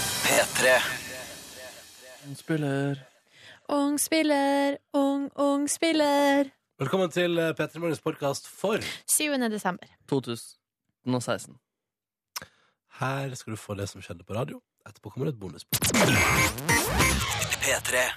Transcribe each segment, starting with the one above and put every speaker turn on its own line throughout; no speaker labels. P3
Spiller.
Ung spiller, ung, ung spiller.
Velkommen til eh, P3 Morgens podkast for
7. desember.
2016.
Her skal du få det som skjedde på radio. Etterpå kommer det et bonus.
P3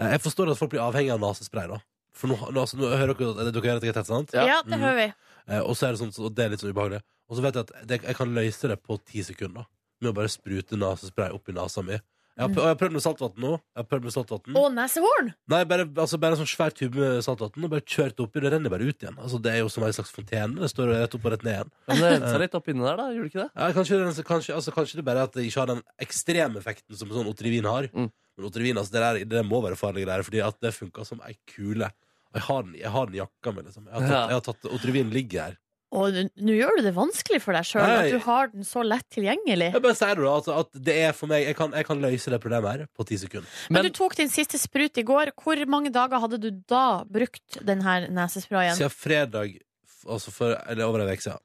Eh, Jeg forstår at folk blir avhengig av nesespray, da. For nå, nå, altså, nå hører dere at dere hører at jeg er tett, sant?
Ja.
Ja, det
Mhm.
hører vi.
Eh, Og så er det sånn, så- og det er litt sånn ubehagelig. Og så vet jeg at det, jeg kan løse det på ti sekunder med å bare sprute nesespray opp i nesa mi. Jeg har, prø- og jeg har prøvd med saltvann nå. Jeg har prøvd med saltvann.
Mm.
Og nesehorn!
Nei, bare, altså, bare en sånn svær tube med saltvann og bare kjørt oppi. Det renner bare ut igjen. Altså, det er jo som en slags fontene. Det står rett opp og rett ned igjen.
Men det rensa litt opp inni der, da? Gjorde det ikke det?
Ja, kanskje, det- kanskje, altså, kanskje det bare er at det ikke har den ekstreme effekten som sånn Otrivin har.
Mm.
Men Otrivin, altså, det, der, det må være farlige greier, fordi at det funka som ei kule. Og Jeg har den, jeg har den i jakka mi, liksom. Jeg har tatt,
Ja.
jeg har tatt Otrivin ligger her.
Og n- nå gjør du det vanskelig for deg sjøl
Nei.
at du har den så lett tilgjengelig.
Jeg bare sier det, da. Altså, at det er for meg Jeg kan, jeg kan løse det problemet her på ti sekunder.
Men
Men
du tok din siste sprut i går. Hvor mange dager hadde du da brukt den her nesesprayen?
Siden fredag, f- altså for eller over en uke siden,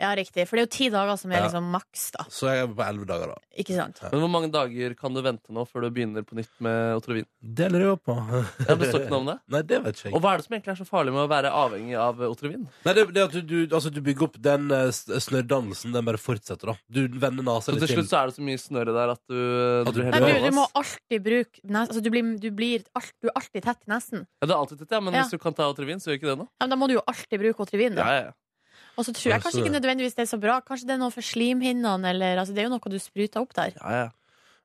Ja, riktig. For det er jo ti dager som er
Ja.
liksom maks, da.
så er jeg på elleve dager, da.
Ikke sant?
Men hvor mange dager kan du vente nå før du begynner på nytt med Otrovin?
Det lurer jeg på.
Ja, det står ikke noe om det.
Nei, det vet ikke jeg.
Og hva er det som egentlig er så farlig med å være avhengig av Otrovin?
Nei, det, det at du, du, altså, du bygger opp den eh, s- snørrdannelsen, den bare fortsetter, da. Du vender nesa
Så
litt
til
til.
slutt så er det så mye snørre der at du,
At du-
blir helt
Nei, du,
overvass.
du må alltid bruke nes- altså, du, blir, du, blir alt, du er alltid tett i nesen.
Ja, det er alltid tett, ja, men
Ja.
hvis du kan ta Otrovin, så gjør ikke det noe.
Ja, men da må du jo alltid bruke Otrivin.
Ja,
Da.
ja, ja.
Og så tror jeg kanskje
Altså-
ikke nødvendigvis det er så bra. Kanskje det er noe for slimhinnene, eller altså, Det er jo noe du spruter opp der.
ja, ja.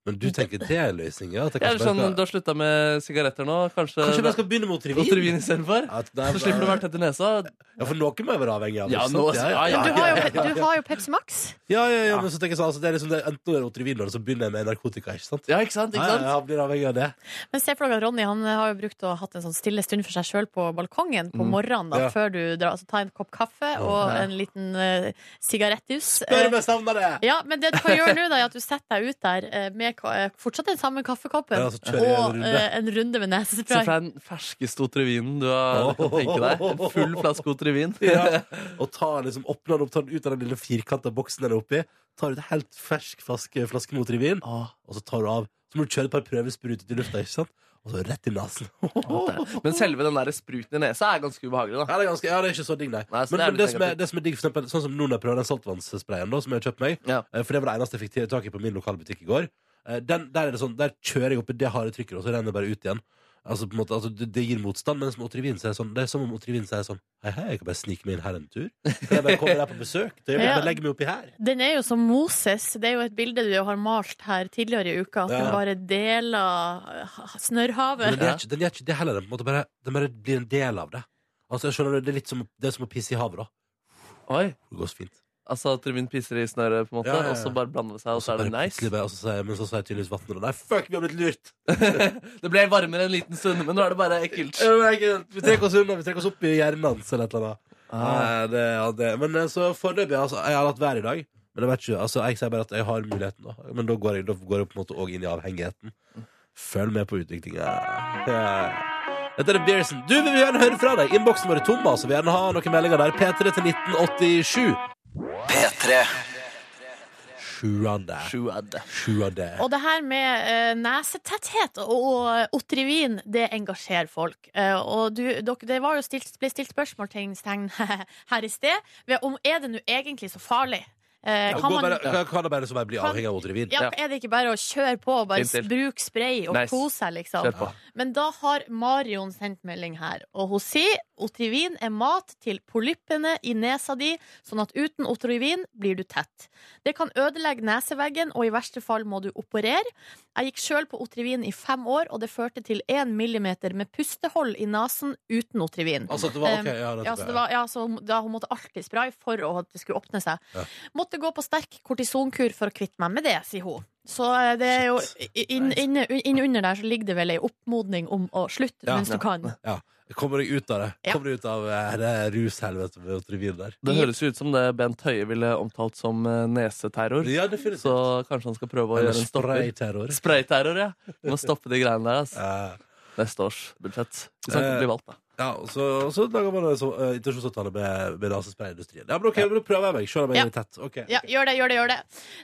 Men du tenker det er løsningen? At jeg
Jeg er
kanskje,
sånn,
bare
Du har slutta med sigaretter nå. Kanskje,
skal, kanskje jeg bare skal begynne med Otrivin?
Otrovin istedenfor?
Ja, det er-
Så slipper du å være tett i nesa.
Ja, for noe må jeg være avhengig av.
Ja,
ikke
nå-
sant?
ja,
ja, ja,
Men du
ja,
har
ja,
jo, du
ja.
har jo Pepsi Max.
ja, ja, ja, men så tenker jeg sånn, altså, det er liksom det, enten å være Otrivin eller så begynner jeg med narkotika, ikke sant?
Ja, ikke sant? Ikke
Ja, ja,
sant?
jeg blir avhengig av det.
Men se for deg at Ronny han har jo brukt å hatt en sånn stille stund for seg sjøl på balkongen på morgenen. da,
Mm. Ja.
før du drar, altså Ta en kopp kaffe og en liten eh, sigarettjus.
Spør
Eh,
om jeg savner det!
ja, men det du kan gjøre nå, da, er at du setter deg ut der eh, med ka- eh, fortsatt den samme kaffekoppen
Ja, så kjører jeg en
og
runde.
eh, en runde med
Se for deg
nesespray.
den ferskeste Otrevinen du har, kan tenke deg. En full flaske Otrevin.
Ja. Og ta, liksom, åpner den opp, tar den ut av den lille firkanta boksen den er oppi, tar ut en helt fersk flaske, flaske med Otrivin,
Åh,
og så tar du av. Så må du kjøre et par prøvespruter ut i lufta, ikke sant? Og så rett i nesen.
det- Men selve den der spruten i nesa er ganske ubehagelig, da.
Ja, det er, ganske, ja, det er ikke så digg, nei.
Nei, så det
men
er
men
litt
det, som er,
negativt.
det som er digg, for eksempel, sånn som nå når jeg prøver den saltvannssprayen, da, som jeg har kjøpt meg,
Ja.
eh, for det var det eneste jeg fikk til- tak i på min lokalbutikk i går, eh, den, der, er det sånn, der kjører jeg opp i det harde trykket, og så renner det bare ut igjen. Altså, på en måte, altså, det, det gir motstand, mens med Otrivin så er det sånn, det er som om Otrivin sier sånn Hei, hei, jeg kan bare snike meg inn her en tur. Kan jeg bare komme der på besøk? Det gjør jeg
Ja.
bare legger meg oppi her.
Den er jo som Moses. Det er jo et bilde du har malt her tidligere i uka. At
Ja.
den bare deler eh,
Men
snørrhavet.
den gjør ikke, den gjør ikke det heller. Den, på en måte bare, den bare blir en del av det. Altså, jeg skjønner, Det er litt som, det er som å pisse i havet, da.
Oi,
Det går så fint.
altså Otrevin pisser i snøret, på en måte,
Ja, ja, ja.
og så bare blander det seg, og så
Og
er det
bare
nice.
plutselig bare- og så sier jeg- Men så sier jeg tydeligvis vannet, og nei, fuck, vi har blitt lurt!
Det ble varmere en liten stund, men nå er det bare ekkelt.
Ja, men jeg- Vi trekker oss unna, vi trekker oss opp i hjernen hans eller et eller annet.
Ah.
Nei, det, ja, det. Men eh, så foreløpig, altså, jeg har hatt vær i dag. Men jeg vet ikke, altså, jeg sier bare at jeg har muligheten, da. Men da går jeg, da går jeg på en måte òg inn i avhengigheten. Følg med på utviklinga. Ja. Dette er Beerson. Du, vi vil gjerne høre fra deg. Innboksen vår er tom, altså. Vi vil gjerne ha noen meldinger der. P3 til 1987.
P3
Sjuande.
Sjuad.
Sjuande.
Og det her med eh, nesetetthet og, og otrivin, det engasjerer folk. Eh, og du, dere, det var jo stilt, ble stilt spørsmålstegn her i sted ved om er det nå egentlig så farlig. Eh,
Ja,
kan
gå
man,
bare- Kan kan det bare så bare bli
Kan-
avhengig av Otrevin?
ja, er det ikke bare å kjøre på og bare
Inntil.
bruke spray og
Nice.
kose seg, liksom?
Kjør på.
Men da har Marion sendt melding her, og hun sier Otrivin er mat til polyppene i nesa di, sånn at uten Otrivin blir du tett. Det kan ødelegge neseveggen, og i verste fall må du operere. Jeg gikk sjøl på Otrivin i fem år, og det førte til én millimeter med pustehold i nesen uten Otrivin.
Altså, det var, ok,
Um,
ja, det,
Ja, så det var, ja, så da hun måtte alltid spraye for å- at det skulle åpne seg.
Ja.
Måtte gå på sterk kortisonkur for å kvitte meg med det, sier hun. Så eh, det er jo inn, inn, inn under der så ligger det vel ei oppmodning om å slutte
Ja.
mens du kan.
Kommer deg ut av det.
Ja.
Kommer deg ut av eh, det rushelvetet med Otrevin der.
Det høres jo ut som det Bent Høie ville omtalt som eh, neseterror.
Ja, definitivt.
Så kanskje han skal prøve å
Eller
gjøre en stopper.
sprayterror.
Sprayterror, ja. Du må stoppe de greiene der. ass.
Eh,
Neste års budsjett. Hvis han ikke
Eh.
blir valgt, da.
Ja, og så, og så lager man en sånn, eh, intensjonsavtale med, med nasesprayindustrien. Ja, men ok, men da prøver jeg meg, selv om jeg
Ja.
er litt tett. Ok,
Ja,
ok.
gjør det, gjør det, gjør det.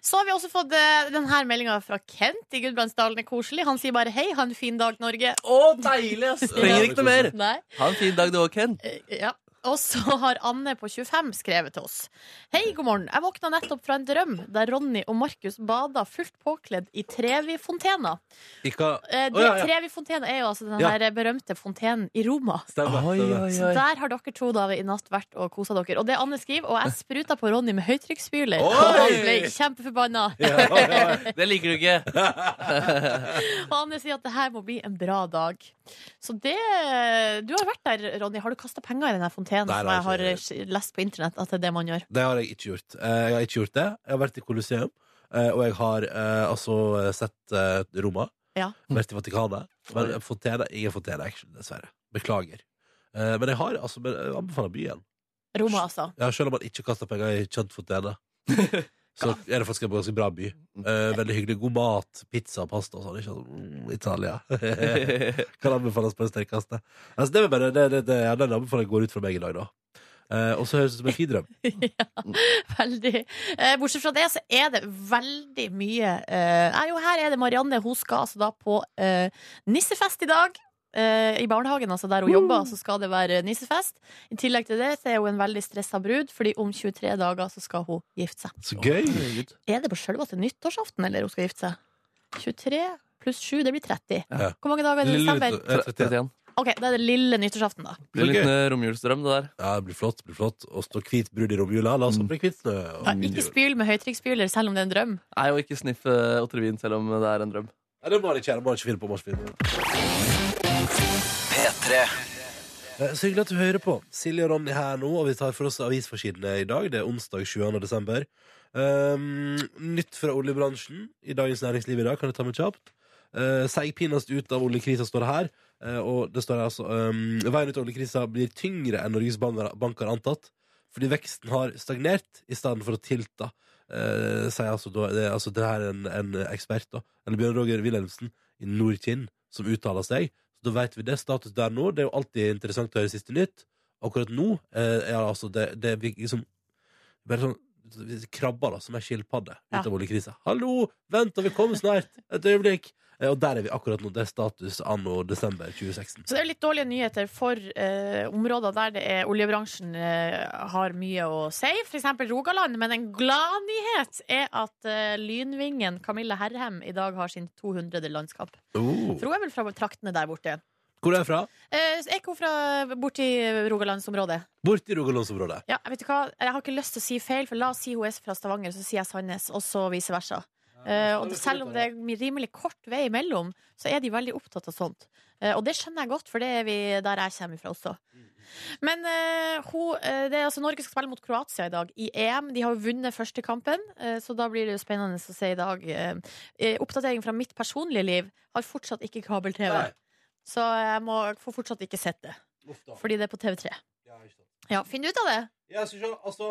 Så har vi også fått eh, denne meldinga fra Kent i Gudbrandsdalen er koselig. Han sier bare 'hei, ha en fin dag, Norge'.
Å, deilig, ass! Trenger ikke noe mer.
Nei.
Ha en fin dag, du òg, Ken.
Eh, Ja. Og så har Anne på 25 skrevet til oss. Hei, god morgen. Jeg våkna nettopp fra en drøm der Ronny og Markus bada fullt påkledd i Trevi-fontena.
Ikke...
Eh, det-
Å, ja, ja.
Trevi-fontena er jo altså den
Ja.
her berømte fontenen i Roma.
Stemmer. stemmer.
Så der har dere to da i natt vært og kosa dere. Og det Anne skriver, og jeg spruta på Ronny med høytrykksspyler. Og
Oi!
han ble kjempeforbanna.
Ja, ja, ja.
Det liker du ikke.
Og Anne sier at det her må bli en bra dag. Så det Du har vært der, Ronny. Har du kasta penger i den her fontenen
Nei,
som
nei,
jeg har
ikke
eh, lest på internett at det er det man gjør?
Det har jeg ikke gjort. Eh, Jeg har ikke gjort det. Jeg har vært i Colosseum, eh, og jeg har eh, altså sett eh, Roma.
Ja.
Vært i Vatikanet. Men fontene, ingen fontene action, dessverre. Beklager. Eh, Men jeg har altså men jeg anbefaler byen.
Roma, altså.
Ja, selv om man ikke kaster penger i kjent fontene. Så er det faktisk en ganske bra by. Eh, veldig hyggelig. God mat, pizza, pasta og sånn. Ikke sånn mm, Italia. Kan anbefales på det sterkeste. Altså, det er bare det, det, det, ja, den anbefalingen går ut fra meg i dag, da. Eh, og så høres det ut som en fin drøm.
Veldig. Eh, bortsett fra det, så er det veldig mye eh, Nei, jo, her er det Marianne. Hun skal altså da på eh, nissefest i dag. Eh, I barnehagen, altså der hun jobber, så skal det være nissefest. I tillegg til det så er hun en veldig stressa brud, fordi om 23 dager så skal hun gifte seg.
Så gøy!
Er det på selveste nyttårsaften eller hun skal gifte seg? 23 pluss 7, det blir 30.
Ja.
Hvor mange dager er det i
Lille
desember?
nyttår.
Tre- 31.
Ok, da er det lille nyttårsaften, da.
Blir en liten eh, romjulsdrøm, det der.
Ja, det blir flott. det blir flott Og stå hvit brud i romjula. La oss håpe det er hvit snø. og
Ja,
fin
ikke
jul.
spyl med høytrykksspyler, selv om det er en drøm.
Nei, og ikke sniff uh, Otrevin selv om det er en drøm.
Nei, det må han ikke gjøre. det må han ikke finne på må han ikke finne på. Eh, Så hyggelig at du hører på. Silje og Ronny her nå, og vi tar for oss avisforsidene i dag. Det er onsdag 20. desember. Um, nytt fra oljebransjen i Dagens Næringsliv i dag kan jeg ta med kjapt. Uh, Seigpinast ut av oljekrisa står det her. Eh, og det står her altså um, Veien ut av oljekrisa blir tyngre enn Norges banker, banker antatt, fordi veksten har stagnert i stedet for å tilta. Eh, sier altså, da, det, er- altså, det her er en, en ekspert, da. Eller Bjørn Roger Wilhelmsen i Nordkinn, som uttaler seg. Så da vet vi det. Status der nå. Det er jo alltid interessant å høre siste nytt. Akkurat nå eh, er det altså det, det er liksom bare sånn krabber da, som er skilpadde
Ja.
ut av oljekrisa. Hallo! Vent, og vi kommer snart! Et øyeblikk! Eh, Og der er vi akkurat nå. Det er status anno desember 2016.
Så det er litt dårlige nyheter for eh, områder der det er oljebransjen eh, har mye å si, f.eks. Rogaland. Men en gladnyhet er at eh, lynvingen Camilla Herrem i dag har sin 200. landskamp.
Oh.
For hun er vel fra traktene der borte.
Hvor er jeg fra?
Eh, så er ikke hun fra borti Rogalandsområdet?
Borti Rogalandsområdet.
Ja, vet du hva? Jeg har ikke lyst til å si feil, for la oss si hun er fra Stavanger, så sier jeg Sandnes, og så vice versa. Eh, og selv om det er rimelig kort vei imellom, så er de veldig opptatt av sånt. Eh, og det skjønner jeg godt, for det er vi der jeg kommer fra også. Men eh, hun, eh, det er altså Norge skal spille mot Kroatia i dag i EM. De har jo vunnet første kampen, eh, så da blir det jo spennende å se i dag. Eh, eh, oppdatering fra mitt personlige liv har fortsatt ikke kabel-TV.
Nei.
Så jeg må, får fortsatt ikke sett det,
Uff da.
fordi det er på TV3.
Ja, ikke sant.
Ja, finn ut av det!
Jeg skal se, altså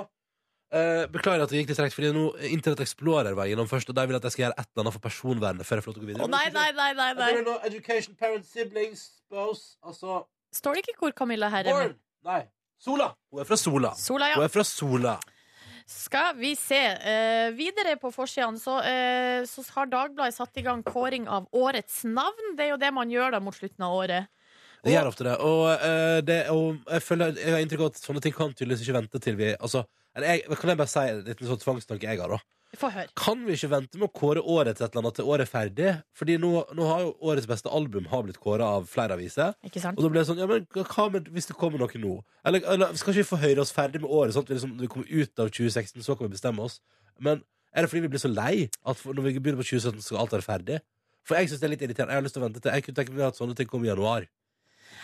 eh, Beklager at det gikk litt tregt, fordi nå Internett Explorer var innom først, og de vil at jeg skal gjøre et eller annet for personvernet før jeg får lov til å gå
Å
videre.
nei, nei, nei, nei,
Jeg tror det
nei.
er noe Education, parents, siblings, spouse Altså
Står det ikke hvor Camilla Herrem er?
Born. Nei. Sola. Hun er fra Sola.
Sola,
Hun
ja.
er fra Sola.
Skal vi se. Eh, videre på forsiden så, eh, så har Dagbladet satt i gang kåring av årets navn. Det er jo det man gjør da mot slutten av året.
Det gjør ofte det. Og, eh, det, og jeg, føler, jeg har inntrykk av at sånne ting kan tydeligvis ikke vente til vi altså, eller jeg, Kan jeg bare si en liten sånn tvangstanke jeg har, da?
Få høre.
Kan vi ikke vente med å kåre årets et eller annet til året er ferdig? Fordi nå, nå har jo årets beste album har blitt kåra av flere aviser.
Ikke sant?
Og da ble det sånn, ja, men hva med hvis det kommer noe nå? Eller, eller skal ikke vi få høre oss ferdig med året, sånn at vi liksom, når vi kommer ut av 2016, så kan vi bestemme oss? Men er det fordi vi blir så lei at for, når vi begynner på 2017, så skal alt være ferdig? For jeg synes det er litt irriterende. Jeg har lyst til å vente til Jeg kunne tenke meg at sånne ting kom i januar.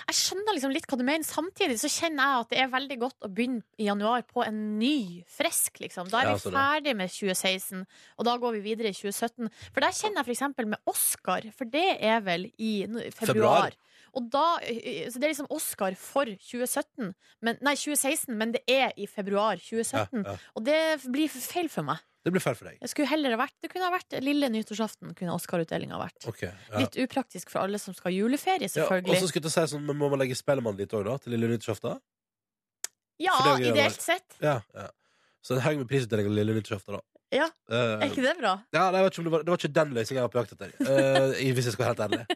Jeg skjønner liksom litt hva du mener. Samtidig så kjenner jeg at det er veldig godt å begynne i januar på en ny, frisk, liksom. Da er
Ja,
vi
så det.
ferdig med 2016, og da går vi videre i 2017. For der kjenner jeg for eksempel med Oscar, for det er vel i no-
Februar.
februar. Og da, så det er liksom Oscar for 2017, men, nei 2016, men det er i februar 2017.
Ja, ja.
Og det blir feil for meg.
Det blir fair for deg.
Jeg skulle heller ha vært, det kunne ha vært lille nyttårsaften kunne Oscar-utdelinga vært.
Ok, ja.
Litt upraktisk for alle som skal ha juleferie,
Ja, og så
selvfølgelig.
skulle jeg til å si sånn, men Må man legge Spellemann dit òg, da? Til lille nyttårsaften?
Ja,
for det er jo-
ideelt sett.
Ja, ja. Så en haug med prisutdeling lille nyttårsaften, da.
Ja,
Eh,
Er ikke det bra?
ja, nei, jeg vet ikke om det, var, det var ikke den løsningen jeg var på jakt etter, eh, hvis jeg skal være helt ærlig.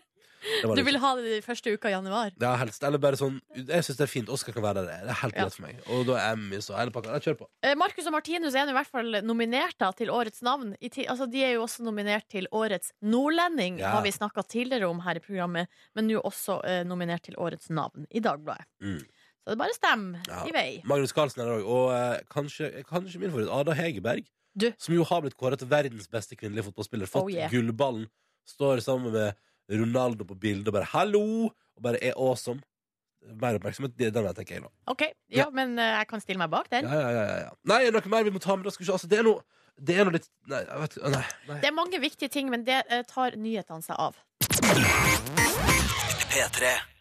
Det var
Du
det
vil
ikke.
ha det i første uka i januar?
ja, helst. Eller bare sånn Jeg syns det er fint. Oscar kan være der. Det er helt
Ja.
greit for meg. Og da er Emmy så hele pakka. Ja, Kjør på.
Eh, Marcus og Martinus er nå i hvert fall nominert da, til Årets navn. I ti altså, de er jo også nominert til Årets nordlending,
Ja.
har vi snakka tidligere om her i programmet, men nå også eh, nominert til Årets navn i Dagbladet.
Mm.
Så det er bare stem
Ja.
i vei.
Magnus Carlsen er der òg. Og eh, kanskje, kanskje min favoritt, Ada Hegerberg.
Du.
Som jo har blitt kåret til verdens beste kvinnelige fotballspiller. Fått
Oh, yeah.
gullballen. Står sammen med Ronaldo på bildet og bare 'hallo!' og bare er awesome. Mer oppmerksomhet. Det er den jeg tenker jeg nå.
OK, ja,
Ja.
men eh, jeg kan stille meg bak
Ja,
den.
ja, ja, ja, ja. Nei, er det noe mer vi må ta med? Da? Skal vi se. Altså, det er noe det er noe litt Nei. Jeg vet, ikke. nei, nei.
Det er mange viktige ting, men det eh, tar nyhetene seg av.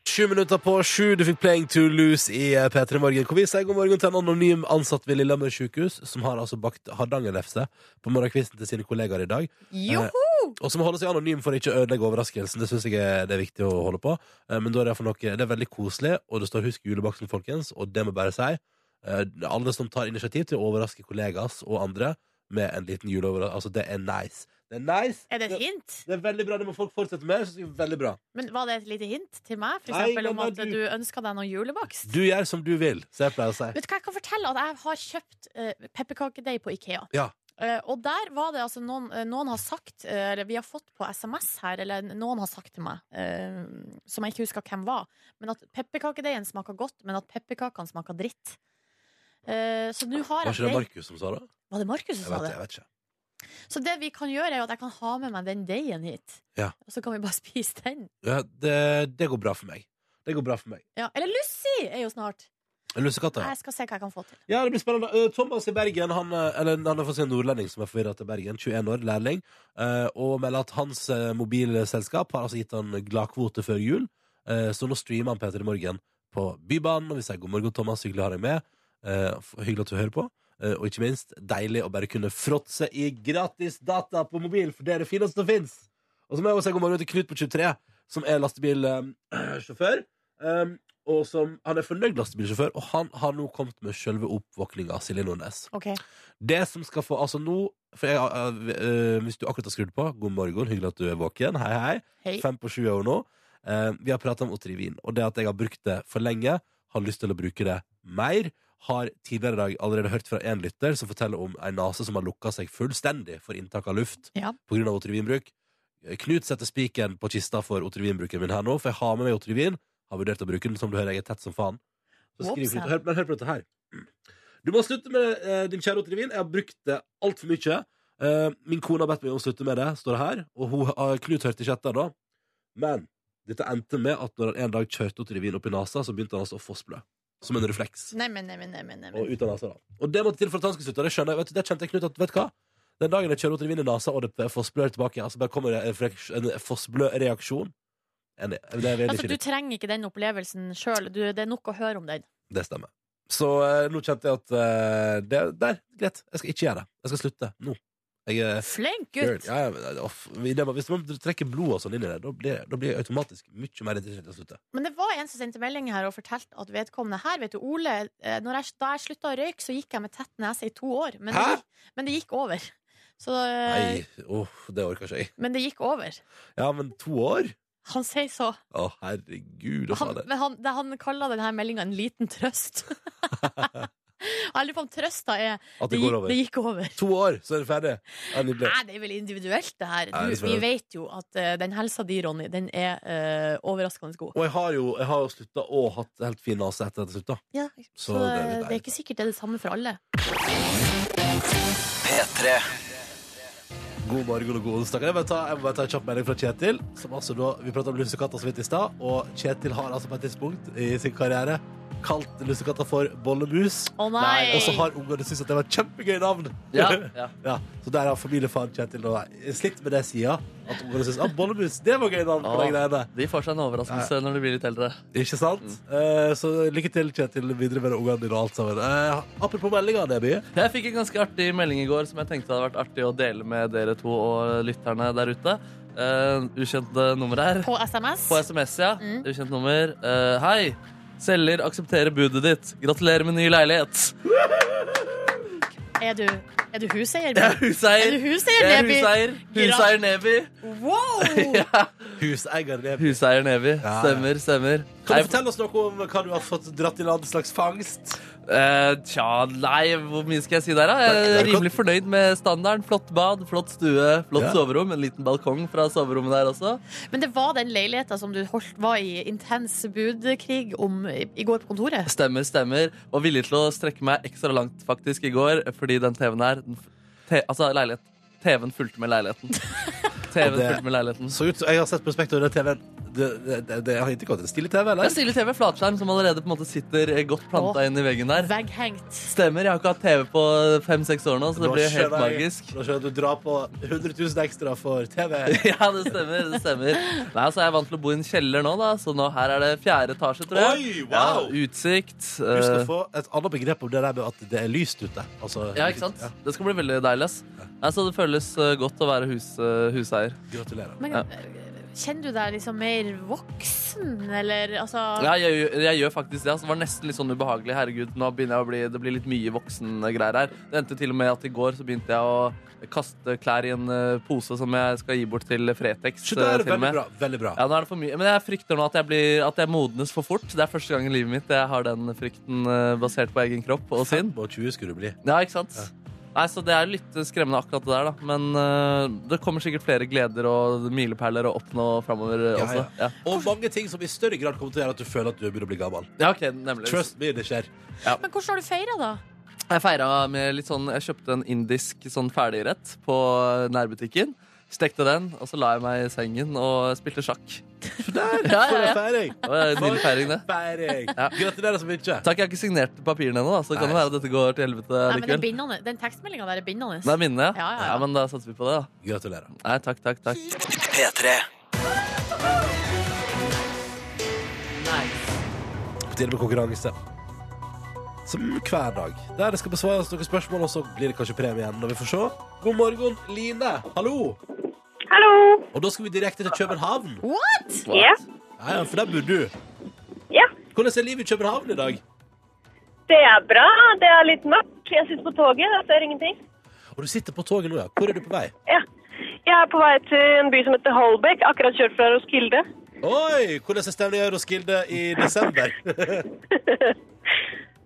Sju minutter på sju, du fikk Playing to Lose i eh, P3 Morgen. Hvor vi sier god morgen til en anonym ansatt ved Lillehammer sykehus, som har altså bakt hardangerlefse på morgenkvisten til sine kollegaer i dag. Eh,
Joho!
Og så må holde seg anonym for å ikke ødelegge overraskelsen. Det synes jeg er, det er viktig å holde på. Eh, Men da er det, for noe, det er veldig koselig, og det står 'husk julebaksten', folkens. Og det må jeg bare si. eh, Alle som tar initiativ til å overraske kollegas og andre med en liten juleoverraskelse, altså, det er nice. Det er nice.
Er det et hint?
Det er veldig bra. Det må folk fortsette med. Jeg synes det er veldig bra.
Men Var det et lite hint til meg, for
Nei,
eksempel, om
men
at
da, du-
du ønska deg noe julebakst?
Du gjør som du vil, som jeg pleier å si.
Vet du hva jeg kan fortelle? At jeg har kjøpt uh, pepperkakedeig på Ikea.
Ja.
Eh, og der var det altså noen, eh, noen har sagt eh, Eller vi har fått på SMS her, eller noen har sagt til meg, eh, som jeg ikke husker hvem var, men at pepperkakedeigen smaker godt, men at pepperkakene smaker dritt. Eh, så nå har jeg
Var ikke det
deig-
Markus som sa det?
Var det Markus
Jeg
som sa det?
vet, jeg vet ikke.
Så det vi kan gjøre, er jo at jeg kan ha med meg den deigen hit.
Ja.
Og så kan vi bare spise den.
Ja, det, det går bra for meg. Det går bra for meg.
Ja. Eller Lucy er jo snart.
Lussekatter. ja.
Jeg skal se hva jeg kan få til.
Ja, det blir spennende. Eh, Thomas i Bergen, han, eh, eller han er for å si en nordlending som er forvirra til Bergen, 21 år, lærling, eh, og melder at hans eh, mobilselskap har altså gitt han gladkvote før jul, eh, så nå streamer han Peter i morgen på Bybanen, og vi sier god morgen, Thomas, hyggelig å ha deg med, eh, f- hyggelig at du hører på, eh, og ikke minst, deilig å bare kunne fråtse i gratis data på mobil, for det er det fineste som finnes. Og så må jeg også si god morgen til Knut på 23, som er eh, lastebilsjåfør. Um, og som, han er fornøyd lastebilsjåfør, og han har nå kommet med selve oppvåkninga av Silje Nordnes.
Ok.
Det som skal få Altså nå for jeg, øh, øh, Hvis du akkurat har skrudd på, god morgen, hyggelig at du er våken. Hei, hei.
Hei.
Fem på sju år nå. Eh, vi har prata om otter i vin, og det at jeg har brukt det for lenge, har lyst til å bruke det mer. Har tidligere i dag allerede hørt fra en lytter som forteller om ei nese som har lukka seg fullstendig for inntak av luft
Ja.
pga. otrivinbruk. Knut setter spiken på kista for otrivinbruken min her nå, for jeg har med meg otrivin. Har vurdert å bruke den, som du hører, jeg er tett som faen. Så skriver
Whoops,
Knut,
ja.
hør, men hør på dette her. Du må slutte med eh, din kjære otrivin. Jeg har brukt det altfor mye. Eh, min kone har bedt meg om å slutte med det, står det her. Og hun, har- Knut hørte ikke etter da. Men dette endte med at når han en dag kjørte otrivin opp i nesa, så begynte han altså å fossblø. Som en refleks.
Neimen, neimen, neimen. neimen.
Og ut av nesa, da. Og det måtte til for at han skulle slutte. og Det skjønner jeg. Vet du, det kjente jeg, Knut, at vet du hva? Den dagen jeg kjører Otrivin i nesa, og det fossblør tilbake, altså bare kommer det en frek- en fossblø-reaksjon Enig. Det er veldig
Altså, du
kjipt.
trenger ikke den opplevelsen sjøl. Det er nok å høre om den.
Det stemmer. Så eh, nå kjente jeg at eh, det, Der, greit. Jeg skal ikke gjøre det. Jeg skal slutte. Nå. Jeg er
Flink
Girl,
gutt!
ja, ja, men, eh, off. Vi- det, var- hvis man trekker blod og sånn inn i det, da blir, da blir jeg automatisk mye mer interessert i å slutte.
Men det var en som sendte melding her og fortalte at vedkommende her, vet du, Ole eh, når jeg, Da jeg slutta å røyke, så gikk jeg med tett nese i to år. Men, det
Hæ?
gikk, men det gikk over. Så, eh,
Nei, åh, det orker ikke jeg.
men det gikk over.
Ja, men to år?
Han sier så.
Å, herregud altså, og
Han,
fader.
men han, det, han kaller denne meldinga en liten trøst. jeg lurer på om trøsta er
At
det
det går
gikk,
over.
det gikk over.
To år, så er det ferdig. Ja, nydelig.
Nei, det er vel individuelt, det her. Du,
Nei, det er
vi
sant.
vet jo at eh, den helsa di, Ronny, den er eh, overraskende god.
Og jeg har jo, jeg har jo slutta og hatt helt fin nase etter at jeg slutta.
Ja,
Så
så, eh,
det er
det,
litt
er ikke sikkert det er det samme for alle.
God morgen og god onsdag. Jeg må bare ta, jeg må bare ta en kjapp melding fra Kjetil. Som altså da, Vi prata om lussekatter så vidt i stad, og Kjetil har altså på et tidspunkt i sin karriere kalt lussekatta for bollemus.
Å nei!
Nei,
Og så har ungene syntes at det var et kjempegøy navn.
Ja, ja.
Ja, så der har familiefaren Kjetil nå slitt med det sida. At ungene syns ah, bollemus, det var gøy navn på de greiene.
De får seg en overraskelse når de blir litt eldre.
Ikke sant? Eh, så lykke til, Kjetil, videre med ungene dine og alt sammen. Eh, apropos meldinger, Neby.
Jeg fikk en ganske artig melding i går som jeg tenkte hadde vært artig å dele med dere to og lytterne der ute. Eh, ukjent eh, nummer her.
På SMS?
På SMS, ja. Ukjent nummer. Eh, hei. Selger aksepterer budet ditt. Gratulerer med ny leilighet.
Er du, er du
Jeg
huseier?
er
Bjørn? Er
huseier.
du huseier,
Jeg er
Neby?
huseier. Huseier Neby.
Wow!
Ja.
Huseier Neby.
Huseier Neby.
Ja, ja.
Stemmer, stemmer.
Kan
Nei,
du fortelle oss noe om hva du har fått dratt i land slags fangst?
eh, tja, nei, hvor mye skal jeg si der, da? Jeg er rimelig fornøyd med standarden. Flott bad, flott stue, flott
Ja.
soverom. En liten balkong fra soverommet der også.
Men det var den leiligheta som du holdt, var i intens budkrig om i i går på kontoret?
Stemmer, stemmer. Var villig til å strekke meg ekstra langt faktisk i går, fordi den TV-en her den, f- te, Altså, leilighet. TV-en fulgte med leiligheten. TV-en
det-
fulgte med leiligheten.
Så ut, Jeg har sett på Spekter under TV-en. Det, det, det, det har ikke gått en stille TV,
Det er
eller?
stilig TV, flatskjerm, som allerede på en måte sitter eh, godt planta
Åh.
inn i veggen der.
Vegghengt.
Stemmer. Jeg har ikke hatt TV på fem-seks år nå, så det
Nå
blir helt
skjønner jeg-
magisk. Eh.
Nå skjønner jeg at du drar på 100 000 ekstra for TV.
Ja, det stemmer. det stemmer Nei, altså Jeg er vant til å bo i en kjeller nå, da så nå her er det fjerde etasje, tror jeg.
Oi, wow!
ja, utsikt.
Du skal
eh,
få et annet begrep om det der med at det er lyst ute. Altså,
ja, ikke sant?
Ja,
Det skal bli veldig deilig. ass Altså, Det føles eh, godt å være hus, eh, huseier.
gratulerer.
Men eh,
Ja.
kjenner du deg liksom mer voksen, eller altså
Ja, jeg, gjør- jeg gjør faktisk det. Altså, det var nesten litt sånn ubehagelig. Herregud, nå begynner jeg å bli, det blir litt mye voksengreier her. Det endte til og med at i går så begynte jeg å kaste klær i en eh, pose som jeg skal gi bort til Fretex.
Så det er
eh, til og
veldig
med.
bra. Veldig bra.
Ja, nå er det for mye. Men jeg frykter nå at jeg, blir, at jeg modnes for fort. Det er første gang i livet mitt jeg har den frykten eh, basert på egen kropp og sinn.
25 skulle du bli.
Ja, ikke sant? Nei, så Det er litt eh, skremmende akkurat det der, da. Men eh, det kommer sikkert flere gleder og milepæler å oppnå framover eh,
Ja,
også. Ja.
Og mange ting som i større grad kommer til å gjøre at du føler at du begynner å bli gammel.
ja, ok, nemlig.
Trust me, det skjer.
Men hvordan har du feira, da?
Jeg feira med litt sånn Jeg kjøpte en indisk sånn ferdigrett på eh, nærbutikken. Stekte den, og så la jeg meg i sengen og spilte sjakk.
For der,
Ja,
for
ja,
en feiring!
Det var en Nydelig feiring, det.
Feiring!
Ja.
Gratulerer så mye.
Takk, jeg har ikke signert papirene ennå, da, så det kan jo
Nei.
være at dette går til helvete
Nei, men den
likevel.
bindende- den tekstmeldinga der er bindende.
Det er minnet, ja.
Ja, ja, ja.
men da satser vi på det, da.
Gratulerer.
Nei, takk, takk, takk.
På tide med konkurranse. Som hver dag. Der det skal besvares noen spørsmål, og så blir det kanskje premie igjen. Når vi får se. God morgen, Line. Hallo.
Hallo.
Og da skal vi direkte til København.
What?!
Ja.
Ja, ja, for der bor du.
ja.
Hvordan er livet i København i dag?
Det er bra. Det er litt mørkt. Jeg sitter på toget. Jeg ser ingenting.
Og du sitter på toget nå, ja. Hvor er du på vei?
Ja. Jeg er på vei til en by som heter Holbæk. Akkurat kjørt fra Roskilde.
Oi! Hvordan er stemningen i Roskilde i desember?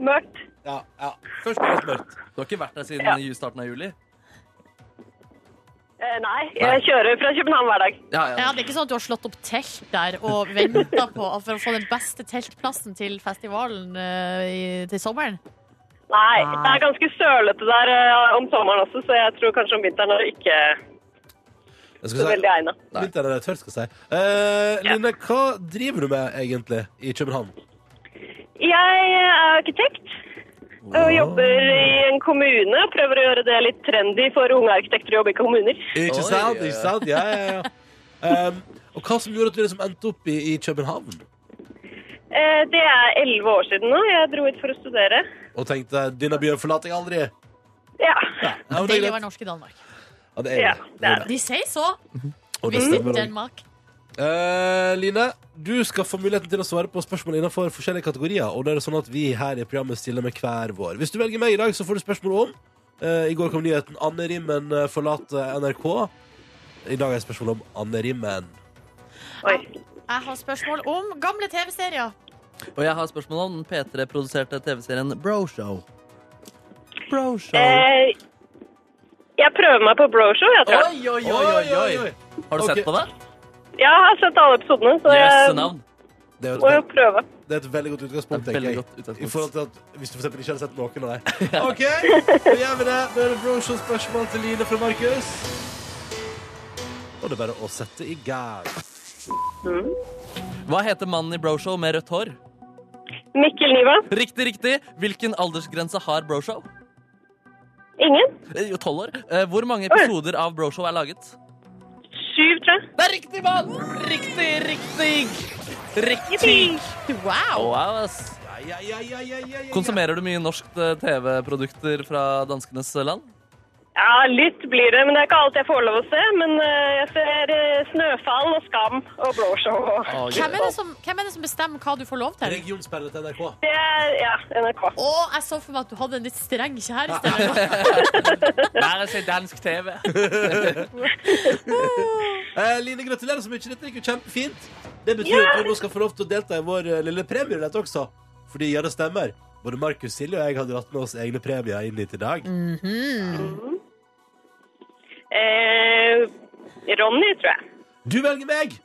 Mørkt.
ja, ja. Først og fremst mørkt.
Du har ikke vært der siden
Ja.
ju- starten av juli?
Eh, nei,
Nei.
jeg kjører fra København hver dag.
Ja,
Ja, det er ikke sånn at du har slått opp telt der og venta på for å få den beste teltplassen til festivalen eh, i, til sommeren?
Nei, det er ganske sølete der eh, om sommeren også, så jeg tror kanskje om vinteren er det ikke
Jeg skal
så
si,
veldig egnet.
Vinteren er tørr, skal jeg si. Eh, Line, hva driver du med egentlig i København?
Jeg er arkitekt og jobber i en kommune. Prøver å gjøre det litt trendy for unge arkitekter å jobbe i kommuner.
Ikke
Oi,
sant?
ja.
Ikke sant? Ja, ja, ja. Um, og hva som gjorde at du liksom endte opp i, i København?
Eh, Det er elleve år siden nå. Jeg dro hit for å studere.
Og tenkte denne byen forlater jeg aldri.
Ja.
Ja, ja, men det
Deilig å være
er greit.
norsk i Danmark.
Ja, det er
Ja,
det.
det er
det.
De sier så!
Og det
Visit
stemmer. også.
Denmark.
Eh, Line, du skal få muligheten til å svare på spørsmål innenfor forskjellige kategorier. Og det er sånn at vi her i programmet stiller med hver vår. Hvis du velger meg i dag, så får du spørsmål om eh, I går kom nyheten Anne Rimmen eh, forlater NRK. I dag er det spørsmål om Anne Rimmen.
Oi.
Jeg har spørsmål om gamle TV-serier.
Og jeg har spørsmål om den P3-produserte TV-serien Broshow. Broshow.
Eh, jeg prøver meg på broshow, jeg tror.
Oi, oi, oi, oi, oi! Har du
Ok.
sett på det?
Jeg har sett alle episodene,
Ehm.
så
Jøsse
jeg
navn.
Det er,
må
jo
jo
et,
prøve.
det er et veldig godt utgangspunkt,
Det er et
tenker
veldig
jeg.
godt
I
utgangspunkt.
forhold til at Hvis du for eksempel ikke hadde sett noen av dem. OK, da gjør vi det. Da er det broshow-spørsmål til Line fra Markus. Og det er bare å sette i gang.
Hva heter mannen i Broshow med rødt hår?
Mikkel Niva.
Riktig, riktig. Hvilken aldersgrense har broshow?
Ingen.
Eh, Jo, tolv år. Eh, Hvor mange episoder av broshow er laget?
Syv, tror jeg.
Det er riktig, mann! Riktig, riktig. Riktig.
Wow!
Wow, ass.
Ja, ja, ja, ja, ja, ja.
Konsumerer du mye norsk eh, TV-produkter fra danskenes eh, land?
Ja, litt blir det, men det er ikke alt jeg får lov å se. Men eh, jeg ser eh, Snøfall og Skam og Blåshow og
Å, gøy.
Hvem er, det som, hvem er det som bestemmer hva du får lov til?
Regionsperre til NRK.
Det er ja, NRK.
Å, jeg så for meg at du hadde en litt streng kjæreste. eller noe.
Bare si dansk TV.
Eh, Line, gratulerer så mye. Dette gikk jo kjempefint. Det betyr at du nå skal få lov til å delta i vår eh, lille premierulett også. Fordi, ja, det stemmer. Både Markus Silje og jeg har dratt med oss egne premier inn hit i dag.
Eh, Ronny, tror jeg.
Du velger meg!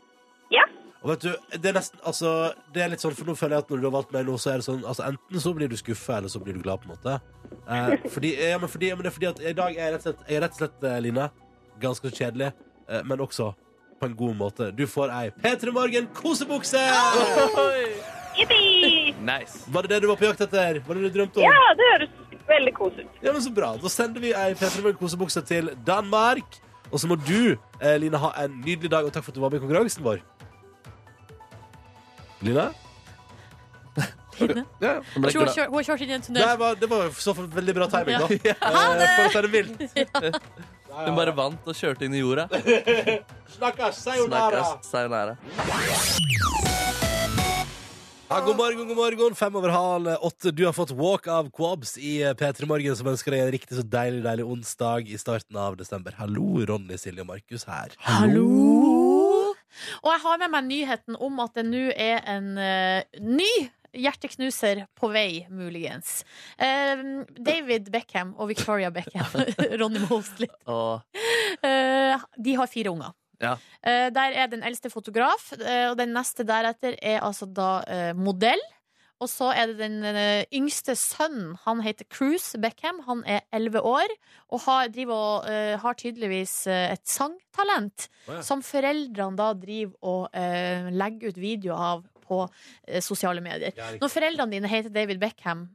Ja.
Og vet du, det er nesten, altså Det er litt sånn, for nå føler jeg at når du har valgt meg nå Så er det sånn, altså enten så blir du skuffet Eller så blir du glad på en måte eh, fordi, ja, men fordi, ja, men det er fordi at i dag er jeg rett og slett, jeg er rett og slett eh, Line, ganske kjedelig eh, Men også på en god måte Du får ei Petre Morgen kosebukse
Jippi!
Nice.
Var det det du var på jakt etter? Var det det du drømte om?
Ja, det høres veldig kos ut.
Ja, men så bra. Da sender vi ei Petra Morgen kosebukse til Danmark. Og så må du, eh, Line, ha en nydelig dag, og takk for at du var med i konkurransen vår. Line?
Line?
Nå ble
Jeg
Ja, ja.
jeg
tror hun
glad.
har kjørt- hun har kjørt inn i en
Det
tunnel.
var, det var så for veldig bra timing, da.
Ja.
Eh, for å ta det mildt.
Hun bare vant og kjørte inn i jorda.
Snakkes. Sayonara.
Snakkes. Sayonara.
Ja, god morgen, god morgen. Fem over halv åtte. Du har fått Walk of Quabs i eh, P3 Morgen, som ønsker deg en riktig så deilig deilig onsdag i starten av desember. Hallo, Ronny, Silje og Markus her.
Hallo! Og jeg har med meg nyheten om at det nå er en eh, ny hjerteknuser på vei, muligens. Eh, David Beckham og Victoria Beckham, Ronny Mosley,
Og
eh, de har fire unger.
Ja.
Eh, der er den eldste fotograf, eh, og den neste deretter er altså da eh, modell. Og så er det den eh, yngste sønnen. Han heter Cruise Beckham. Han er elleve år og har, driver, og, eh, har tydeligvis eh, et sangtalent
Å ja.
som foreldrene da driver og eh, legger ut videoer av på eh, sosiale medier.
Ja, riktig.
Når foreldrene dine heter David Beckham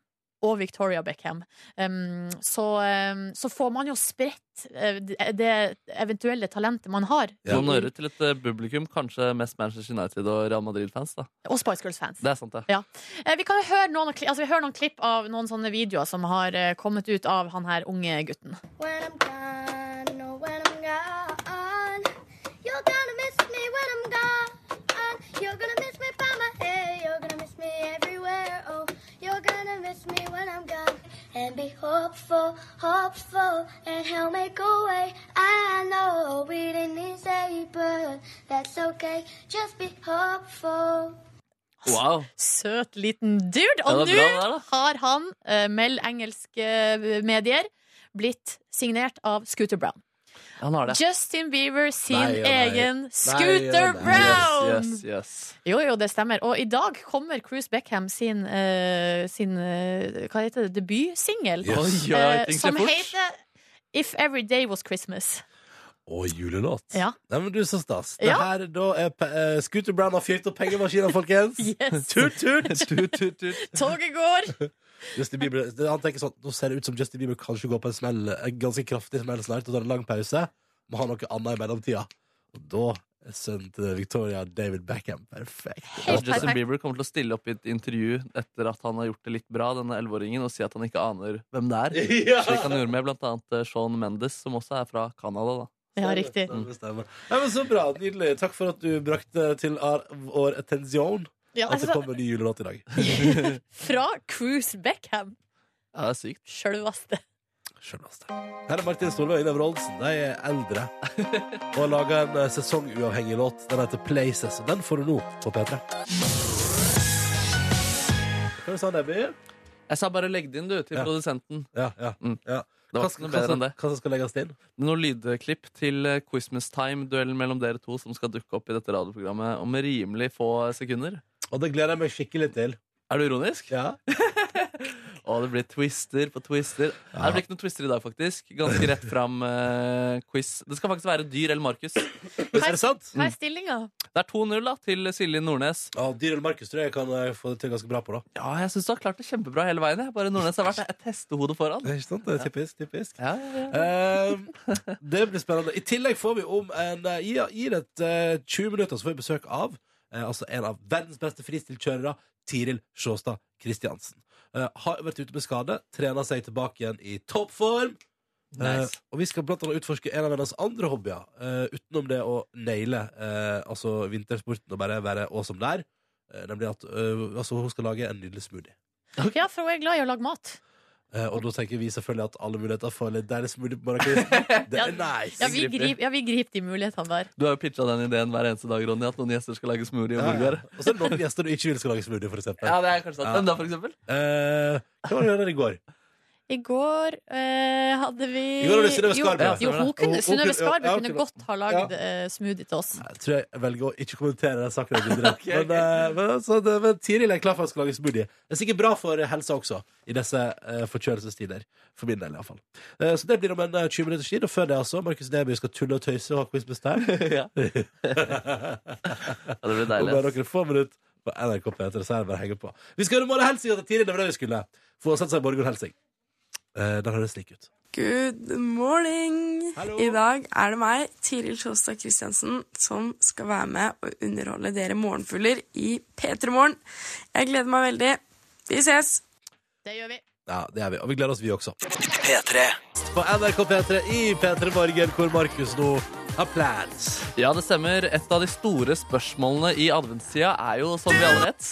og Victoria Beckham, em, så, em, så får man jo spredt eh, det eventuelle talentet man har.
Ja.
noen ører til et eh, publikum, kanskje mest Manchester United og Real Madrid-fans. da.
Og Spice Girls-fans.
Det er sant, det.
Eh, Vi kan jo høre noen, kli- altså, vi hører noen klipp av noen sånne videoer som har eh, kommet ut av han her unge gutten.
When I'm gone, oh, when I'm gone, you're gonna miss me when I'm gone. You're gonna miss me by my hair, you're gonna miss me everywhere. Oh, you're gonna miss me when I'm gone. And be hopeful, hopeful, and he'll make a way. I know we didn't easy, but that's okay. Just be hopeful.
Wow.
Søt liten dude.
Ja,
Og
det
nå
er bra, det er det.
har han, eh, meld engelske eh, medier, blitt signert av Scooter Brown.
Han har det.
Justin Bieber sin
Nei, ja, nei.
egen
Nei, ja,
Scooter
nei.
Brown!
Yes, yes, yes.
Jo, jo, det stemmer. Og i dag kommer Cruise Beckham sin, eh, sin eh, hva heter det, debutsingel.
Yes.
Oi, oi, oi,
eh,
ting skjer
som
fort.
heter If Every Day Was Christmas.
Og julelåt.
Ja.
Nei, men du, så stas. Det
Ja.
her da er pe- eh, Scooter Brown har fyrt opp pengemaskina, folkens.
Yes.
Tut, tut!
Tut, tut, tut.
Toget går!
Justin Bieber, det- han tenker sånn, Nå ser det ut som Justin Bieber kanskje går på en smell En ganske kraftig smell snart og tar en lang pause. Må ha noe annet i mellomtida. Og da er sønnen til Victoria David Beckham perfekt.
Og
Helt
Altså, Justin
perfekt.
Bieber kommer til å stille opp i et intervju etter at han har gjort det litt bra, denne 11-åringen, og si at han ikke aner hvem det er. Slik han gjorde med blant annet eh, Shawn Mendes, som også er fra Canada. da.
Ja, riktig.
Stemmer, stemmer. Nei, men så bra, Nydelig. Takk for at du brakte til our- vår attention
Ja,
at det
altså,
kommer en ny julelåt i dag.
fra Cruise Beckham.
Ja, det er sykt.
Sjølveste.
Skjønneste. Her er Martin Solveig og Inev Rolsen. De er eldre og har laga en eh, sesonguavhengig låt. Den heter 'Places'. og Den får du nå på P3. Hva sa du, Nebby?
Jeg sa bare legg det inn, du, til
Ja.
produsenten.
Ja, ja,
Mm.
ja.
Det var ikke noe bedre enn det.
Hva som skal legges til?
Noen lydklipp til eh, Quizmas Time, duellen mellom dere to, som skal dukke opp i dette radioprogrammet om rimelig få sekunder.
Og det gleder jeg meg skikkelig til.
Er du ironisk?
Ja.
Å, det blir twister på twister. Nei, Det blir ikke noen twister i dag, faktisk. Ganske rett fram-quiz. det skal faktisk være Dyr eller Markus.
Er det sant?
Hva er stillinga?
Mm.
Det er 2-0 da, til Silje Nordnes.
Ja, Dyr eller Markus tror jeg kan eh, få det til ganske bra på, da.
Ja, jeg syns du har klart det kjempebra hele veien. Jeg. Bare Nordnes har vært et hestehode foran.
Det er ikke sant? Det er typisk. typisk.
Ja, ja, ja.
Eh, det blir spennende. I tillegg får vi om en eh, I, i et eh, 20 minutter så får vi besøk av eh, altså en av verdens beste fristilkjørere, Tiril Sjåstad Kristiansen. Eh, har vært ute med skade, trener seg tilbake igjen i toppform. Eh,
Nice.
og vi skal blant annet utforske en av hennes andre hobbyer, eh, utenom det å naile eh, altså vintersporten og bare være awesome der. Eh, nemlig at eh, altså, hun skal lage en nydelig smoothie.
Ja, for hun er glad i å lage mat.
Eh, og da tenker vi selvfølgelig at alle muligheter for en litt deilig smoothie på morgenkvisten, det
Ja,
er nice.
Ja, vi griper ja, vi griper de mulighetene der.
Du har jo pitcha den ideen hver eneste dag, Ronny, at noen gjester skal lage smoothie og
Ja, ja.
burger.
Og så er det noen gjester du ikke vil skal lage smoothie, for eksempel.
Ja, det er kanskje sant.
Ja.
Hvem da, for eksempel?
Eh, hva var det du gjorde i går?
I går eh, hadde vi
I går var det Synnøve
Jo,
Skarberg.
Jo, hun kunne,
Hun- hun
Synnøve
kunne- ja,
Skarberg
ja,
kunne
hun kunne-
godt ha lagd eh, smoothie til oss.
Jeg tror jeg velger å ikke kommentere den saken. videre.
Ok, ok.
Men, eh, men, altså, det, men Tiril er klar for at hun skal lage smoothie. Det er sikkert bra for helsa også, i disse eh, forkjølelsestider. For min del, iallfall. Uh, så det blir om en eh, 20 minutters tid. Og før det, altså, Markus Neby skal tulle og tøyse og ha quiz med Stein.
Ja. ja, det blir
Om
deilig.
bare
ass.
noen få minutter på NRK P3, så er det bare å henge på. Vi skal høre Morgen Helsing til Tiril. Det var det vi skulle. Få sett seg Morgen Helsing. Uh, den høres slik ut.
Good morning!
Hallo.
I dag er det meg, Tiril Sjåstad Kristiansen, som skal være med og underholde dere morgenfugler i P3 Morgen. Jeg gleder meg veldig. Vi ses!
Det gjør vi.
Ja, det er vi. Og vi gleder oss, vi også. På NRK P3 i P3 Morgen, hvor Markus nå har plans.
Ja, det stemmer. Et av de store spørsmålene i adventstida er jo, som vi alle vet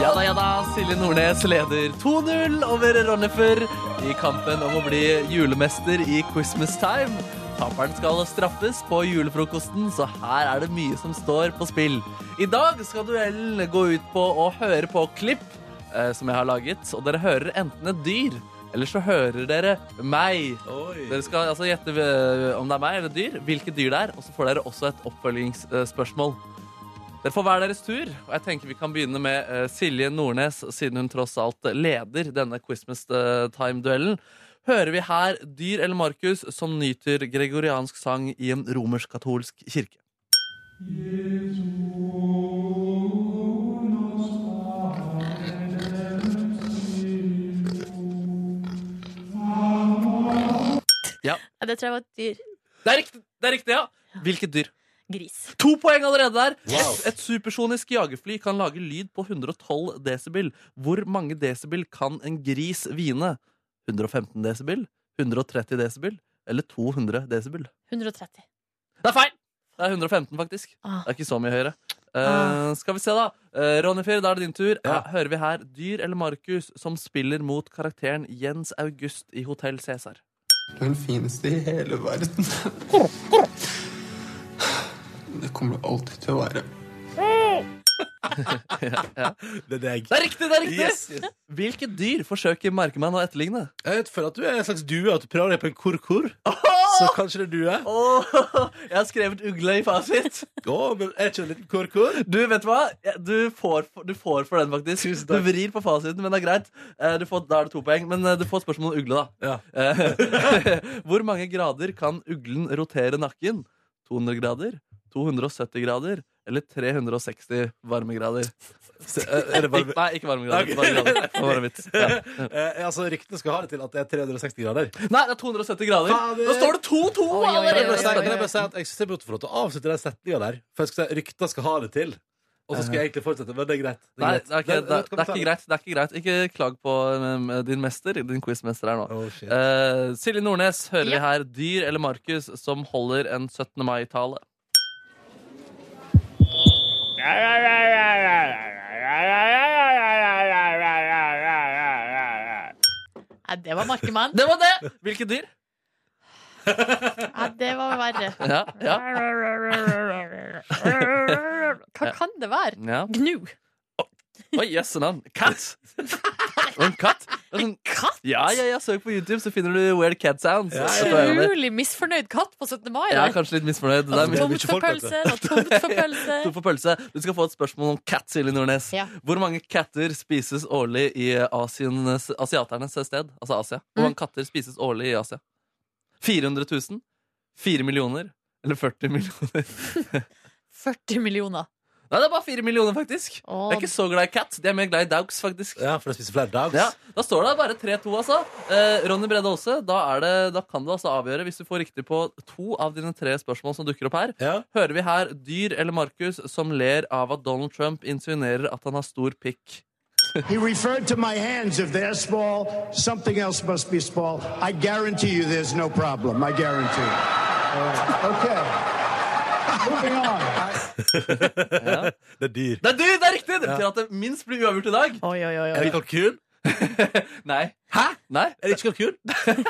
Ja da, ja da. Silje Nordnes leder 2-0 over Ronnifer i kampen om å bli julemester i Christmas Time. Taperen skal straffes på julefrokosten, så her er det mye som står på spill. I dag skal duellen gå ut på å høre på klipp eh, som jeg har laget, og dere hører enten et dyr, eller så hører dere meg. Dere skal altså gjette eh, om det er meg eller dyr, hvilket dyr det er, og så får dere også et oppfølgingsspørsmål. Dere får hver deres tur, og jeg tenker vi kan begynne med eh, Silje Nordnes, siden hun tross alt leder denne Christmas eh, Time-duellen. Hører vi her Dyr eller Markus som nyter gregoriansk sang i en romersk-katolsk kirke?
Ja, Det tror jeg var et dyr.
Det er riktig, det er riktig ja! Hvilket dyr?
Gris.
To poeng allerede der. Et, et supersonisk jagerfly kan lage lyd på 112 desibel. Hvor mange desibel kan en gris hvine? 115 desibel? 130 desibel? Eller 200 desibel?
130.
Det er feil! Det er 115, faktisk.
Ah.
Det er ikke så mye høyere. Eh,
Ah.
skal vi se, da. Uh, Ronny-fyr, da er det din tur.
Ja.
Eh, hører vi her Dyr eller Markus som spiller mot karakteren Jens August i Hotell Cæsar?
Du er den fineste i hele verden. Det kommer du alltid til å være.
Det er deg.
Det er riktig! det er riktig
Yes, yes.
Hvilket dyr forsøker Markemann å etterligne?
Jeg vet, føler at du er en slags due, at du prøver deg på en kur-kur. Så kanskje det er due. Å,
Åh, jeg har skrevet ugle i fasit.
men er ikke det en liten kur-kur?
Du, vet du hva? Ja, Du får, for- du får for den, faktisk. Du vrir på fasiten, men det er greit. Eh, Du får, da er det to poeng. Men eh, du får spørsmål om ugle, da.
Ja.
Eh, Hvor mange grader kan uglen rotere nakken? 200 grader? 270 grader? Eller 360 varmegrader?
Så, eh, er det
Ik
bare...
nei, ikke varmegrader.
Ok.
varmegrader. Det var bare en vits. Ja.
Eh, altså, ryktene skal ha det til at det er 360 grader.
Nei, det er 270 grader.
Fader.
Nå står det 2-2
Oi, oi, oi,
Kan jeg
allerede!
bare si, kan jeg bare si at jeg synes jeg burde få lov til å avslutte den setningen der? For jeg skal si, ryktene skal ha det til. Og så skal jeg egentlig fortsette, men det er greit.
Nei, det er, ikke, det,
Det-
det er ikke greit. Det er ikke greit. Ikke klag på eh, din mester, din quizmester her nå.
Oh, shit.
Eh, Silje Nordnes, hører
Ja.
vi her Dyr eller Markus som holder en 17. mai-tale?
Nei, det var Markemann.
Det var det! Hvilket dyr?
Nei, det var verre.
Ja, ja,
Hva kan det være?
ja.
Gnu.
Oi, jøsse navn. Cat! Og en katt. Det er sånn,
Katt?
ja, ja, ja, søk på YouTube, så finner du Weird Cat Sounds.
Ja, ja, ja.
Jeg
Utrolig misfornøyd katt på 17. mai.
er
der.
kanskje litt misfornøyd. Det er
Altså,
mye
Tomt
mye
for
folk, vet du.
pølser og tomt for pølser.
to for pølse. Du skal få et spørsmål om cat, Silje Nordnes.
Ja.
Hvor mange katter spises årlig i Asiens, asiaternes sted? Altså Asia. Hvor
Mm.
mange katter spises årlig i Asia? 400 000? 4 millioner? Eller 40 millioner?
40 millioner.
Nei, det er bare 4 millioner, faktisk.
Åh.
Jeg er ikke så glad i cat. De er mer glad i daugs, faktisk.
Ja, for jeg spiser flere dogs.
Ja, Da står det bare 3-2, altså. Eh, Ronny Brede Aase, da, er det- da kan du altså avgjøre hvis du får riktig på to av dine tre spørsmål som dukker opp her.
Ja.
Hører vi her dyr eller Markus som ler av at Donald Trump insinuerer at han har stor pikk.
He referred to my hands. If they're small, something else must be small. I guarantee you there's no problem. I guarantee it. Uh, okay. Moving on.
Det er dyr.
Det er dyr, det er riktig! Det betyr at det minst blir uavgjort i dag.
Oi, oi, oi.
Er det kalkun?
Nei. Hæ? Nei,
Er det ikke kalkun?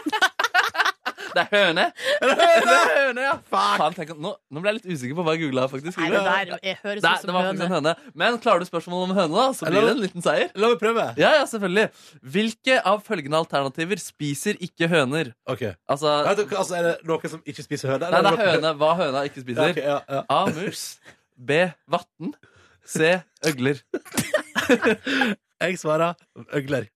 det er høne. Det er høne, ja. Faen, tenk, at- nå, nå ble jeg litt usikker på hva jeg googla, faktisk.
Nei, det der jeg høres
Nei,
ut
det
som
var faktisk en
høne.
høne. Men klarer du spørsmålet om høne, da, så blir det en liten seier.
La meg prøve.
Ja, ja, selvfølgelig. Hvilke av følgende alternativer spiser ikke høner?
Ok.
Altså,
Vent, altså, er det noen som ikke spiser høne?
nei, det
eller
er
noen-
høne hva høna ikke
Ja, ok,
spiser.
ja, ja.
A. Mus. B. Vatten. C. Øgler.
Jeg svarer øgler.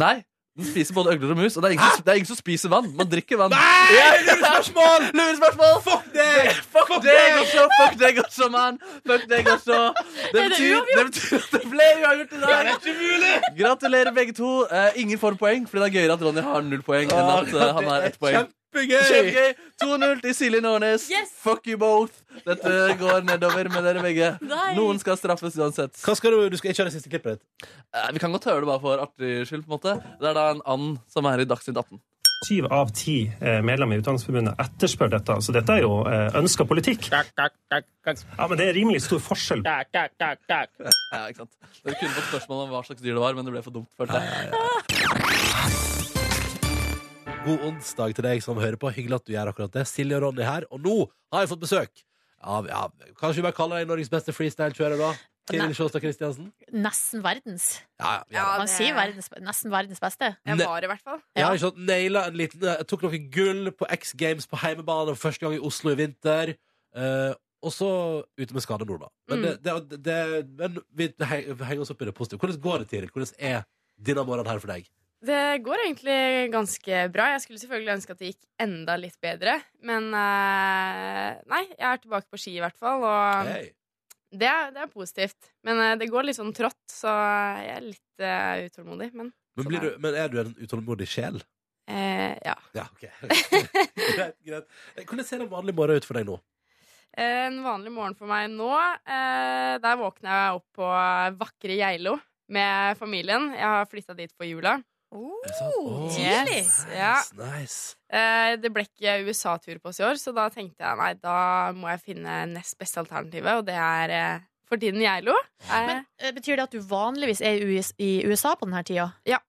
Nei, den spiser både øgler og mus, og det er ingen, som, det er ingen som spiser vann. Man drikker vann. Lurespørsmål! Lurespørsmål! Fuck deg! Fuck, deg også! Fuck deg også, mann! Fuck deg også! Det
Er det
betyr, det betyr at det ble uavgjort i dag. Gratulerer, begge to. Eh, ingen får poeng, fordi det er gøyere at Ronny har null poeng enn
Ah,
at eh, han har ett poeng.
Kjempegøy!
Kjempegøy! 2-0 til Silje Nordnes.
Yes!
Fuck you both! Dette går nedover med dere begge.
Nei.
Noen skal straffes uansett.
Hva skal du, du skal ikke ha det siste klippet ditt.
Eh, Vi kan godt høre det bare for artig skyld. på en måte Det er da en and som er i Dagsnytt 18.
Syv av ti eh, medlemmer i Utdanningsforbundet etterspør dette. Så dette er jo ønska politikk. Ja, Men det er rimelig stor forskjell.
Ja, ikke sant? Dere kunne fått spørsmål om hva slags dyr det var, men det ble for dumt. følte jeg
God onsdag til deg som hører på. Hyggelig at du gjør akkurat det. Silje og Ronny her. Og nå har jeg fått besøk av ja, Kanskje vi bare kaller deg Norges beste freestyle-kjører, da? Kiril Sjåstad Kristiansen?
Nesten verdens.
Ja, ja.
Ja,
ja.
Man
det-
sier verdens, nesten verdens beste.
Jeg var i hvert fall.
Jeg har ikke sant, naila en liten eh, Jeg tok noen gull på X Games på heimebane for første gang i Oslo i vinter. Eh, og så ute med skade nord, da.
Mm.
Men, det, det, det, men vi he- henger oss opp i det positive. Hvordan går det, Tiril? Hvordan er denne morgenen her for deg?
Det går egentlig ganske bra. Jeg skulle selvfølgelig ønske at det gikk enda litt bedre, men eh, nei, jeg er tilbake på ski i hvert fall, og
Hei.
det, er, det er positivt. Men eh, det går litt sånn trått, så jeg er litt eh, utålmodig, men
Men, blir du, men er du en utålmodig sjel?
eh, ja.
Ja, ok. greit, greit. Eh, Hvordan ser en vanlig morgen ut for deg nå?
En vanlig morgen for meg nå, eh, der våkner jeg opp på vakre Geilo med familien. Jeg har flytta dit på jula.
Oh,
Er det sant? Åh,
tidlig.
nice,
Oh, Ja.
nice.
Eh, det ble ikke USA-tur på oss i år, så da tenkte jeg nei, da må jeg finne nest beste alternativet, og det er eh, for tiden Geilo. Eh,
Men eh, Betyr det at du vanligvis er i US i USA på denne tida?
Ja.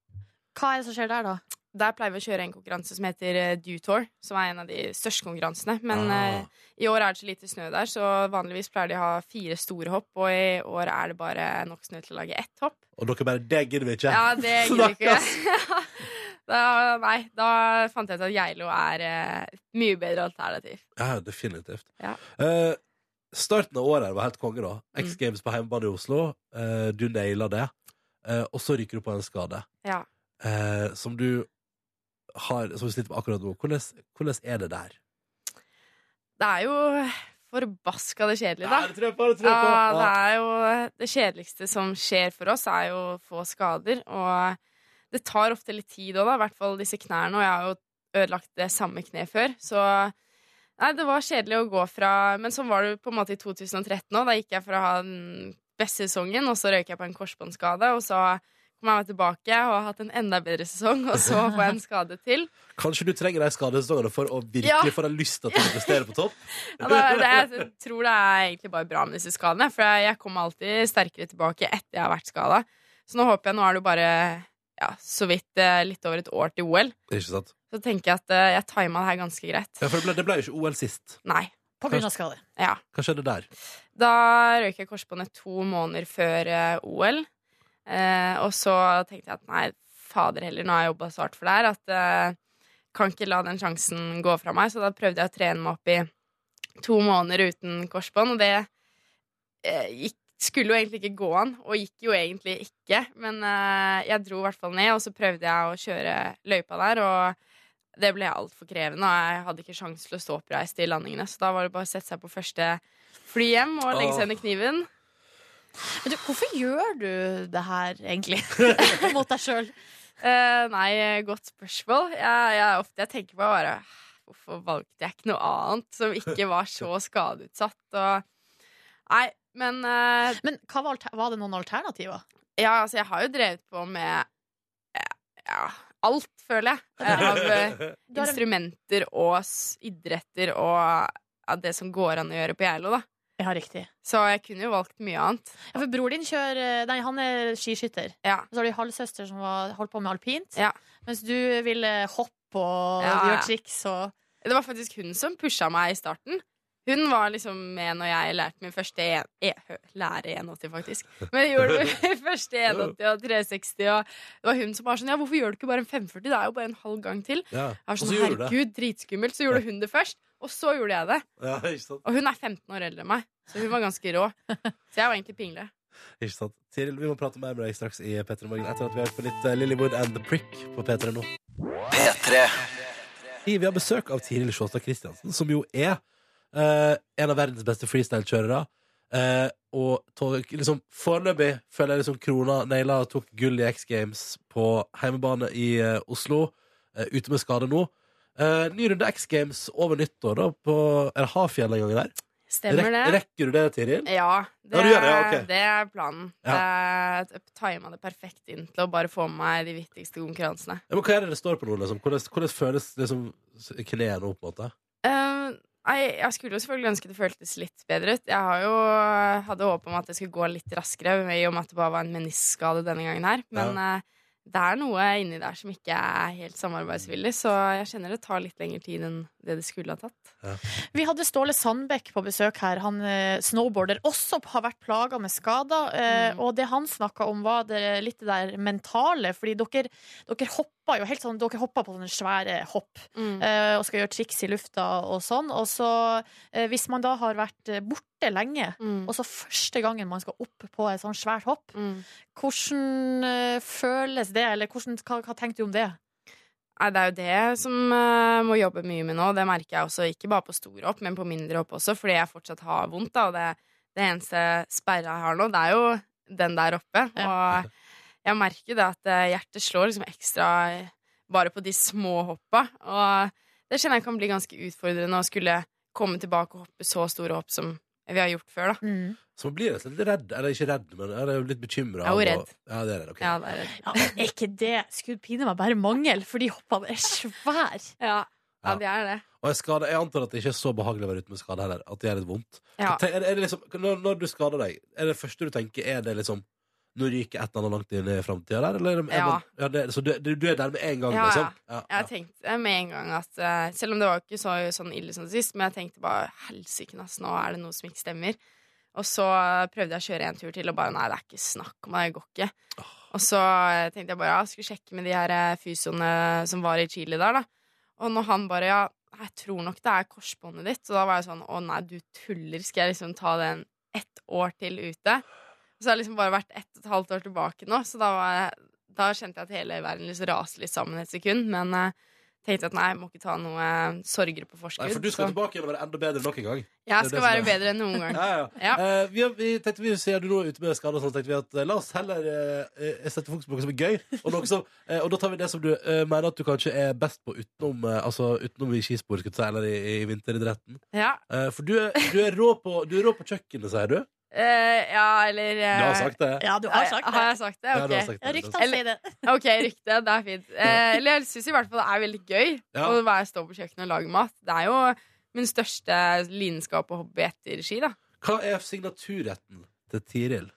Hva er det som skjer der, da?
der pleier vi å kjøre en konkurranse som heter eh, Dutour, som er en av de største konkurransene. Men eh, i år er det så lite snø der, så vanligvis pleier de å ha fire store hopp, og i år er det bare nok snø til å lage ett hopp.
Og dere bare, det gidder vi ikke.
Ja, det gidder vi ikke. da, nei, da fant jeg ut at Geilo er eh, et mye bedre alternativ.
Ja, Mm. definitivt.
Ja.
Eh, starten av året her var helt konge, da. X Games på hjemmebane i Oslo. Eh, du naila det. Eh, og så ryker du på en skade
Ja.
Eh, som du har Som du sliter med akkurat nå. Hvordan, hvordan er det der?
Det er jo forbaska det kjedelige,
Ja,
da.
det tror jeg på, det tror jeg på.
Ja, det
Ja.
er jo det kjedeligste som skjer for oss, er jo å få skader. Og det tar ofte litt tid òg, da. I hvert fall disse knærne. Og jeg har jo ødelagt det samme kneet før, så Nei, det var kjedelig å gå fra Men sånn var det jo på en måte i 2013 òg. Da gikk jeg for å ha den beste sesongen, og så røyk jeg på en korsbåndskade. Og så kom jeg meg tilbake og har hatt en enda bedre sesong, og så får jeg en skade til.
Kanskje du trenger de skadesesongene for å virkelig
Ja.
få deg lysta til å prestere på topp?
Ja, det, det, jeg tror det er egentlig bare bra med disse skadene, for jeg kommer alltid sterkere tilbake etter jeg har vært skada. Så nå håper jeg Nå er det jo bare ja, så vidt eh, litt over et år til OL.
Ikke sant?
Så tenker jeg at eh, jeg tima det her ganske greit.
Ja, for det ble, det ble jo ikke OL sist.
Nei.
På grunn av skade.
Ja.
Hva skjedde der?
Da røyk jeg korsbåndet to måneder før eh, OL. Eh, og så tenkte jeg at nei, fader heller, nå har jeg jobba så hardt for det her at eh, kan ikke la den sjansen gå fra meg. Så da prøvde jeg å trene meg opp i to måneder uten korsbånd, og det eh, gikk, skulle jo egentlig ikke gå an, og gikk jo egentlig ikke. Men eh, jeg dro i hvert fall ned, og så prøvde jeg å kjøre løypa der, og det ble altfor krevende, og jeg hadde ikke sjanse til å stå oppreist i landingene, så da var det bare å sette seg på første fly hjem og legge seg under kniven.
Men du, hvorfor gjør du det her, egentlig? Mot deg sjøl?
Eh, nei, godt spørsmål. Jeg, jeg, ofte jeg tenker på bare Hvorfor valgte jeg ikke noe annet som ikke var så skadeutsatt? Og, nei, men eh,
Men hva var, alter- var det noen alternativer?
Ja, altså, jeg har jo drevet på med eh, ja, alt, føler jeg. eh, Av eh,
Du har en-
instrumenter og s- idretter og ja, det som går an å gjøre på Geilo, da.
Ja, riktig.
Så jeg kunne jo valgt mye annet.
Ja, for bror din kjører eh, Nei, han er skiskytter.
Ja.
Og så har du ei halvsøster som var, holdt på med alpint.
Ja.
Mens du ville hoppe og
Ja, ja.
gjøre triks og
Det var faktisk hun som pusha meg i starten. Hun var liksom med når jeg lærte min første e e hø- lære 180, faktisk. Men jeg gjorde min første 180 og 360, og det var hun som var sånn Ja, hvorfor gjør du ikke bare en 540? Det er jo bare en halv gang til.
Ja.
Jeg var
Og
sånn,
så gjorde du det.
Herregud, dritskummelt. Så gjorde hun det først, og så gjorde jeg det.
Ja, ikke sant?
Og hun er 15 år eldre enn meg, så hun var ganske rå. Så jeg var egentlig pingle.
Ikke sant? Tiril, vi må prate mer med deg straks i P3 Morgen etter at vi har hørt på litt eh, Lillywood and The Prick på P3 nå. Hi, Vi har besøk av Tiril Sjåstad Kristiansen, som jo er eh, en av verdens beste freestyle-kjørere. Eh, og tog, liksom, foreløpig føler jeg liksom krona naila tok gull i X Games på hjemmebane i eh, Oslo. eh, ute med skade nå. Eh, ny runde X Games over nyttår, da, på er det Hafjell en gang der.
Stemmer det?
Rek- rekker du det, Tiril?
Ja, det,
Ja, du gjør det, ja, ok.
det er planen. Jeg tima det perfekt inn til å bare få med meg de viktigste konkurransene.
Ja, men hva er det det står på nå, liksom? Hvordan, hvordan føles liksom, kneet nå, på en måte?
Eh, Nei, jeg skulle jo selvfølgelig ønske det føltes litt bedre ut. Jeg har jo, eh, hadde håp om at det skulle gå litt raskere, i og med at det bare var en meniskskade denne gangen her. Men eh, det er noe inni der som ikke er helt samarbeidsvillig, så jeg kjenner det tar litt lengre tid enn det det skulle ha tatt.
Vi hadde Ståle Sandbekk på besøk her. Han eh, snowboarder også har vært plaga med skader. eh,
Mm.
Og det han snakka om, var det, litt det der mentale. Fordi dere, dere hoppa jo helt sånn Dere hoppa på sånne svære hopp.
Mm.
eh, og skal gjøre triks i lufta og sånn. Og så, eh, hvis man da har vært eh, borte lenge,
Mm.
og så første gangen man skal opp på et sånt svært hopp,
Mm.
hvordan eh, føles det, eller hvordan, hva, hva tenkte du om det?
Nei, det er jo det som eh, må jobbe mye med nå. Det merker jeg også, ikke bare på store hopp, men på mindre hopp også, fordi jeg fortsatt har vondt. Da, og det, det eneste sperra jeg har nå, det er jo den der oppe. Og jeg merker det at eh, hjertet slår liksom ekstra bare på de små hoppa. Og det kjenner jeg kan bli ganske utfordrende å skulle komme tilbake og hoppe så store hopp som vi har gjort før, da.
Så man blir rett og slett litt redd. Eller ikke redd, men er jo litt bekymra.
Jeg er jo redd.
Ja, det er redd, ok.
Ja, det er det.
Ja, men er ikke det skulle pine meg bare mangel, for de hoppene er svære.
Ja, ja det er det.
Og jeg, skader, jeg antar at det ikke er så behagelig å være ute med skade heller. At det gjør litt vondt.
Ja.
Tenk- Er det, er det liksom, når, når du skader deg, er det første du tenker, er det liksom Nå ryker et eller annet langt inn i framtida der? Eller er det- er
Ja.
man, ja det, så du, du du er der med en gang,
Ja, ja.
liksom? Ja, ja.
Jeg tenkte med en gang at eh, Selv om det var jo ikke så, sånn ille som sist, men jeg tenkte bare helsike, ass, nå er det noe som ikke stemmer. Og så prøvde jeg å kjøre en tur til, og bare nei, det er ikke snakk om det, det går ikke. Og så eh, tenkte jeg bare ja, skulle sjekke med de her eh, fysioene som var i Chile der, da. Og når han bare ja, jeg tror nok det er korsbåndet ditt, så da var jeg sånn å nei, du tuller, skal jeg liksom ta den ett år til ute? Og så har jeg liksom bare vært ett og et halvt år tilbake nå, så da var jeg da kjente jeg at hele verden liksom raste litt sammen et sekund, men eh, tenkte at nei, jeg må ikke ta noe eh, sorger på forskudd.
Nei, for du skal
så
tilbake igjen og være enda bedre nok en gang.
jeg
det
skal
som
være
er-
bedre enn noen gang.
Ja, ja.
Ja.
Eh, vi, har- vi tenkte vi sier du nå er ute med skade og sånn, tenkte vi at eh, la oss heller eh, eh, sette fokus på noe som er gøy. Og, noe som, eh, og da tar vi det som du eh, mener at du kanskje er best på utenom, eh, altså, utenom i skispor, skulle jeg si, eller i, i vinteridretten.
Ja,
Eh, for du er, du, er rå på, du er rå på kjøkkenet, sier du.
eh, ja eller
Du
eh,
har sagt det.
Ja, du
har, har jeg sagt det?
Ja, du har
Ok,
sagt det.
Ryktene sier det.
Ok, riktig. Det er fint. Eh, eller jeg syns i hvert fall det er veldig gøy
Ja.
å være stå på kjøkkenet og lage mat. Det er jo min største lidenskap og hobby etter ski, da.
Hva er signaturretten til Tiril?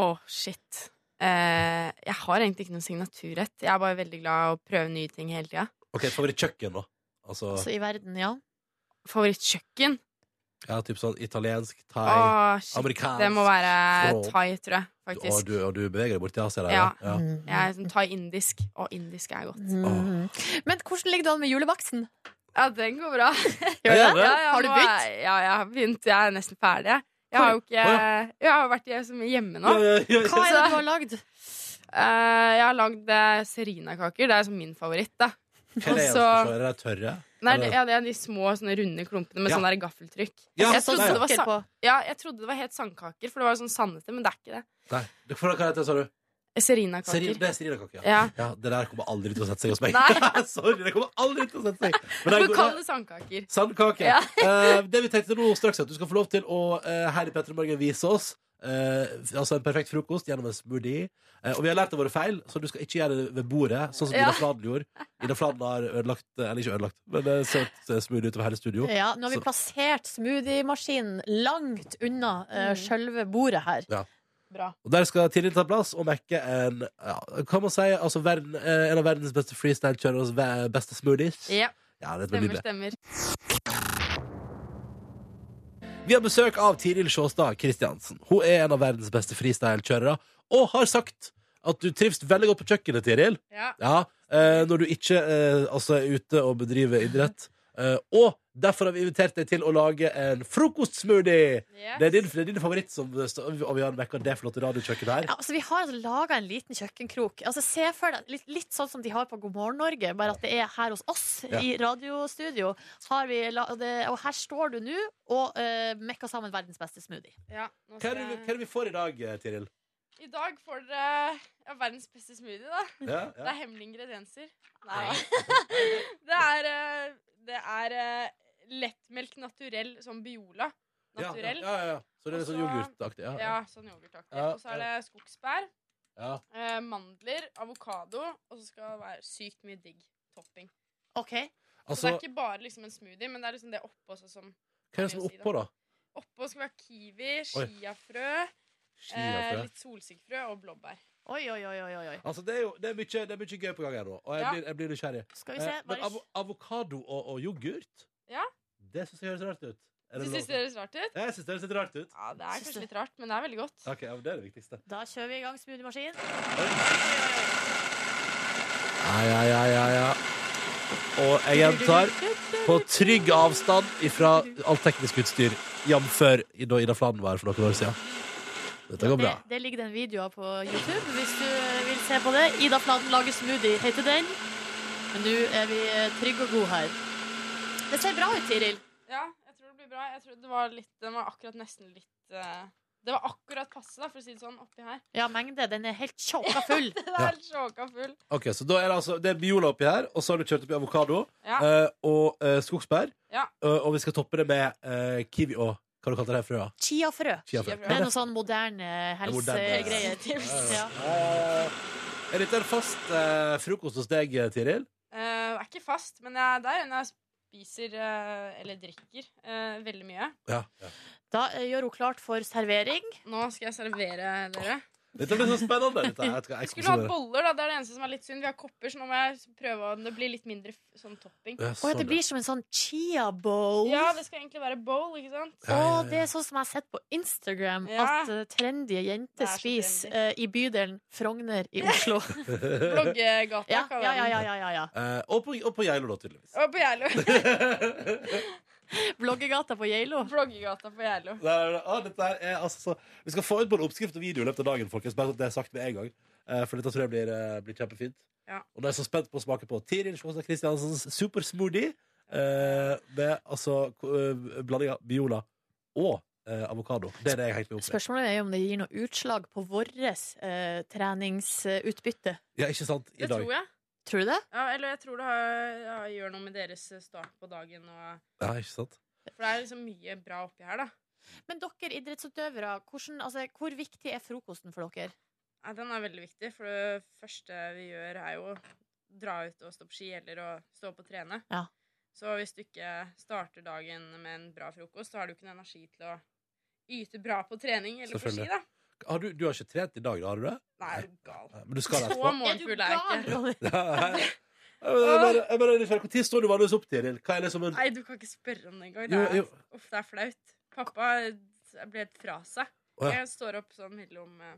Å, shit. Eh, jeg har egentlig ikke noen signaturrett. Jeg er bare veldig glad i å prøve nye ting hele tida.
Ok, Favorittkjøkken, da. Altså,
Altså i verden, ja.
Favorittkjøkken?
Ja, typ sånn italiensk, thai,
Åh, shit.
amerikansk
Det må være
Fra-
thai, tror jeg,
og
faktisk.
du, og du beveger deg borti Asia der,
Ja.
ja.
Jeg er sånn thai-indisk, og indisk er godt.
Mhm. Men hvordan ligger det an med julebaksten?
Ja, den går bra.
Gjør
Ja,
det?
det?
ja,
Har du
nå
begynt?
er- Ja, jeg har begynt. Jeg er nesten ferdig. jeg. Jeg har jo ikke Jeg har jo vært så mye hjemme nå.
Hva er det du har lagd?
Eh, Jeg har lagd eh, serinakaker. Det er sånn min favoritt, da.
Hva er det,
Og
så...
så-
er det tørre?
Nei,
Er
det,
det-
ja, det er de små sånne runde klumpene med
Ja.
sånn der gaffeltrykk.
Ja,
Jeg
trodde
nei,
det var
sukker
sa-
på.
Ja, jeg trodde det var helt sandkaker, for det var jo sånn sandete, men det er ikke det.
nei. Du- For hva heter det, sa du? Seri,
Serinakaker.
det er serinakake, ja.
Ja.
ja. Det der kommer aldri til å sette seg hos meg.
Nei.
Sorry, det kommer aldri til å sette seg. Men
Du
det er
kan
god-
kalle det sandkaker.
Sandkake.
Ja.
Eh, det vi tenkte nå straks, er at du skal få lov til å eh, her i Petter i Morgen vise oss eh, altså en perfekt frokost gjennom en smoothie. Eh, og vi har lært av våre feil, så du skal ikke gjøre det ved bordet, sånn som
Ja.
Ida Fladen gjorde. Ida Fladen har ødelagt eh, Eller ikke ødelagt, men det ser ut, eh, smoothie utover hele studio.
Ja, nå har vi
Så-
plassert smoothiemaskinen langt unna uh, sjølve bordet her.
Og der skal Tiril ta plass og mekke en ja, Kan man si altså verden, eh, en av verdens beste freestyle-kjøreres ve- beste smoothies?
Ja,
Ja, det blir
stemmer,
nydelig.
stemmer.
Vi har besøk av Tiril Sjåstad Kristiansen. Hun er en av verdens beste freestyle-kjørere, og har sagt at du trives veldig godt på kjøkkenet, Tiril.
Ja.
Ja, eh, når du ikke eh, altså er ute og bedriver idrett. Eh, og derfor har vi invitert deg til å lage en frokostsmoothie!
Yes.
Det, er din, det er din favoritt, som, og vi har vekka det flotte radiokjøkkenet her.
Ja, altså, vi har laga en liten kjøkkenkrok. Altså, se for deg, litt, litt sånn som de har på God morgen Norge, bare at det er her hos oss
Ja.
i radiostudio. Har vi, la- det, og her står du nå og uh, mekker sammen verdens beste smoothie.
Ja, nå
Hva
skal
er det, vi- hva
jeg...
er det vi får i dag, eh, Tiril?
I dag får dere ja, verdens beste smoothie, da.
Ja,
Det
ja.
er hemmelige ingredienser. Nei. det er, eh, det er eh, lettmelk naturell, sånn Biola.
Ja, ja,
Naturell.
ja, ja, ja. Så det er sånn
Og så-
yoghurtaktig. Ja, ja.
Ja, sånn yoghurtaktig.
Ja,
Og så er det skogsbær,
ja.
eh, mandler, avokado, og så skal det være sykt mye digg topping.
OK?
Så det
Altså,
er ikke bare liksom en smoothie, men det er liksom det oppå også som
hva er det som er oppå, da?
Oppå skal være kiwi, chiafrø, eh,
Skiafrø.
litt solsikkefrø og blåbær.
Oi, oi, oi, oi, oi. oi.
Altså, det er jo det er mye, det er mye gøy på gang her nå, og jeg,
Ja.
blir, jeg blir nysgjerrig.
Skal vi se.
Eh, men
Bare...
avo avokado og, og yoghurt?
Ja.
Det syns jeg høres rart ut. Er
Du
det
syns det
lov?
høres rart ut?
Jeg syns det høres litt rart ut.
Ja, det er
Syns
kanskje
det.
litt rart, men det er veldig godt.
Ok, ja, men Det er det viktigste.
Da kjører vi i gang smoothiemaskinen.
Ja, ja, ja, ja, ja. Og jeg gjentar på trygg avstand ifra alt teknisk utstyr, jf. da Ida Fladen var her for noen år siden. Dette går
Det,
bra.
det ligger den videoen på YouTube, hvis du eh, vil se på det. Ida Fladen lager smoothie, heter den. Men nå er vi eh, trygge og gode her. Det ser bra ut, Tiril.
Ja, jeg tror det blir bra. Jeg tror det var litt, den var akkurat nesten litt eh, Det var akkurat passe, da, for å si det sånn, oppi her.
Ja, mengde. Den er helt tjåka full.
Den er helt sjåka full.
Ok, så da er Det altså, det er Biola oppi her, og så har du kjørt oppi avokado
Ja.
eh, og eh, skogsbær.
Ja.
Eh, og vi skal toppe det med eh, kiwi og hva du kalte det her frøa?
Chiafrø.
Chiafrø.
Chiafrø.
Det er noe sånn moderne
moderne-
helsegreier. Ja.
Eh, Er dette en fast eh, frokost hos deg, Tiril?
Eh, er ikke fast, men jeg, det er en jeg spiser eh, eller drikker eh, veldig mye.
Ja.
Da eh, gjør hun klart for servering.
Nå skal jeg servere dere.
Dette blir så spennende. Dette. her. Jeg skal, jeg
Vi
skal
skulle hatt
se det.
boller, da. Det er det eneste som er litt synd. Vi har kopper, så nå må jeg prøve om det blir litt mindre f- sånn topping.
Ja,
Og
sånn,
det blir som en sånn chia bowl.
Ja, det skal egentlig være bowl, ikke sant?
Ja, ja, ja.
Å, det er sånn som jeg har sett på Instagram
Ja.
at eh, trendy
Det er
jenter
så
spiser
trendy.
eh, i bydelen Frogner i Oslo.
Bloggegata.
ja,
kan
ja, ja,
være den.
ja, ja, ja, ja.
Eh, og, på, og på Geilo, da, tydeligvis.
Og på Geilo.
Bloggegata på Geilo.
Bloggegata på Geilo.
Nei, nei, nei. Å, dette her er altså så Vi skal få ut både oppskrift og video i løpet av dagen, folkens. Bare så det er sagt med en gang. Eh, for dette tror jeg blir, eh, blir kjempefint.
Ja.
Og det er så spent på å smake på Tiril Sjåstad Kristiansens supersmoothie eh, med altså ko- eh, blanding av Biola og eh, avokado. Det er det jeg henger meg opp i.
Spørsmålet er jo om det gir noe utslag på vårt eh, treningsutbytte.
Ja, ikke sant? I
Det
dag.
tror jeg.
Tror du det?
Ja, eller jeg tror det har, ja, gjør noe med deres start på dagen. Og,
Ja, ikke sant?
for det er liksom mye bra oppi her, da.
Men dere idrettsutøvere, hvordan, altså, hvor viktig er frokosten for dere?
Ja, den er veldig viktig, for det første vi gjør, er jo å dra ut og stå på ski eller å stå opp og trene.
Ja.
Så hvis du ikke starter dagen med en bra frokost, så har du ikke noe energi til å yte bra på trening eller på ski,
Selvfølgelig.
da.
Har du, du har ikke trent i dag, da? Har du det?
Nei, er du gal.
Men du skal det
Så
etterpå?
morgenfull er jeg ikke.
Ronny?
Nei, Jeg bare- jeg bare er nysgjerrig. Hvor tid står du vanligvis opp, Tiril? Hva er liksom en
Nei, du kan ikke spørre om det engang. Det
Jo,
er,
jo.
Uff, det er flaut. Pappa ble helt fra seg.
Å, ja.
Jeg står opp sånn mellom eh,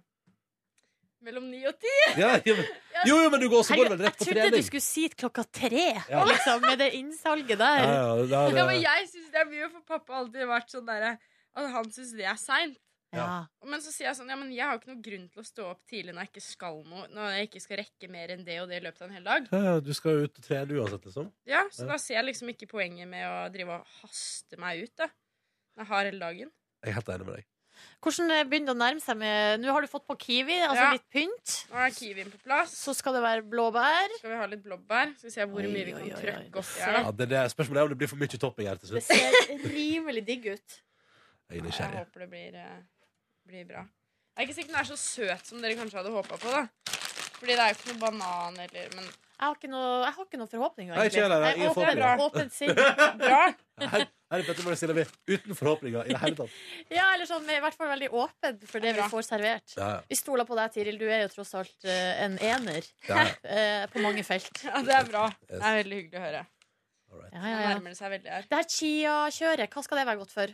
Mellom ni og ti.
ja, ja, men- Jo, jo, men du går også går du
Herregud,
vel
jeg
rett på
trodde du
trening.
skulle si klokka tre,
Ja.
liksom, med det innsalget der.
Ja, ja, det er-
Ja, men jeg syns det er mye, for pappa har alltid vært sånn derre at han syns det er seint.
Ja.
Men så sier jeg sånn Ja, men jeg har jo ikke noen grunn til å stå opp tidlig når jeg ikke skal noe Når jeg ikke skal rekke mer enn det og det i løpet av en hel dag.
Ja, ja, du skal jo ut og trene uansett, liksom.
Ja, Så da ser jeg liksom ikke poenget med å drive og haste meg ut, da. Når jeg har hele dagen.
Jeg er helt enig med deg.
Hvordan eh, begynner det å nærme seg med Nå har du fått på kiwi, altså
Ja.
litt pynt.
Nå er kiwien på plass.
Så skal det være blåbær.
Skal vi ha litt blåbær? Skal vi se hvor
Oi,
mye vi
oi,
kan
oi, oi.
trøkke opp
Se.
i her, da.
Ja, det er det. Spørsmålet er om det blir for mye topping her til
Det
slutt.
ser rimelig digg ut.
Jeg er
Jeg
nysgjerrig.
håper det blir, eh, blir bra. Jeg er ikke sikker den er så søt som dere kanskje hadde håpa på, da. Fordi det er jo ikke noe banan eller Men
Jeg har ikke noe, jeg har ikke noe forhåpninger,
Nei, ikke jeg heller. Ingen
åpen-
forhåpninger.
Åpent sinn.
bra.
Her, her er Petter Møller stiller vi uten forhåpninger i det hele tatt.
Ja, eller sånn, men i hvert fall veldig åpent for det
Bra.
vi får servert.
Ja, ja.
Vi stoler på deg, Tiril. Du er jo tross alt eh, en ener
Ja, ja.
eh, på mange felt.
Ja, det er bra. Det er veldig hyggelig å høre.
Ja,
Nå
ja, ja.
nærmer det seg veldig her.
Det her chia-kjøret, hva skal det være godt for?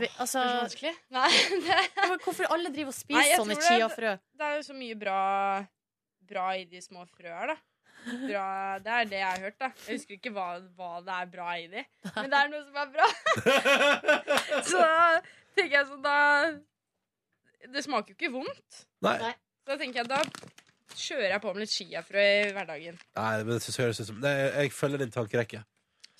Vi, altså,
Er det så vanskelig? Nei, det,
ja, men hvorfor alle driver og
Nei,
spiser
jeg
sånne
tror det-
chia-frø?
det er jo så mye bra Bra i de små frøa, da. Bra, det er det jeg har hørt, da. Jeg husker ikke hva, hva det er bra i de, men det er noe som er bra. Så da tenker jeg sånn, da Det smaker jo ikke vondt.
Nei.
Så da tenker jeg, da kjører jeg på med litt chiafrø i hverdagen.
Nei, men det synes jeg høres ut som Nei, Jeg følger din tankerekke.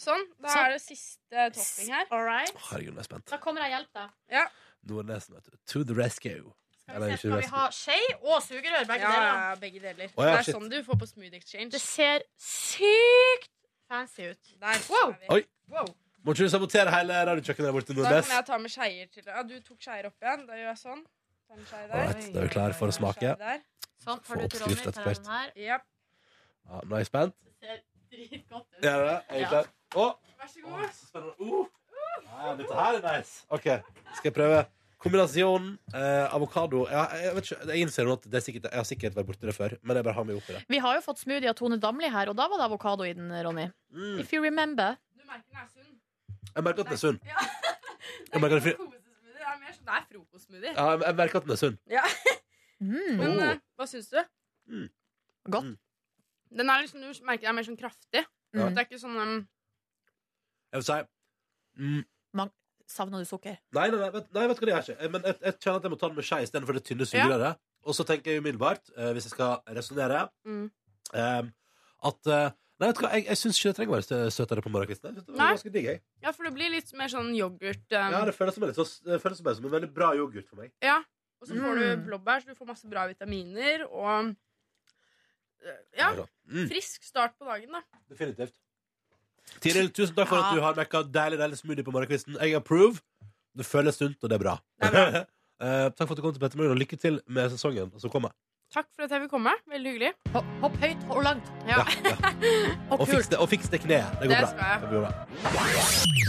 Sånn. Da
Sånn.
er det siste topping her.
All right.
Herregud, nå er jeg spent.
Da kommer jeg og hjelper deg.
Nordnesen, vet du. To the rescue.
Skal vi,
Eller
se,
ikke
skal vi
resten.
ha skje og sugerør, begge
Ja,
deler?
ja, begge deler.
Å, ja,
det er
shit.
sånn du får på Smooth Exchange.
Det ser sykt fancy ut.
Der
Wow.
er vi.
Oi.
Wow.
Må ikke du sabotere hele radiokjøkkenet der borte,
Da
Nordnes?
kan jeg ta med skeier til Ja, du tok skeier opp igjen. Da gjør jeg sånn. Ta med skeier der.
Alright, da er vi klare for å smake.
Skeier der.
Sånn,
Få
tar du til Ronny.
oppskrift
tar jeg
etter hvert.
den her.
Ja.
Ja, nå er jeg spent.
Dritgodt ut.
Er det det? Er jeg
Ja.
klar? Å,
Vær så
å,
god.
så spennende. Oh. Ja, dette her er nice. OK, skal jeg prøve. Kombinasjonen eh, avokado ja, jeg, vet ikke, jeg innser nå at det er sikkert, jeg har sikkert vært borti det før, men jeg bare har meg oppi det.
Vi har jo fått smoothie av Tone Damli her, og da var det avokado i den, Ronny.
Mm.
If you remember.
Du merker den er sunn.
Jeg merker at den er sunn.
Ja.
Jeg merker, at den er fri-
Kosesmoothie. Det er mer sånn det er frokostsmoothie.
ja, jeg merker at den er sunn.
Mm,
Men
Oh. Mm.
eh, hva syns du?
godt.
Den er liksom, du merker den er mer sånn kraftig.
Ja.
Det er ikke sånn um,
Jeg vil si mm,
Savner du sukker?
Nei, nei, nei, vet, nei, vet du hva det er ikke. Men jeg, jeg kjenner at jeg må ta den med skje istedenfor det tynne sugerøret. Og så tenker jeg umiddelbart, eh, hvis jeg skal resonnere,
Mm.
ehm, at eh, Nei, vet du hva, jeg, jeg syns ikke det trenger å være stø- søtere på morgenkvisten. Jeg synes det var
Nei.
ganske digg, jeg.
Ja, for det blir litt mer sånn yoghurt. Um,
Ja, det føles som en, litt så- det føles som en, som en veldig bra yoghurt for meg.
Ja, og så
Mm.
får du blåbær, så du får masse bra vitaminer og
øh,
eh, Ja,
Mm,
frisk start på dagen, da.
definitivt. Tiril, tusen takk for
Ja.
at du har mekka deilig deilig smoothie på morgenkvisten. Jeg approve. Det føles sunt, og det er bra.
Det er bra.
Eh, takk for at du kom til Petter Morgen, og lykke til med sesongen som kommer.
Takk for at jeg vil komme. Veldig hyggelig.
Hopp, hopp høyt og langt.
Ja,
ja.
Og
Og
kult.
fiks det, og fiks det kneet. Det går
Det
bra.
skal jeg.
Det blir bra.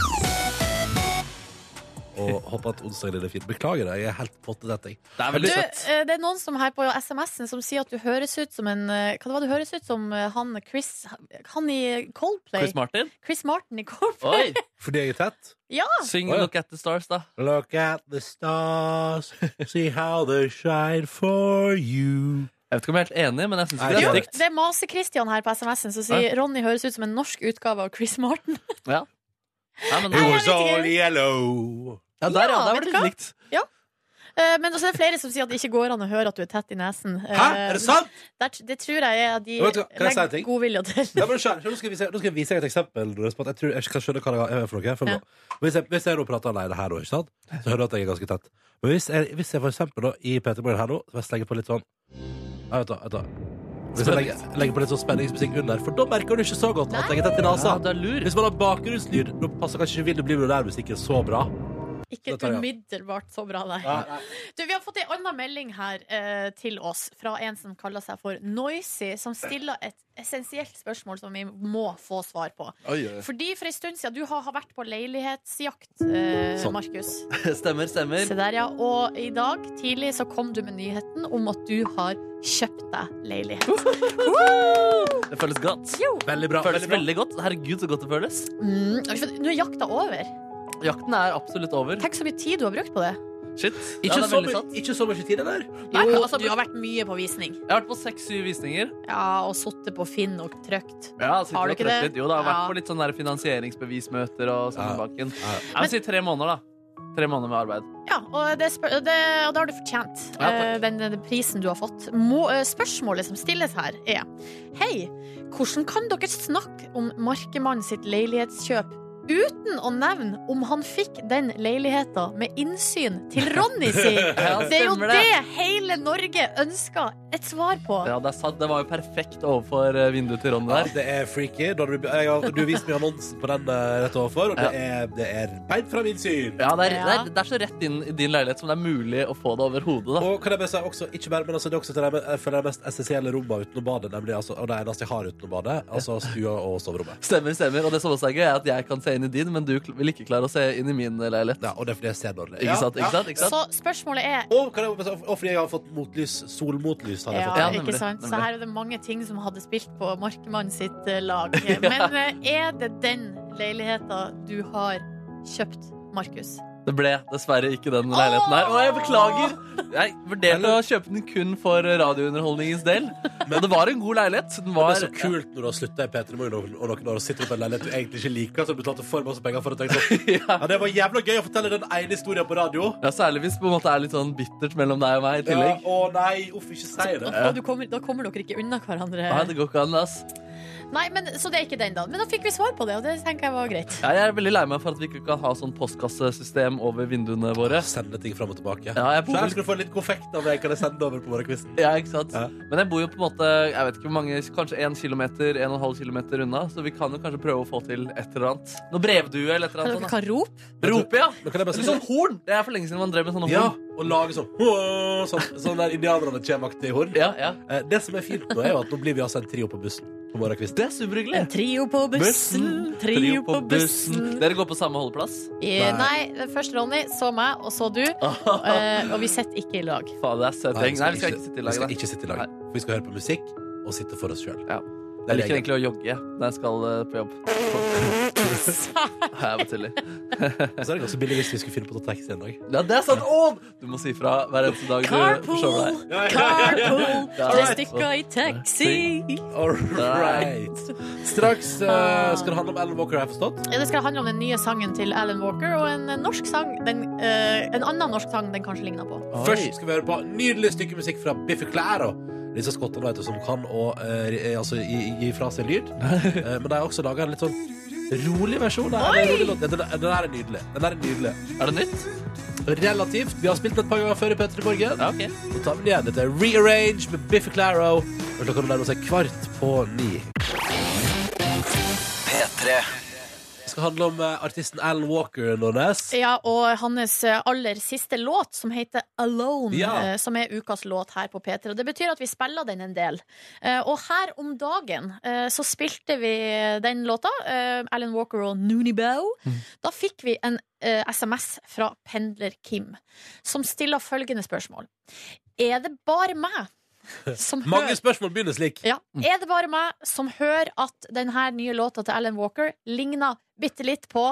Og håper at onsdagen din er fin. Beklager det, jeg er helt pottetett. jeg.
Det er
Du,
veldig søtt.
eh, det er noen som her på SMS-en som sier at du høres ut som en eh, Hva det var du høres ut som? eh, Han Chris Han i Coldplay.
Chris Martin.
Chris Martin i Coldplay.
Oi!
Fordi jeg er tett?
Ja!
Syng
Å, ja.
'Look at the Stars', da.
Look at the stars, see how they shine for you.
Jeg vet ikke om jeg er helt enig, men jeg syns
Nei,
ikke det
jo,
er stygt.
Det er Mase-Christian her på SMS-en som sier Ronny høres ut som en norsk utgave av Chris Martin.
Nei, men,
It
ja,
was all yellow.
der, ja,
Ja,
der
vet
var det
du hva?
litt likt.
Eh, Men også er det flere som sier at det ikke går an å høre at du er tett i nesen. Eh,
Hæ, er det sant?
Der, t- det tror jeg er at de
Vet du hva, kan jeg si en
legger
ting?
godvilje til.
Nei, men skjønner, nå, skal jeg vise, nå skal jeg vise deg et eksempel. Nordnes, på at Jeg tror jeg kan skjønne hva det er for noe. For
Ja.
nå- hvis, jeg, hvis jeg nå prater alene her, nå, ikke sant? så hører du at jeg er ganske tett. Men hvis jeg, hvis jeg for eksempel da, i P3 Morgen her nå, så bare slenger på litt sånn ja, vet du, vet du. Hvis jeg legger, legger på litt sånn spenningsmusikk under, for da merker du ikke så godt at jeg er tett i
Ja,
nesa.
du er lur.
Hvis man har bakgrunnslyd, da passer kanskje ikke Vil du bli millionær-musikken så bra.
Ikke
Det tar jeg.
umiddelbart så bra, nei. Du, vi har fått ei anna melding her eh, til oss fra en som kaller seg for Noisy, som stiller et essensielt spørsmål som vi må få svar på.
Oi, oi.
Fordi for ei stund siden du har, har vært på leilighetsjakt, eh,
Sånn.
Markus.
Stemmer, stemmer.
Se der, ja. Og i dag tidlig så kom du med nyheten om at du har kjøpt deg leilighet.
Det føles godt.
Veldig bra.
føles
Veldig bra.
veldig godt. Herregud, så godt det føles.
Mm, for nå er jakta over.
Jakten er absolutt over.
Tenk så mye tid du har brukt på det.
Shit. Ja,
Ikke,
det er
så
veldig
mye,
sant.
ikke så mye tid, eller?
Nei, altså, du har vært mye på visning.
Jeg har vært på seks-syv visninger.
Ja, og sittet på Finn og trykt.
Ja, sitter
Har du
og
ikke
trøkker
det?
Litt. Jo, det har vært
Ja.
på litt sånn der finansieringsbevismøter og sånn
Ja.
i bakken.
Ja.
Jeg vil si tre måneder, da. Tre måneder med arbeid.
Ja, og det, spør, det, og det har du fortjent.
Ja, takk.
eh, den, den prisen du har fått. Må, eh, spørsmålet som stilles her, er Hei, hvordan kan dere snakke om Markemann sitt leilighetskjøp uten å nevne om han fikk den leiligheten med innsyn til Ronny si?
Ja,
Det er jo
stemmer det.
det hele Norge ønsker et svar på.
Ja, det er sant. Det var jo perfekt overfor eh, vinduet til Ronny
Ja,
der.
det er freaky. Da Du, jeg, har- du viste meg annonsen på den eh, rett overfor, og det er, det er beint fra min syn.
Ja, det er,
Ja.
Det, er, det er så rett inn i din leilighet som det er mulig å få det over hodet, da.
Og kan jeg bare si også, ikke bare, men altså, det er også til de, jeg føler de mest essensielle rommene utenom badet, nemlig altså, og det eneste jeg har utenom badet, altså stua og soverommet.
Stemmer, stemmer. Og det som også er gøy, er at jeg kan se inn i din, men du kl- vil ikke klare å se inn i min leilighet.
Ja, og det er fordi jeg ser dårlig.
Ikke sant? Ikke sant? Ikke sant?
Så spørsmålet er
Og, kan jeg, bare si, og fordi jeg har fått motlys, solmotlys, har jeg
Ja,
fått.
Ja,
ikke
nemlig,
sant? Så
nemlig.
her er det mange ting som hadde spilt på Markemann sitt eh, lag. Men eh, er det den leiligheten du har kjøpt, Markus?
Det ble dessverre ikke den leiligheten her. Og jeg beklager! Jeg vurderte å kjøpe den kun for radiounderholdningens del. Men det var en god leilighet. Den
Det
var
er så kult når du har slutta i P3 Morgen og og noen år og sitter oppe i en leilighet du egentlig ikke liker, så du betalte for masse penger for å tenke sånn. Ja, det var jævla gøy å fortelle den ene historien på radio.
Ja, Særlig hvis det på en måte er litt sånn bittert mellom deg og meg i
Ja,
tillegg.
å nei, uff, ikke si det.
Og du kommer, da kommer dere ikke unna hverandre.
Nei, det går ikke an, ass.
Nei, men, Så det er ikke den, da. Men da fikk vi svar på det, og det tenker jeg var greit.
Ja, jeg er veldig lei meg for at vi ikke kan ha sånn postkassesystem over vinduene våre.
Sende ting fram og tilbake.
Ja, jeg
Så her
bor,
skal du få litt konfekt av meg, kan jeg sende over på morgenkvisten.
ja, ikke sant?
Ja.
Men jeg bor jo på en måte jeg vet ikke hvor mange, kanskje 1 km, 1,5 km unna, så vi kan jo kanskje prøve å få til et eller annet. Noe brevdue eller et eller
Dere
annet.
kan rope.
sånt. Rope, ja!
Men kan jeg
Eller
bare si
sånn horn! Det er for lenge siden man drev med sånne
Ja,
horn.
og lage sånn «Åh», Sånn, sånn der indianerne kommer-aktig horn.
Ja, ja.
Eh, Det som er fint nå, er jo at nå blir vi altså en trio på bussen på morgenkvisten.
Det er superhyggelig.
En trio på bussen, trio på bussen.
Dere går på samme holdeplass?
Eh, Nei, først Ronny, så meg, og så du. Eh, og vi sitter ikke i lag.
Faen, det er søt
Nei,
gjeng. Nei, vi skal ikke sitte i
vi
lag.
skal
nei.
ikke sitte i lag. For Vi skal høre på musikk og sitte for oss sjøl.
Ja. Jeg liker egentlig å jogge når jeg skal eh, på jobb. Nei, Jeg bare tuller.
Og så er det ganske billig hvis vi skulle finne på å ta taxi en dag.
Ja, det er sant! Å, du må si fra hver eneste dag du forsover
Carpool,
deg.
carpool, tre
Alright.
stykker i taxi.
All right. Straks eh, skal det handle om Ellen Walker, har jeg forstått.
Ja, Eh, Det skal handle om den nye sangen til Alan Walker og en norsk sang. Den, eh, en annen norsk sang den kanskje ligner på.
Først skal vi høre på nydelig stykke musikk fra Biffy Clyro. Disse skottene vet du, som kan å eh, re- altså, gi, gi fra seg lyd. Eh, men de har også laga en litt sånn rolig versjon. Nei, det er en rolig låt. Den, den, den her er nydelig. Den her er nydelig.
Er det nytt?
Relativt. Vi har spilt den et par ganger før i P3 Morgen.
Ja, ok.
Så tar vi den igjen. Dette er Rearrange med Biffy Claro. Og klokka nærmer seg kvart på ni. Det skal handle om eh, artisten Alan Walker, Nordnes.
Ja, og hans eh, aller siste låt, som heter Alone,
Ja.
eh, som er ukas låt her på P3. Og det betyr at vi spiller den en del. Eh, og her om dagen eh, så spilte vi den låta, eh, Alan Walker og Noonie Bow.
Mm.
Da fikk vi en eh, SMS fra pendler-Kim, som stiller følgende spørsmål. Er det bare meg som
Mange spørsmål begynner slik.
Ja. Er det bare meg som hører at denne nye låta til Alan Walker ligner bitte litt på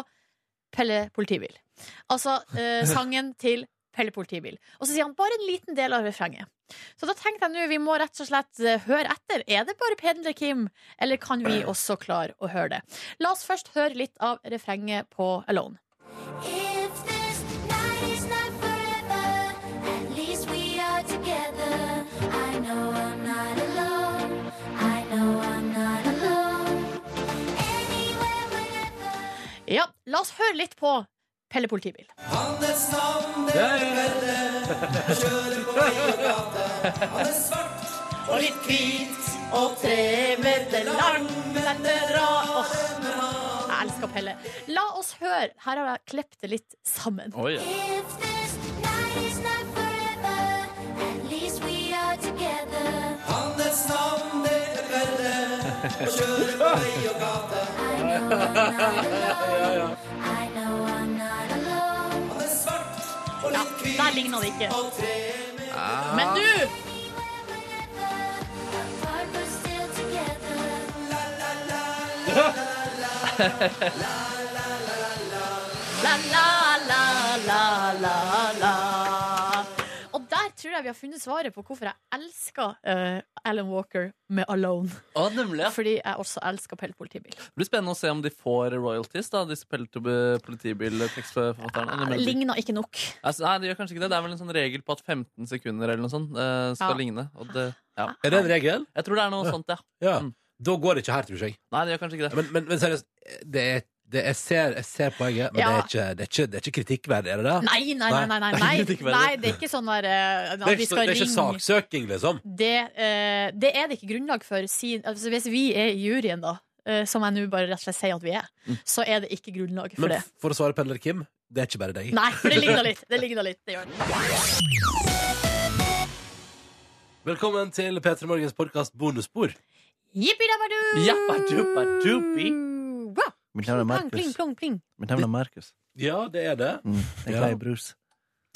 Pelle Politibil? Altså eh, sangen til Pelle Politibil. Og så sier han bare en liten del av refrenget. Så da tenkte jeg nå, vi må rett og slett eh, høre etter. Er det bare Pedler Kim, eller kan vi også klare å høre det? La oss først høre litt av refrenget på Alone.
If this night is not forever, at least we are together. I know I'm not alone. I know I'm not alone. Anywhere, whenever.
Ja, la oss høre litt på Pelle Politibil. Og litt hvit og tre meter lang. Dette drar Jeg elsker av Pelle. La oss høre. Her har jeg klippet det litt sammen.
Oi, ja.
If this night is not forever, at least we are together. I know I'm not alone. I know I'm not alone.
Ja, der ligner det ikke. Men du!
Apart, we're still together.
La, la, la, la, la, la. Og der tror jeg vi har funnet svaret på hvorfor jeg elsker eh, Alan Walker med 'Alone'.
Å, nemlig, ja.
Fordi jeg også elsker Pelle Politibil.
Det blir spennende å se om de får royalties, da, disse politibiltekstforfatterne.
Ligner ikke nok.
Altså, nei, det gjør kanskje ikke det. Det er vel en sånn regel på at 15 sekunder eller noe sånt eh, skal
Ja.
ligne. Og det, ja.
Er det en regel?
Jeg tror det er noe sånt, ja.
Ja.
Mm.
Da går det ikke her, tror jeg.
Nei, det gjør kanskje ikke det.
Men, men, men seriøst, det er, det jeg, ser, jeg ser poenget, men
Ja.
det, er ikke, det, er ikke, det er ikke kritikkverdig, er det det?
Nei, nei, nei. nei, nei, nei.
Det er ikke veldig.
nei det er ikke sånn der eh,
Det
at vi
er ikke, det
skal
er ikke
ringe
saksøking, liksom.
det, eh, det er det ikke grunnlag for. sin- altså, hvis vi er i juryen, da, eh, som jeg nå bare rett og slett sier at vi er, så er det ikke grunnlag for
Mm. Men
det.
f- for å svare pendler Kim, det er ikke bare deg.
Nei, for det ligner litt. Det ligner litt, det gjør det.
Velkommen til P3 Morgens podkast Bonusspor.
Jippi-dabba-du!
Jappa-duppa-dupi.
Wow.
Mitt navn er
Pling, pling,
Markus.
plong, pling.
Mitt navn er Markus.
Ja, det er det.
Mm. Jeg er
Ja.
glad i brus.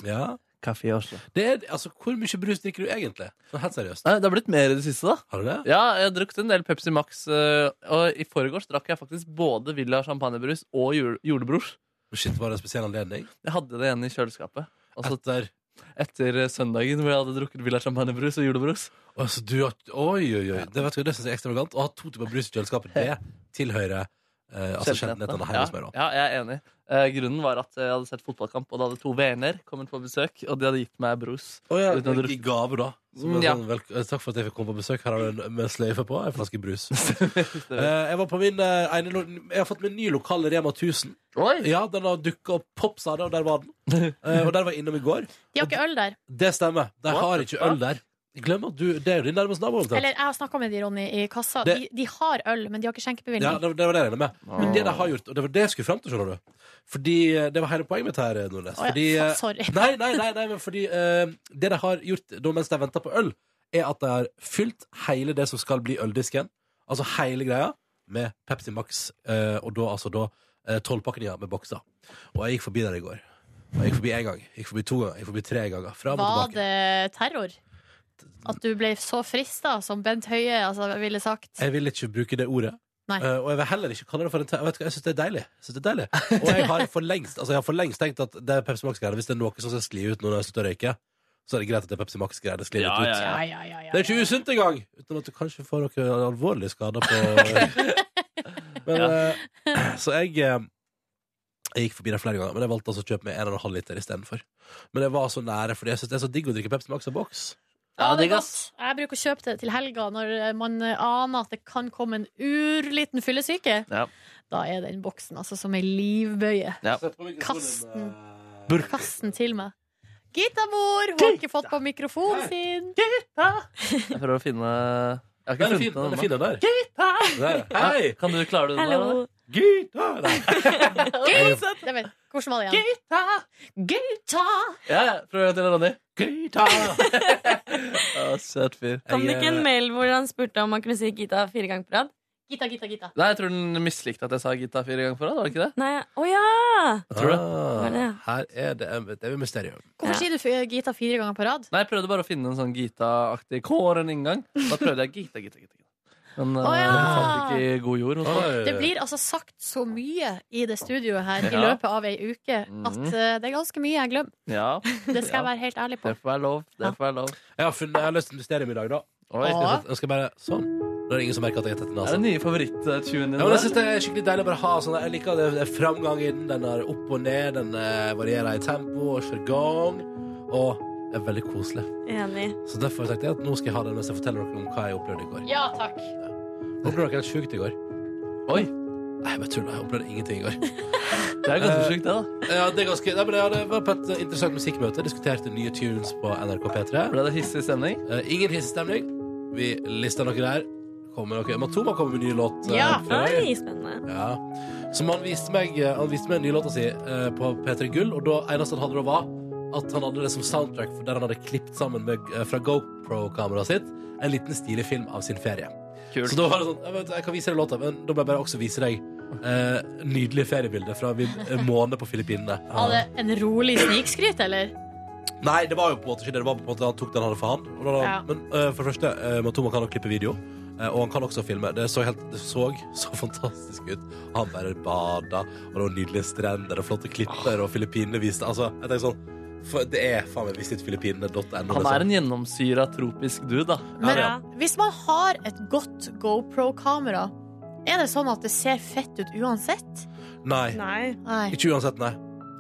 Ja.
Kaffe også.
Det er, altså, hvor mye brus drikker du egentlig? Sånn helt seriøst.
Nei, det har blitt mer i det siste, da.
Har du det?
Ja, jeg har drukket en del Pepsi Max, eh, og i forgårs drakk jeg faktisk både Villa champagnebrus og jul julebrus.
Shit, var det en spesiell anledning?
Jeg hadde det igjen i kjøleskapet. Altså
Etter
etter eh, søndagen hvor jeg hadde drukket Villa champagnebrus og julebrus.
altså, du, har- Oi, oi, oi. Det, vet du, hva, det synes jeg er ekstravagant. Å ha to typer brus i kjøleskapet, det tilhører eh, altså, sjeldenhetene her
ja,
hos meg, da.
ja, jeg er enig. Eh, grunnen var at jeg hadde sett fotballkamp, og da hadde to venner kommet på besøk, og de hadde gitt meg brus.
Å ja,
Uten å
I gave, da. Som
Mm,
en
ja.
sånn, vel, takk for at jeg fikk komme på besøk. Her har du en med sløyfe på. En flaske brus. Eh, jeg var på min eh, ene lo- Jeg har fått min nye lokale Rema 1000.
Oi!
Ja, Den har dukka opp. Pop sa det, og der var den. Eh, og der var jeg innom i går.
De har ikke øl der.
Det stemmer. De
What
har
the
ikke
fuck?
øl der. Glem at du Det er jo din nærmeste nabo. omtrent.
Eller jeg har snakka med de, Ronny, i kassa.
Det-
De, de har øl, men de har ikke
Ja,
skjenkebevilgning.
det, det var det jeg regnet med. Men det de har gjort, og det var det jeg skulle fram til, skjønner du. Fordi eh, Det var hele poenget mitt her, eh, Nordnes.
Å ja,
Fordi eh,
fa- sorry.
Nei, nei, nei, nei, men fordi eh, det de har gjort da, mens de venter på øl, er at de har fylt hele det som skal bli øldisken, altså hele greia, med Pepsi Max, eh, og da altså da eh, tolvpakninger med bokser. Og jeg gikk forbi der i går. Og jeg gikk forbi én gang, jeg gikk forbi to ganger, jeg gikk forbi tre ganger. Fram og
Var
tilbake.
det terror? At du ble så frista, som Bent Høie altså, ville sagt?
Jeg vil ikke bruke det ordet.
Nei.
Eh, og jeg vil heller ikke kalle det for en te- Jeg, vet ikke, jeg syns det er deilig. Jeg synes det er deilig. Og jeg har for lengst Altså jeg har for lengst tenkt at det er Pepsi Max-greier. Hvis det er noe som skal skli ut når jeg slutter å røyke, så er det greit at det er Pepsi Max-greier. Det sklir litt ut.
Ja, ja, ja, ja.
Det er ikke usunt engang! Uten at du kanskje får noen alvorlige skader på Men eh, Så jeg eh, jeg gikk forbi der flere ganger, men jeg valgte altså å kjøpe meg 1,5 liter istedenfor. Men jeg var så nære, fordi jeg syns det er så digg å drikke Pepsi Max av boks.
Ja, det er
digg,
godt.
ass.
Jeg bruker å kjøpe det til helga når man aner at det kan komme en urliten fyllesyke.
Ja.
Da er den boksen altså som ei livbøye.
Ja.
Kast den.
eh,
Kast den til meg. Gitamor! Hun har ikke fått på mikrofonen sin.
Jeg prøver å finne Jeg har
Den
ikke
er fin,
funnet
den
den
er fin, den der. Der. Hei!
ennå. Kan du klare det?
Hallo.
Nora?
Gita! Nei.
Det vet- Hvordan var det igjen? Gutta!
Ja, ja. Prøv en til, Ronny. Å, søt fyr.
Kom det ikke en
Jeg, eh,
mail hvor han spurte om han kunne si Gita fire ganger på rad?
Gita, gita, gita.
Nei, jeg tror den mislikte at jeg sa Gita fire ganger på rad. Var det ikke det?
Nei, å ja!
eh,
Tror du?
ah,
Var det?
Her er det Det er jo mysterium.
Hvorfor
Ja.
sier du f- Gita fire ganger på rad?
Nei, jeg prøvde bare å finne en sånn Gita-aktig Kåren-inngang. Da prøvde jeg Gita, Gita, Gita. Gita. Men
Å,
eh,
ja.
jeg fant ikke i god jord. hos meg.
Det blir altså sagt så mye i det studioet her i
Ja.
løpet av ei uke at
Mhm.
eh, det er ganske mye jeg glemmer.
Ja,
Det skal jeg
Ja.
være helt ærlig på.
det får være lov. Det får være lov.
Jeg har, funnet, jeg har løst et mysterium i dag, da.
Oi,
Å.
Jeg skal- Jeg skal bare, sånn. Da er det ingen som merker at jeg er tett i
er det
nesen.
den nye favoritt-tunen din?
Ja, men jeg
der?
synes det er skikkelig deilig å bare ha sånn Jeg liker det, det er framgang i den. Den er opp og ned, den eh, varierer i tempo og sjargong. Og er veldig koselig.
Enig.
Så derfor tenkte jeg at nå skal jeg ha den mens jeg forteller dere om hva jeg opplevde i går.
Ja takk.
Opplevde dere helt sjukt i går?
Oi,
Nei, jeg bare tuller. Jeg opplevde ingenting i går.
det er ganske sjukt, det, da.
Ja, det er ganske Nei, men jeg hadde- var på et interessant musikkmøte. Diskuterte nye tunes på NRK P3.
Ble det hissig stemning?
Eh, ingen hissestemning. Vi lister noe der. Kommer noe. Matoma kommer med ny låt. eh,
Ja.
på fredag.
Oi, spennende.
ja. Som han viste meg eh, Han viste meg en ny låta si eh, på P3 Gull, og da eneste han hadde da, var at han hadde det som soundtrack for der han hadde klippet sammen med, eh, fra GoPro-kameraet sitt en liten stilig film av sin ferie.
Kult.
Så da var det sånn Jeg, vet, jeg kan vise deg låta, men da må jeg bare også vise deg eh, nydelige feriebilder fra vi- en måned på Filippinene.
Var det en rolig snikskryt, eller?
Nei, det var jo på en måte ikke det. Det var på en måte Han tok den han hadde for hand. Og da,
Ja.
Men eh, for det første, eh, Matoma kan også klippe video. eh, og han kan også filme. Det så, helt, det så så fantastisk ut. Han bare bada, og det var nydelige strender og flotte klipper, og Filippinene viste Altså, jeg tenker sånn for, Det er faen meg visitt filippinene.no.
Han
liksom.
er en gjennomsyra tropisk dude, da.
Men
Ja,
hvis man har et godt GoPro-kamera, er det sånn at det ser fett ut uansett?
Nei.
Nei.
Nei.
Ikke uansett, nei.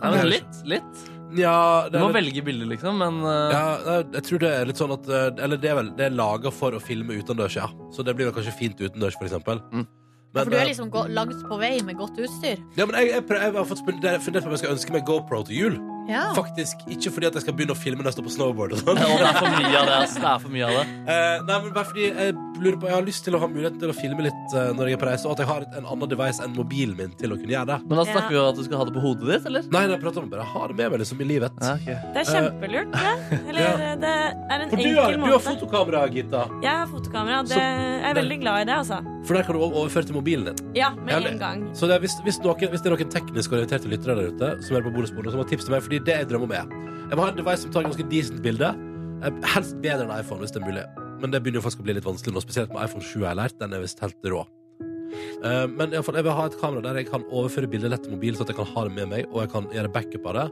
Nei, men litt. litt.
Ja,
Du må velge bilder, liksom, men eh,
Ja, nei, jeg tror det er litt sånn at eh, Eller det er vel Det er laga for å filme utendørs, ja. Så det blir vel kanskje fint utendørs, for eksempel.
Mm.
For du
eh,
er liksom gå- langt på vei med godt utstyr.
Ja, men jeg, jeg, prøver, jeg har fått spille, det er fundert på om jeg skal ønske meg GoPro til jul.
Ja.
Faktisk ikke fordi at jeg skal begynne å filme neste på snowboard. Og sånn.
ja, det er for mye av det. ass. Det er for mye av det.
Eh, nei, men bare fordi Jeg lurer på Jeg har lyst til å ha muligheten til å filme litt eh, når jeg er på reise, og at jeg har et- en annen device enn mobilen min til å kunne gjøre det.
Men da snakker vi om at du skal ha det på hodet ditt, eller?
Nei, nei, jeg prater om å bare ha det med meg liksom i livet.
Ja, ok.
Det er
Eh.
kjempelurt, det. Eller eh, det er en
For du
enkel
har, du har
måte.
fotokamera, Gitta.
Jeg har fotokamera. og
Så-
Det, jeg er veldig glad i det, altså.
For der kan du o- overføre til mobilen din.
Ja, med
Eller-
en gang.
Så det er, hvis, hvis, noen, hvis det er noen teknisk orienterte lyttere der ute som er på bonusbordet, så må tips til meg, fordi det jeg drømmer om er Jeg må ha en device som tar ganske decent bilde. eh, Helst bedre enn iPhone, hvis det er mulig. Men det begynner jo faktisk å bli litt vanskelig nå, spesielt med iPhone 7 jeg har lært. Den er visst helt rå. Eh, Men i alle fall, jeg vil ha et kamera der jeg kan overføre bildet lett til mobil, så at jeg kan ha det med meg, og jeg kan gjøre backup av det.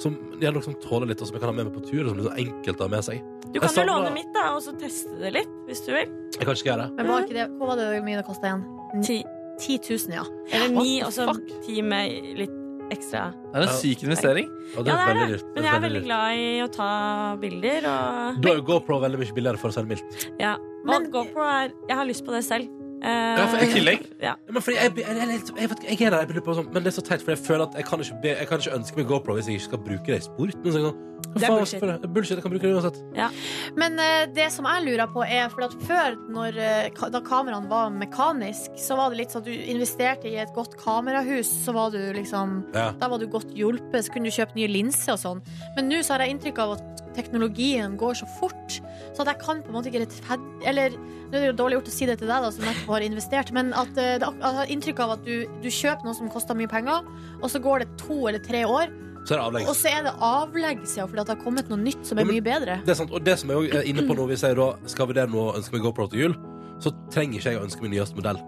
Som gjerne noe som tåler litt, og som jeg kan ha med meg på tur, og som liksom enkelt å ha med seg.
Du
Jeg
kan jo
savner-
låne mitt, da, og så teste det litt, hvis du vil.
Jeg kan ikke gjøre det.
Men var ikke det, hvor var det mye det kosta igjen?
Ti.
10 000, ja.
Eller
What
ni,
the
og så
fuck?
ti med litt ekstra.
Det er en syk investering.
Og det
Ja, det
er
er
veldig
det.
lurt.
Men jeg er veldig glad i å ta bilder, og
Da er jo GoPro veldig mye billigere, for å si det mildt.
ja. Men
Men-
GoPro er Jeg har lyst på det selv.
Ja, for jeg-
Eh, ja.
Ja, Men fordi jeg, jeg, jeg, jeg, jeg, vet ikke, jeg er der, jeg blir på sånn, men det er så teit, for jeg føler at jeg kan ikke, be, jeg kan ikke ønske meg GoPro hvis jeg ikke skal bruke det i sport. Men så er jeg sånn, hva
Det er
faen,
bullshit.
hvorfor det? Det er bullshit. Jeg kan bruke det uansett.
Men eh, det som jeg lurer på er For at før, når, eh, ka- da kameraene var mekanisk Så var det litt sånn at du investerte i et godt kamerahus Så var du liksom
Ja.
Da var du godt hjulpet, så kunne du kjøpe nye linser og sånn Men nå så har jeg inntrykk av at teknologien går så fort Så at jeg kan på en måte ikke rettferd... Eller, nå er det jo dårlig gjort å si det til deg da Som nettopp har investert Men at, eh, det, ak- jeg har inntrykk av at du, du kjøper noe som koster mye penger Og så går det to eller tre år
Så er det
Og
avleggs.
så er det avleggs ja, Fordi at det har kommet noe nytt som
Ja,
er
men-
mye bedre
Det er sant. Og det som jeg også er inne på nå, hvis jeg da skal vurdere noe å ønske meg GoPro til jul, så trenger ikke jeg å ønske min nyeste modell.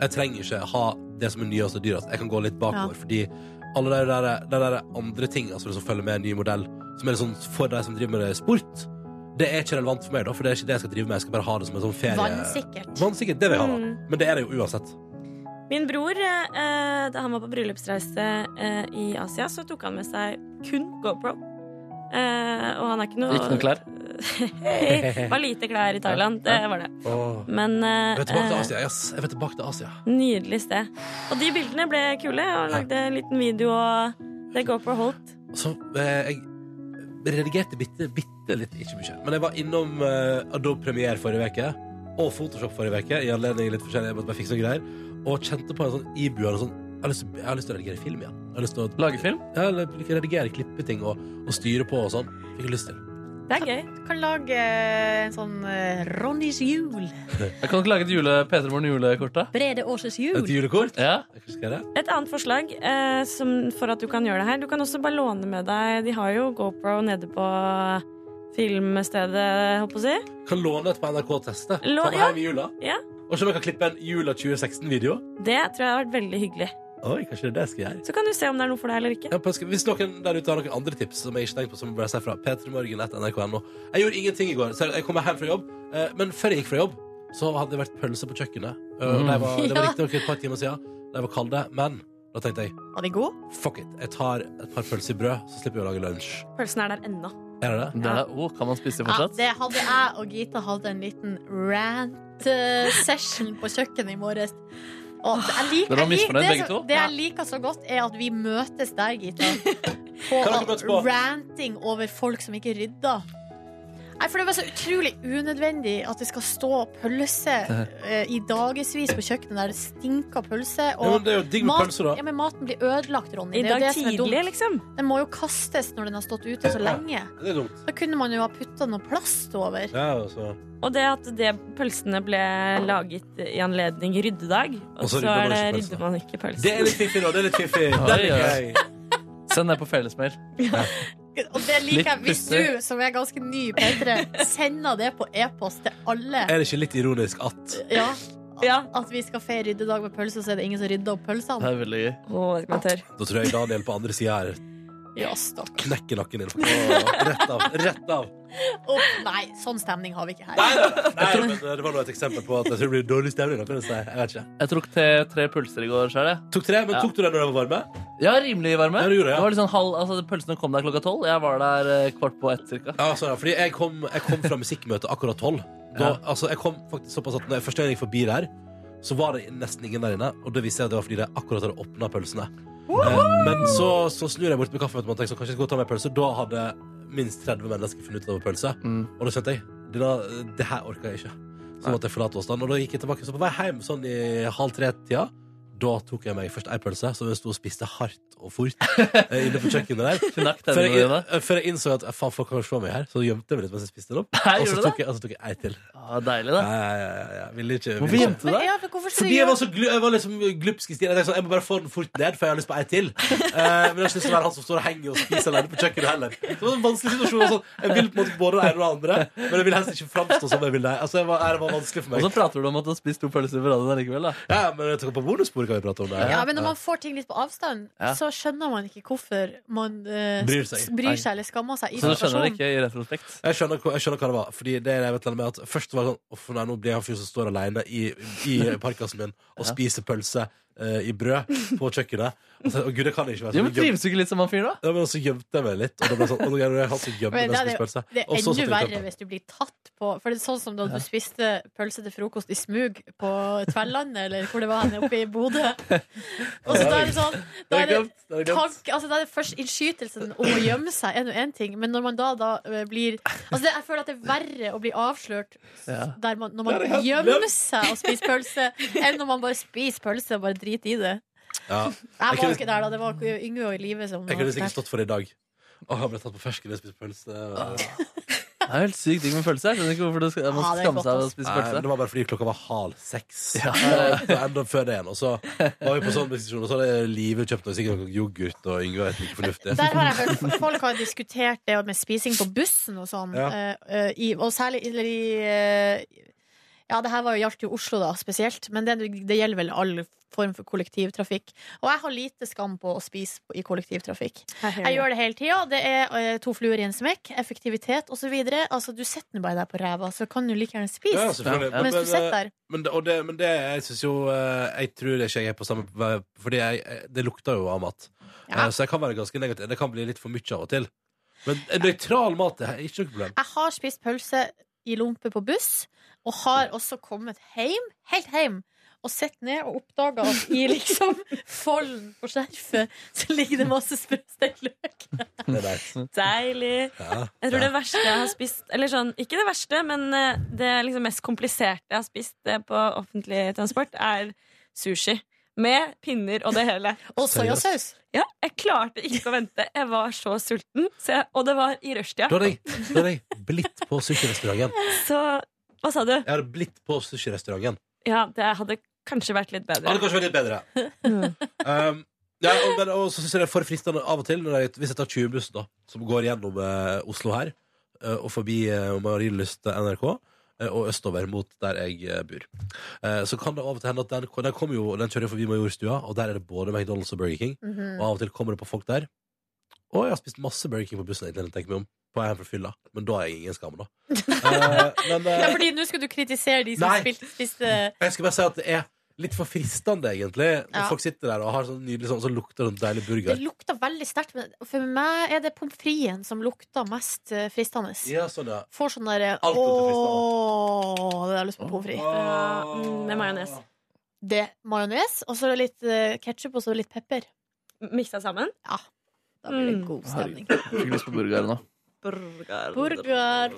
Jeg trenger ikke ha det som er nyest og dyrest. Jeg kan gå litt bakover, fordi alle de der, de der andre tingene som liksom følger med en ny modell, som er sånn for de som driver med det i sport, det er ikke relevant for meg, da, for det er ikke det jeg skal drive med. Jeg skal bare ha det som en sånn ferie...
Vannsikkert
Vannsikkert, det vil jeg ha, da.
Mm.
Men det er det jo uansett.
Min bror, eh, da han var på bryllupsreise eh, i Asia, så tok han med seg kun GoPro. Eh, og han er ikke noe
Ikke noe klær.
Det var lite klær i Thailand, det var det. Men eh,
Jeg vil tilbake til
eh,
Asia. yes. Jeg vil tilbake til Asia.
nydelig sted. Og de bildene ble kule. Og lagde en liten video, og det GoPro holdt.
Og Så eh, jeg redigerte bitte, bitte litt, ikke mye. Men jeg var innom eh, Adobe Premiere forrige uke, og Photoshop forrige uke, i anledning litt forskjellig, jeg måtte bare fikse noen greier, og kjente på en sånn ibuende sånn jeg har, lyst, til- jeg har lyst til å redigere film igjen. Jeg har lyst til å
Lage film.
ja, eller redigere, klippe ting og, og styre på og sånn. Fikk jeg lyst til.
Det er gøy.
Du kan lage en sånn eh, Ronnys jul.
Jeg kan ikke lage et jule P3 Morgen julekort, da.
Brede Åses
Et
jul.
julekort?
Ja.
Jeg husker det.
Et annet forslag eh, som, for at du kan gjøre det her Du kan også bare låne med deg Eh, De har jo GoPro nede på filmstedet, holdt på å si.
Kan låne et på NRK-testet.
Lå-
Ta med
ja.
hjem i jula.
Ja.
Og se om jeg kan klippe en jula 2016-video.
Det tror jeg har vært veldig hyggelig.
Oi, kanskje det er det jeg skal gjøre.
Så kan du se om det er noe for deg eller ikke.
Ja, på- Hvis noen der ute har noen andre tips som jeg ikke tenkte på, så må jeg bare si fra. P3morgen.nrk.no. Jeg gjorde ingenting i går. Så jeg kom hjem fra jobb, eh, men før jeg gikk fra jobb, så hadde det vært pølser på kjøkkenet. Eh, Og det var, det
Mm.
var
Ja.
riktignok et par timer siden. De var kalde, men da tenkte jeg
Var de gode?
fuck it. Jeg tar et par pølser i brød, så slipper jeg å lage lunsj.
Pølsen er der ennå.
Er det det?
Det er, oh, kan man spise
Ja,
fortsatt?
det hadde jeg og Gita hadde en liten rant-session på kjøkkenet i morges. Og
Dere
jeg liker,
var
jeg liker-
misfornøyd
det,
begge
som-
to?
det jeg liker så godt, er at vi møtes der, Gita. På
Hva har dere møttes på?
ranting over folk som ikke rydder. Nei, for det var så utrolig unødvendig at det skal stå pølse eh, i dagevis på kjøkkenet der det stinker pølse.
Ja, men det er jo digg med
mat-
pølser, da.
Ja, men maten blir ødelagt, Ronny.
I
Det er jo
dag
det som er dumt.
tidlig, liksom.
Den må jo kastes når den har stått ute så lenge.
Det er dumt.
Da kunne man jo ha putta noe plast over.
Ja, altså.
Og det at det pølsene ble laget i anledning ryddedag, og,
Og så
så,
rydder
er
man
det,
ikke pølsen.
rydder man ikke pølsen.
Det er litt fiffig, da. Det er litt fiffig. Den liker jeg.
Send det på fellesmail.
Og det liker jeg.
Litt
Hvis du, som er ganske ny i P3, sender det på e-post til alle
Er det ikke litt ironisk at
Eh.
ja,
Ja.
at vi skal feire ryddedag med pølse, og så er det ingen som rydder opp
Det
pølsene.
er veldig gøy.
Å, det skal man tørre.
Da tror jeg Daniel på andre sida her
Ja, stakkars.
knekker nakken din. Åh, Rett av. Rett av.
Å, nei, sånn stemning har vi ikke her.
Nei, men det var nå et eksempel på at jeg tror det blir dårlig stemning. da, kan jeg si. Jeg vet ikke.
Jeg tok te, tre pølser i går sjøl.
Tok tre, men tok du det når det var varme?
Ja, rimelig varme.
Ja, du gjorde det, ja.
det var litt sånn halv, altså, Pølsene kom der klokka tolv. Jeg var der eh, kvart på ett cirka.
Ja, altså, fordi jeg kom, jeg kom fra musikkmøtet akkurat tolv. Da, altså, jeg kom faktisk såpass at når jeg, Første gang jeg gikk forbi der, så var det nesten ingen der inne. Og det visste jeg at det var fordi de akkurat hadde åpna pølsene. Eh, men så, så snur jeg bort med kaffen og tenker så kanskje jeg skal gå og ta meg en pølse. Da hadde minst 30 mennesker funnet ut at det var pølse.
Mm.
Og da skjønte jeg det, da, det her orka jeg ikke. Så måtte jeg forlate Åsland. Og da gikk jeg tilbake. Så på vei hjem sånn i halv tre-tida da tok jeg meg først ei pølse, som jeg sto og spiste hardt og fort eh, inne på kjøkkenet der.
Knakk
Før
tennene
jeg,
dine.
eh, før jeg innså at eh, faen, folk kan se meg her, så gjemte jeg meg litt mens jeg spiste den opp.
Nei,
Og så
gjorde du det?
tok jeg, og så tok jeg ei til.
Ja, deilig,
Ja,
det.
ja, ja, ja, ja. Ville ikke, ville
Hvorfor
ikke.
gjemte du
Men,
deg?
ja, men hvorfor skal
Fordi
du
jeg
gjøre-
var så glu, jeg var liksom glupsk i stilen. Jeg tenkte sånn, jeg må bare få den fort ned, for jeg har lyst på ei til. Eh, men jeg har ikke lyst til å være han som står og henger og spiser alene på kjøkkenet heller. Så det var en vanskelig situasjon. og Sånn. Jeg vil på en måte både det ene og det andre, men jeg vil helst ikke framstå som jeg vil det. Altså, det var, det var vanskelig for
Og
meg.
så prater du om at du har spist to pølser på raden likevel. da
Ja, men jeg tenker på bonusbord kan vi prate om det.
Ja, men når man får ting litt på avstand,
Ja.
så skjønner man ikke hvorfor man eh,
Bryr seg.
Nei.
bryr seg eller skammer seg i
Så du skjønner det
situasjonen.
ikke i retrospekt?
Jeg skjønner, hva- jeg skjønner hva det var. Fordi det jeg vet med at Først var det sånn Uff, nei, nå blir jeg han fyren som står alene i, i parkasen min og spiser pølse eh, i brød på kjøkkenet. Og så, å, Gud, det kan jeg ikke være
Jo,
så
men Trives du ikke litt som han fyren, da?
Ja, men så gjemte jeg meg litt. Og da ble det sånn, og nå er det han som gjemmer
Men
den
det er-
spisepølsa.
Det er
Og så
enda
satte jeg
verre hvis du blir tatt på For det er sånn som da du spiste pølse til frokost i smug på Tverlandet, eller hvor det var henne, oppe i Bodø. Og så da er det sånn
Det
Da
er
er det
glemt. Det er glemt.
Tank, altså det er først innskytelsen om å gjemme seg er nå én ting, men når man da, da eh, blir altså det, Jeg føler at det er verre å bli avslørt s-
Ja.
der man, når
Det er
man
helt
gjemmer
glemt.
seg og spiser pølse, enn når man bare spiser pølse og bare driter i det.
Ja,
Jeg var
kunne-
jo ikke der, da. Det var Yngve og Live som
jeg kunne
var der.
sikkert stått for det i dag. Å, jeg ble tatt på fersken da jeg spiste pølse.
Det er jo helt sykt digg med pølser. Jeg skjønner ikke hvorfor du skal, man
Ja,
skal
det er
skamme
godt,
seg av å
ass.
spise
Nei,
pølse.
det var bare fordi klokka var halv seks. Og Enda før det igjen. Og så var vi på sånn diskusjon, og så hadde Live kjøpt noe, sikkert noe yoghurt, og Yngve er ikke fornuftig.
Der har jeg hørt Folk har diskutert det med spising på bussen og sånn,
Ja.
eh, eh, i, og særlig eller i eh, Ja, det her var jo gjaldt jo Oslo, da, spesielt, men det, det gjelder vel all form for kollektivtrafikk. Og jeg har lite skam på å spise i kollektivtrafikk. Jeg gjør det hele tida. Det er eh, to fluer i en smekk, effektivitet osv. Altså, du sitter nå bare der på ræva, så kan du like gjerne spise
Ja, selvfølgelig.
Ja, ja.
mens du sitter der.
Men eh, det, og det, men det jeg synes jo eh, Jeg tror ikke jeg er på samme vei, Fordi jeg, jeg- det lukter jo av mat
Ja.
Eh, Så jeg kan være ganske negativ Det kan bli litt for mye av og til Men en nøytral mat det er ikke noe problem
Jeg har spist pølse i lompe på buss, og har også kommet hjem, helt hjem, og sett ned og oppdaga at i liksom folden på skjerfet så ligger det masse sprøstekt løk.
Det er deilig.
Deilig.
ja.
Jeg tror det verste jeg har spist Eller sånn, ikke det verste, men eh, det liksom mest kompliserte jeg har spist eh, på offentlig transport, er sushi. Med pinner og det hele.
Og soyasaus.
Ja, jeg klarte ikke å vente. Jeg var så sulten. Så jeg, og det var i
Da
rushtida.
hadde jeg, da hadde jeg blitt på sushi-restauranten
Så hva sa du?
Jeg hadde blitt på sushi-restauranten
Ja, det hadde kanskje vært litt
Det
bedre.
hadde kanskje vært litt bedre um, ja, og, men, og så synes jeg det er for fristende av og til når jeg, Hvis jeg tar 20-bussen da Som går gjennom eh, Oslo her eh, Og forbi eh, Marienlyst eh, NRK eh, Og østover mot der jeg eh, bor Eh, Så kan det av og til hende at den, den, kommer jo, den kjører jo forbi Majorstua Og der er det både McDonalds og Burger King Og av og til kommer det på folk der Å, jeg har spist masse Burger King på bussen egentlig, når jeg tenker meg om På vei hjem fra fylla Men da har jeg ingen skam da Eh, Men eh,
Ja, fordi nå skal du kritisere de som
Nei.
spilte, spiste
jeg skal bare si at det er litt for fristende egentlig Når
Ja.
folk sitter der og har sånn nydelig sånn Så lukter det en deilig
Det
burger
lukta veldig sterkt, men for meg er det pommes fritesen som lukta mest eh, fristende.
Ja, sånn ja
Får sånn derre
Alt lukter
Ååå, det har jeg lyst på pommes frites.
Ja, mm, med majones.
Det majones, og så litt uh, ketsjup og så litt pepper.
Miksa sammen.
Ja. Da blir det
Mm.
god stemning.
Fikk lyst på burger nå.
Burger.
Burger.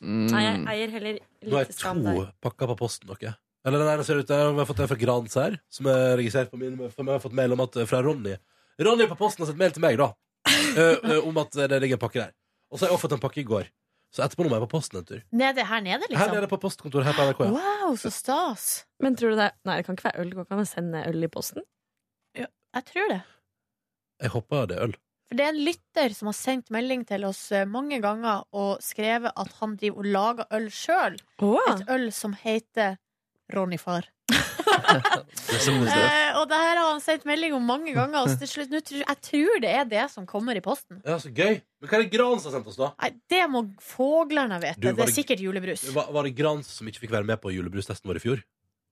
Nei, jeg eier heller
Nå er
lite skam
Mm. to
der.
pakker på posten dere. Eller den ene ser ut der, vi har fått en fra Grans her, som er registrert på min, for vi har fått mail om at eh, fra Ronny. Ronny på posten har sett mail til meg, da, eh, eh, om at det ligger en pakke der. Og så har jeg også fått en pakke i går. Så etterpå nå må jeg på posten en tur.
Nede, her nede,
Her
liksom?
nede på postkontoret her på NRK. Ja.
Wow, så stas.
Men tror du det er Nei, det kan ikke være øl. Går ikke an å sende øl i posten?
Jeg tror det.
Jeg håper det er øl.
For det er en lytter som har sendt melding til oss eh, mange ganger og skrevet at han driver og lager øl sjøl.
Ah.
Et øl som heter Ronny Far. Eh, og det her har han sendt melding om mange ganger, og til slutt, nå tror, jeg tror det er det som kommer i posten.
Ja, så gøy. Men hva er det Grans har sendt oss, da?
Nei, det må fuglene vite.
Du, var
det er
det-
sikkert julebrus.
Var, var det Grans som ikke fikk være med på julebrustesten vår i fjor?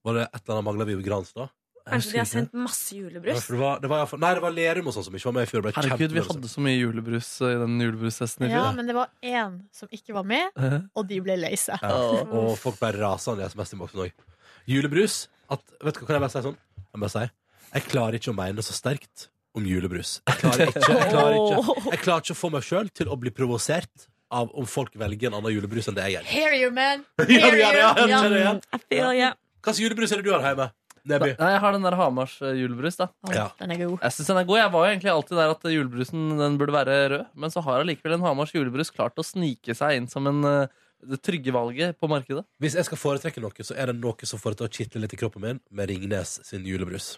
Var det et eller annet mangla vi ved Grans da?
Kanskje de har sendt masse julebrus?
Det var, det var, i hvert fall- nei, det var Lerum og sånn som ikke var med i fjor. Det ble
Herregud, vi
kjempenervøse.
hadde så mye julebrus eh, i den julebrustesten i
Ja,
fjor.
men det var én som ikke var med,
Eh,
og de ble lei seg.
Ja. Og folk bare raser i SMS-innboksen òg. Julebrus at, Vet du hva kan jeg bare si sånn? Jeg, bare sier, jeg klarer ikke å mene så sterkt om julebrus. Jeg klarer ikke, jeg klarer ikke, jeg klarer ikke å få meg sjøl til å bli provosert av om folk velger en annen julebrus enn det jeg gjør.
Hear you, man!
Ja,
Hear
det gjør det, ja,
you!
det gjør det, ja.
I feel ya.
Hvilken julebrus er det du har hjemme? Neby?
Nei, jeg har den der Hamars eh, julebrus, da.
Å,
Ja.
Den er god.
Jeg synes den er god. Jeg var jo egentlig alltid der at julebrusen den burde være rød, men så har allikevel en Hamars julebrus klart å snike seg inn som en eh, det trygge valget på markedet.
Hvis jeg skal foretrekke noe, så er det noe som får det til å kitle litt i kroppen min, med Ringnes sin julebrus.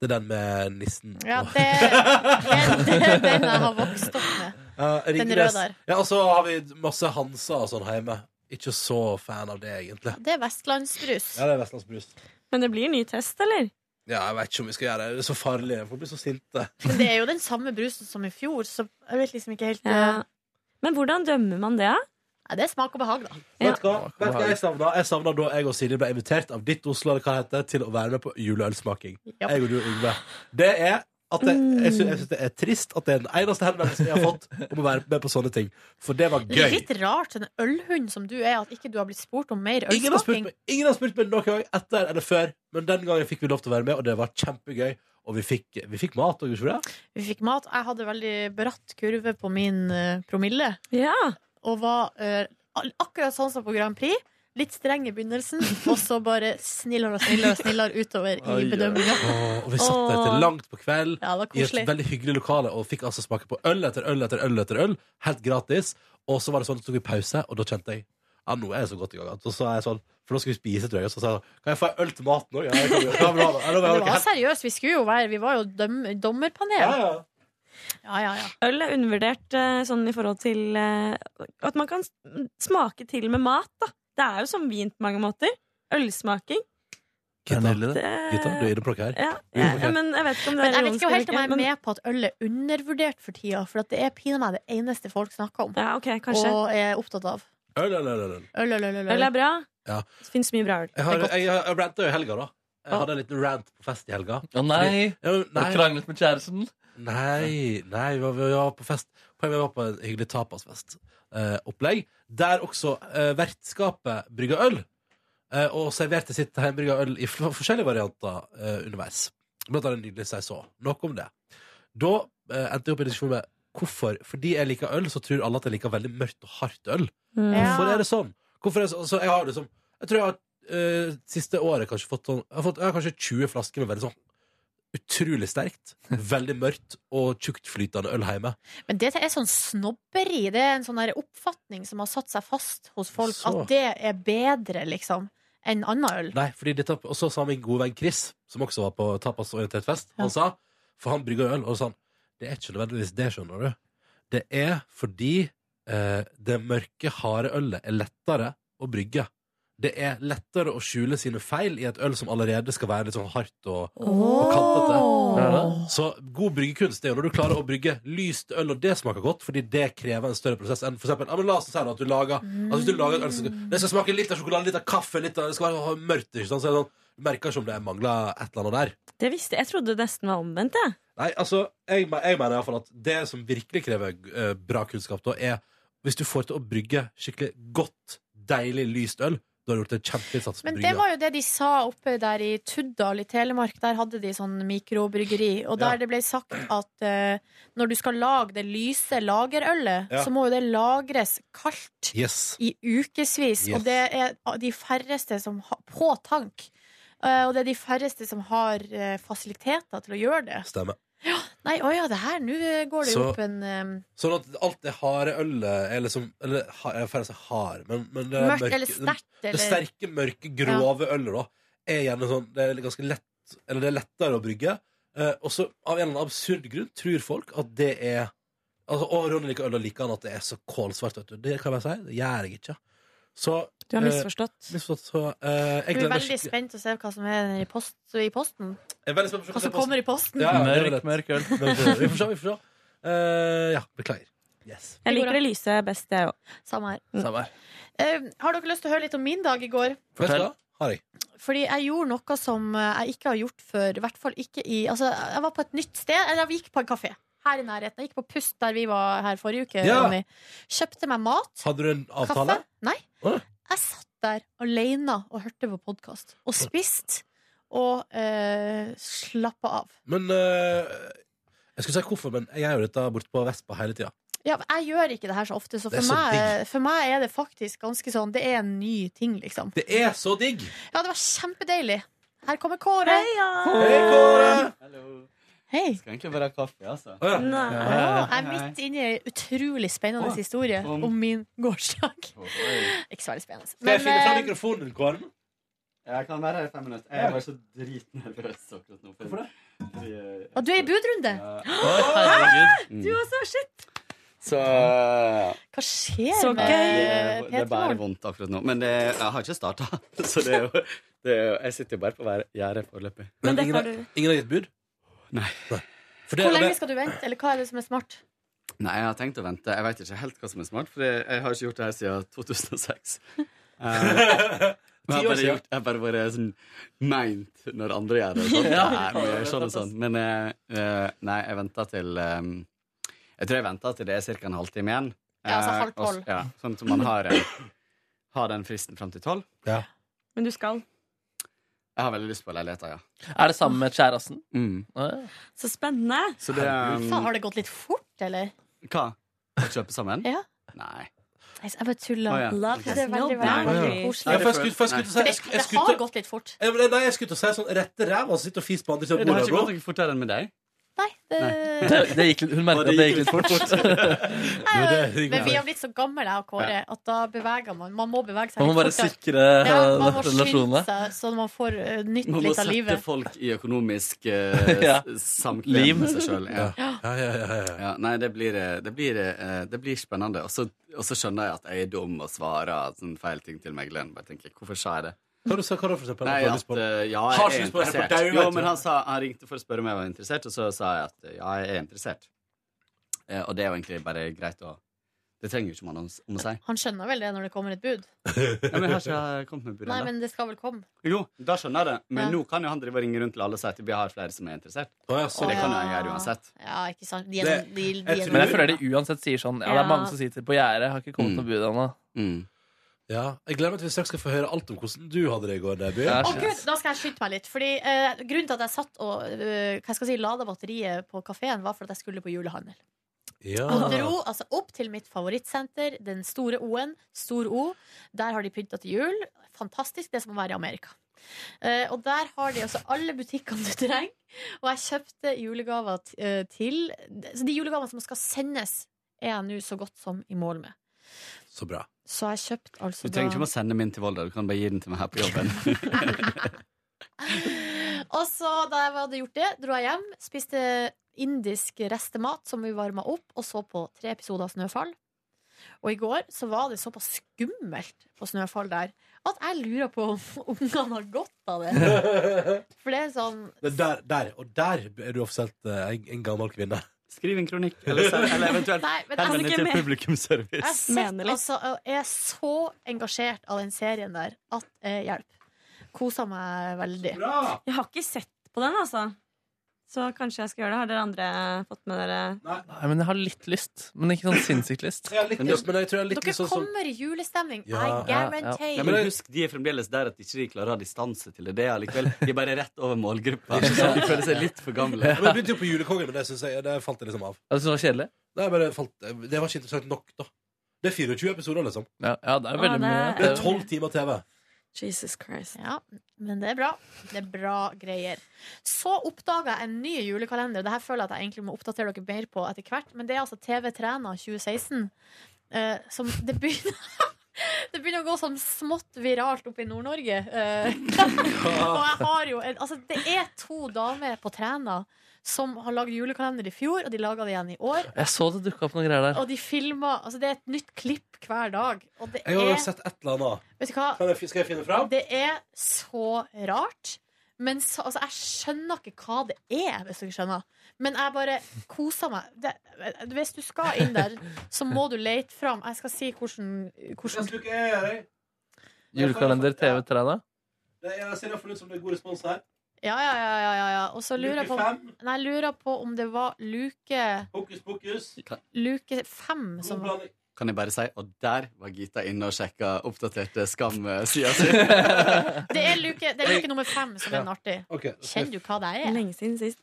Det er den med nissen.
Ja, det er den- den jeg har vokst opp med.
Ja, Ringnes.
røde der.
Ja, og så har vi masse Hansa og sånn hjemme. Ikke så fan av det, egentlig.
Det er vestlandsbrus.
Ja, det er vestlandsbrus.
Men det blir ny test, eller?
Ja, jeg vet ikke om vi skal gjøre det. Det er så farlig. Folk blir så sinte.
Men det er jo den samme brusen som i fjor, så jeg vet liksom ikke helt
Ja. Men hvordan dømmer man det? da?
Nei, Det er smak og behag, da.
Ja.
Vet du hva, Vet du hva jeg savna? Jeg savna da jeg og Silje ble invitert av ditt Oslo eller hva det heter, til å være med på juleølsmaking.
Ja. Mm.
Jeg og du, Yngve. Det er at det, jeg sy- jeg syns det er trist at det er den eneste henvendelsen jeg har fått om å være med på sånne ting. For det var
Det er
gøy.
litt rart, en ølhund som du er, at ikke du har blitt spurt om mer
Ingen har spurt
ølsmaking.
meg, ingen har spurt meg noen gang etter eller før, men den gangen fikk vi lov til å være med, og det var kjempegøy. Og vi fikk, vi fikk mat og gjorde det.
Vi fikk mat. Jeg hadde veldig bratt kurve på min eh, promille,
Ja.
og var eh, al- akkurat sånn som på Grand Prix. Litt streng i begynnelsen, og så bare snillere og snillere og snillere utover
Oi,
i
oi.
bedømminga.
Åh, og vi satt der til
Åh.
langt på kveld.
Ja, det var
i et
koselig.
veldig hyggelig lokale og fikk altså smake på øl etter øl etter øl etter øl, helt gratis. Og så var det sånn at så tok vi pause, og da kjente jeg ja, nå er jeg så godt i gang. at- Så sa jeg sånn, for nå skal vi spise, tror jeg. Og så sa jeg kan jeg få en øl til maten òg? Ja, jeg kan jo- ja, bra, da.
Men
Ja, da var jeg
det
nok
var
helt-
seriøst, vi skulle jo være Vi var jo døm,
ja,
dommerpanel.
ja.
Ja, ja, ja.
Øl er undervurdert eh, sånn i forhold til eh, At man kan s- smake til med mat, da. Det er jo som vin på mange måter. Ølsmaking.
Det er nydelig, det.
Det...
Gutta, du er inne på noe her.
Ja,
Jo,
ja,
ok.
ja, men jeg vet ikke om det
Men
er
jeg vet ikke
ironisk eller
helt om jeg er
men-
med på at øl er undervurdert for tida, for at det er pinadø meg det eneste folk snakker om.
Ja, ok, kanskje.
Og er opptatt av.
Øl, øl, øl, øl, øl.
Øl, øl, øl, øl.
Øl er bra.
Ja.
Det fins mye bra øl.
Jeg,
Det
har, Ah.
er godt.
jeg, jeg ranta jo i helga, da. Jeg
Åh.
hadde en liten rant på fest i helga.
Å nei!
Ja,
Har
men
du
nei,
kranglet med kjæresten?
nei, nei vi, var, vi var på fest. Poenget var på en hyggelig tapasfest. Eh, opplegg. Der også eh, vertskapet brygga øl. eh, og serverte sitt hjemmebrygga øl i fl- forskjellige varianter eh, underveis. Blant annet en nydelig saison. Nok om det. Da eh, endte jeg opp i en diskusjon med hvorfor. Fordi jeg liker øl, så tror alle at jeg liker veldig mørkt og hardt øl.
Mm.
Ja.
Hvorfor er det sånn? Hvorfor er det sånn? Så jeg har liksom Jeg tror jeg har eh, siste året kanskje fått sånn jeg har, fått, jeg har kanskje 20 flasker med veldig sånn utrolig sterkt, veldig mørkt og tjuktflytende øl hjemme.
Men det er sånn snobberi. Det er en sånn der oppfatning som har satt seg fast hos folk,
Så.
at det er bedre, liksom, enn annen øl.
Nei, fordi dette, og så sa min gode venn Chris, som også var på tapasorientert fest, han sa For han brygger øl, og så sa han Det er ikke nødvendigvis det, skjønner du. Det er fordi eh, det mørke, harde ølet er lettere å brygge. Det er lettere å skjule sine feil i et øl som allerede skal være litt sånn hardt og
Åh.
kantete.
Er det?
Så god bryggekunst det er jo når du klarer å brygge lyst øl, og det smaker godt, fordi det krever en større prosess enn for eksempel, ja, men la oss si da at du lager altså hvis du lager et øl, så skal, det skal smake litt av sjokolade, litt av kaffe, litt av, det skal være mørkt, ikke sant, så er det sånn, du merker ikke om det mangler et eller annet der.
Det visste jeg. Jeg trodde det nesten var omvendt. Jeg.
Nei, altså, jeg, me- jeg mener i hvert fall at det som virkelig krever eh, bra kunnskap da, er hvis du får til å brygge skikkelig godt, deilig lyst øl, Du har gjort en kjempeinnsats på
Men det
brygga.
var jo det de sa oppe der i Tuddal i Telemark. Der hadde de sånn mikrobryggeri. Og der
Ja.
det ble sagt at eh, når du skal lage det lyse lagerølet,
Ja.
så må jo det lagres kaldt
Yes.
i ukevis.
Yes.
Og det er de færreste som har På tank. Eh, og det er de færreste som har eh, fasiliteter til å gjøre det.
Stemmer.
Nei, å ja, det her, nå går det jo
Så-
opp en eh,
Sånn at alt det harde ølet er liksom Eller ha- jeg er ferdig å si hard, men, men det er
mørkt
mørke-
eller sterkt
Det,
eller
det sterke, mørke, grove ølet da er gjerne sånn Det er ganske lett Eller det er lettere å brygge. Eh, og så av en eller annen absurd grunn tror folk at det er Altså, Å, Ronny liker øl, og liker han at det er så kålsvart. Vet du. Det kan jeg si. Det gjør jeg ikke. Så
Du har
eh,
misforstått.
misforstått, så, eh, jeg
Du er
gleder meg
veldig
skikkelig-
spent å se hva som er i, post, i posten.
Jeg er veldig spent på å se
Hva som
posten.
kommer i posten.
Ja, ja, det er
Mørk,
lett.
mørk øl.
Men vi får se, vi får se. Vi får se. Eh, ja, beklager. Yes.
Jeg
går
liker det lyse best, jeg òg.
Samme her.
Samme her.
Eh, har dere lyst til å høre litt om min dag i går?
Vet du
Fortell.
hva? Har jeg.
Fordi jeg gjorde noe som eh, jeg ikke har gjort før. I hvert fall ikke i Altså, jeg var på et nytt sted. Eller jeg gikk på en kafé her i nærheten. Jeg gikk på Pust, der vi var her forrige uke.
Ja.
Ronny. Kjøpte meg mat.
Hadde du en avtale?
Kaffe. Nei.
Å.
Jeg satt der alene og hørte på podkast. Og spiste. Og eh, slappa av.
Men eh, Jeg skulle si hvorfor, men jeg gjør jo dette borte på Vespa hele tida.
Ja, men jeg gjør ikke det her så ofte, så
Det er
for,
så
meg, for meg er det faktisk ganske sånn Det er en ny ting, liksom.
Det er så digg!
Ja, det var kjempedeilig. Her kommer Kåre.
Hei, Kåre!
Hei.
Skal egentlig bare ha kaffe, altså.
Å, ja.
Nei.
Ja, jeg er midt inne i en utrolig spennende
Å,
historie
om-
om min gårsdag.
Oi.
Ikke så veldig spennende.
Skal jeg finne fram
eh,
mikrofonen, Kåren?
Jeg kan være her i fem minutter. Jeg var så dritnervøs akkurat nå. eh, Hvorfor det?
og du er i budrunde!
Herregud.
Du også? Shit! Så ja.
Hva skjer
Så
Nei,
med
det, det er bare
P3-morgen?
vondt akkurat nå. Men det, jeg har ikke starta. Så det er jo, det er jo Jeg sitter jo bare på hver- gjerdet foreløpig.
Men det
ingen,
får
har- ingen har gitt bud?
Nei.
For det,
Hvor
og
lenge
det,
skal du vente, eller hva er det som er smart?
Nei, jeg har tenkt å vente. Jeg veit ikke helt hva som er smart, for jeg, jeg har ikke gjort det her siden 2006. Eh, men jeg har
Ti år
bare,
siden.
gjort, jeg har bare vært sånn meint når andre gjør det. Sånn. Nei, må jeg gjøre sånn og sånn. Men eh, eh, nei, jeg venta til eh, Jeg tror jeg venta til det er ca. en halvtime igjen.
Ja, altså
Eh,
halv
og s-
tolv.
Ja, sånn som man har, eh, har den fristen fram til tolv.
Men du skal.
Jeg har veldig lyst på leiligheta, ja.
Er det sammen med kjæresten?
Mm.
Å, ja.
Så spennende!
Så det eh,
Faen, har det gått litt fort, eller?
Hva? Å kjøpe sammen?
Ja.
Nei.
Nei, så jeg bare
Å,
tuller.
ja.
Love
Det er
has no
veldig, veldig, veldig
boundaries.
Nei,
koselig.
for jeg skulle- for jeg skulle til å si-
Det,
jeg skulle- jeg
det
skulle
har
til-
gått litt fort.
jeg- Nei, jeg skulle til å si sånn rette ræva og sitte og fise på andre siden
Det
av
har
bordet.
ikke gått
bro.
noe fortere enn med deg.
Nei, det...
Det, det gikk, litt- hun
Og
merket
det
at det gikk
gikk
litt fort.
Men vi har blitt så gamle, jeg og Kåre, at da beveger man Man må bevege seg
Man må
litt
bare
fortere.
sikre eh,
Ja, man må skynde
relasjonene.
seg, så man får eh, nytt
Man må
litt av
sette
livet.
folk i økonomisk eh,
Ja.
s- samkvem
Liv.
med seg sjøl. Ja.
Ja, ja, ja, ja, ja.
Ja, nei, det blir, eh, det blir, eh, det blir spennende. Og så, og så skjønner jeg at jeg er dum og svarer sånn feil ting til megleren. Bare tenker, Hvorfor sa jeg det?
Hva du sa hva da, for eksempel?
Nei,
Har du lyst
at,
på det?
eh, ja,
Har
jeg
ikke
er
lyst på det, for
interessert.
det er jo
jo,
vet du.
men han, sa, han ringte for å spørre om jeg var interessert, og så sa jeg at eh, ja, jeg er interessert. Eh, og det er jo egentlig bare greit å Det trenger jo ikke man om, om å si.
Han skjønner vel det når det kommer et bud?
Ja, men jeg har ikke kommet med bud
Nei,
ennå.
men det skal vel komme.
Jo, da skjønner jeg det. Men
Ja.
nå kan jo han drive og ringe rundt til alle og si at vi har flere som er interessert.
Å, ja, så-
Så det
Å,
kan
ja.
jeg gjøre uansett.
Ja, ikke sant? De er, sånn-
Det-
de, de
jeg
er
tror-
Men jeg føler de uansett sier sånn Ja, det er mange som sitter på gjerdet, har ikke kommet noe bud ennå.
Mm.
Ja. Jeg gleder meg til vi straks skal få høre alt om hvordan du hadde det i går, Neby.
Ja.
Å Gud, Da skal jeg skynde meg litt. Fordi eh, Grunnen til at jeg satt og eh, hva skal jeg si, lada batteriet på kafeen, var for at jeg skulle på julehandel.
Ah.
Og dro
Ja.
altså, opp til mitt favorittsenter, den store O-en, Stor O. Der har de pynta til jul. Fantastisk. Det er som å være i Amerika. Eh, og der har de altså alle butikkene du trenger. Og jeg kjøpte julegaver t eh, til Så de julegavene som skal sendes, er jeg nå så godt som i mål med.
Så bra.
Så jeg kjøpte
Du
altså
trenger
da-
ikke å sende min til Volda, du kan bare gi den til meg her på jobben.
Og så da jeg hadde gjort det, dro jeg hjem, spiste indisk restemat som vi varma opp, og så på tre episoder av Snøfall. Og i går så var det såpass skummelt på Snøfall der at jeg lurer på om ungene har godt av det. For det er sånn
Det er der, der, og der er du offisielt eh, en, en gammel kvinne.
Skriv en kronikk, eller, send- eller eventuelt
Nei, men jeg,
Helvete.
henvend
ikke
deg til
med.
publikumsservice.
jeg, satt,
Mener litt.
altså, og er så engasjert av den serien der at eh, hjelp. Kosa meg veldig.
Jeg har ikke sett på den, altså. Så kanskje jeg skal gjøre det. Har dere andre fått med dere
Nei, men jeg har litt lyst. Men ikke sånn sinnssykt lyst.
Jeg har litt sånn lyst, men jeg tror jeg har
Dere kommer i julestemning. I guarantee.
sånn Ja, men husk, de er fremdeles der at ikke de klarer å ha distanse til det. Det er allikevel, De er bare rett over målgruppa.
Ikke sant?
De føler seg litt for gamle.
Men jeg begynte jo på Julekongen, men det synes jeg Det falt jeg liksom av.
Altså, det var kjedelig?
Nei, men det, falt, det var ikke interessant nok, da. Det er 24 episoder, liksom.
Ja, det
er veldig Ja, det- mye.
Det er 12 timer TV.
Jesus Christ.
Ja, men det er bra. Det er bra greier. Så oppdaga jeg en ny julekalender, og det her føler jeg at jeg egentlig må oppdatere dere mer på etter hvert, men det er altså TV Træna 2016. eh, som det begynner Det begynner å gå sånn smått viralt oppe i Nord-Norge. eh. og jeg har jo en, Altså, det er to damer på Træna som har lagd julekalender i fjor, og de laga det igjen i år.
Jeg så det dukka opp noen greier der.
Og de filmer Altså, det er et nytt klipp hver dag. Og det
Jeg har
er
jo sett et eller annet.
Vet du hva?
Kan jeg, skal jeg finne fram?
Det er så rart. Men så, altså, jeg skjønner ikke hva det er, hvis dere skjønner. Men jeg bare koser meg. Det, hvis du skal inn der, så må du lete fram Jeg skal si hvordan, hvordan
Julekalender TV Træna.
Det er, ser iallfall ut som det er god respons her.
Ja, ja, ja. ja, ja, ja. Og så lurer jeg på,
Luke fem?
nei, jeg lurer på om det var luke
Hokus pokus.
Kan,
Luke fem som var
kan jeg bare si Og der var Gita inne og sjekka oppdaterte Skam-sida si.
Det er luke, det er luke nummer fem som er den artig.
Ok,
Kjenner du hva det er?
Lenge siden sist.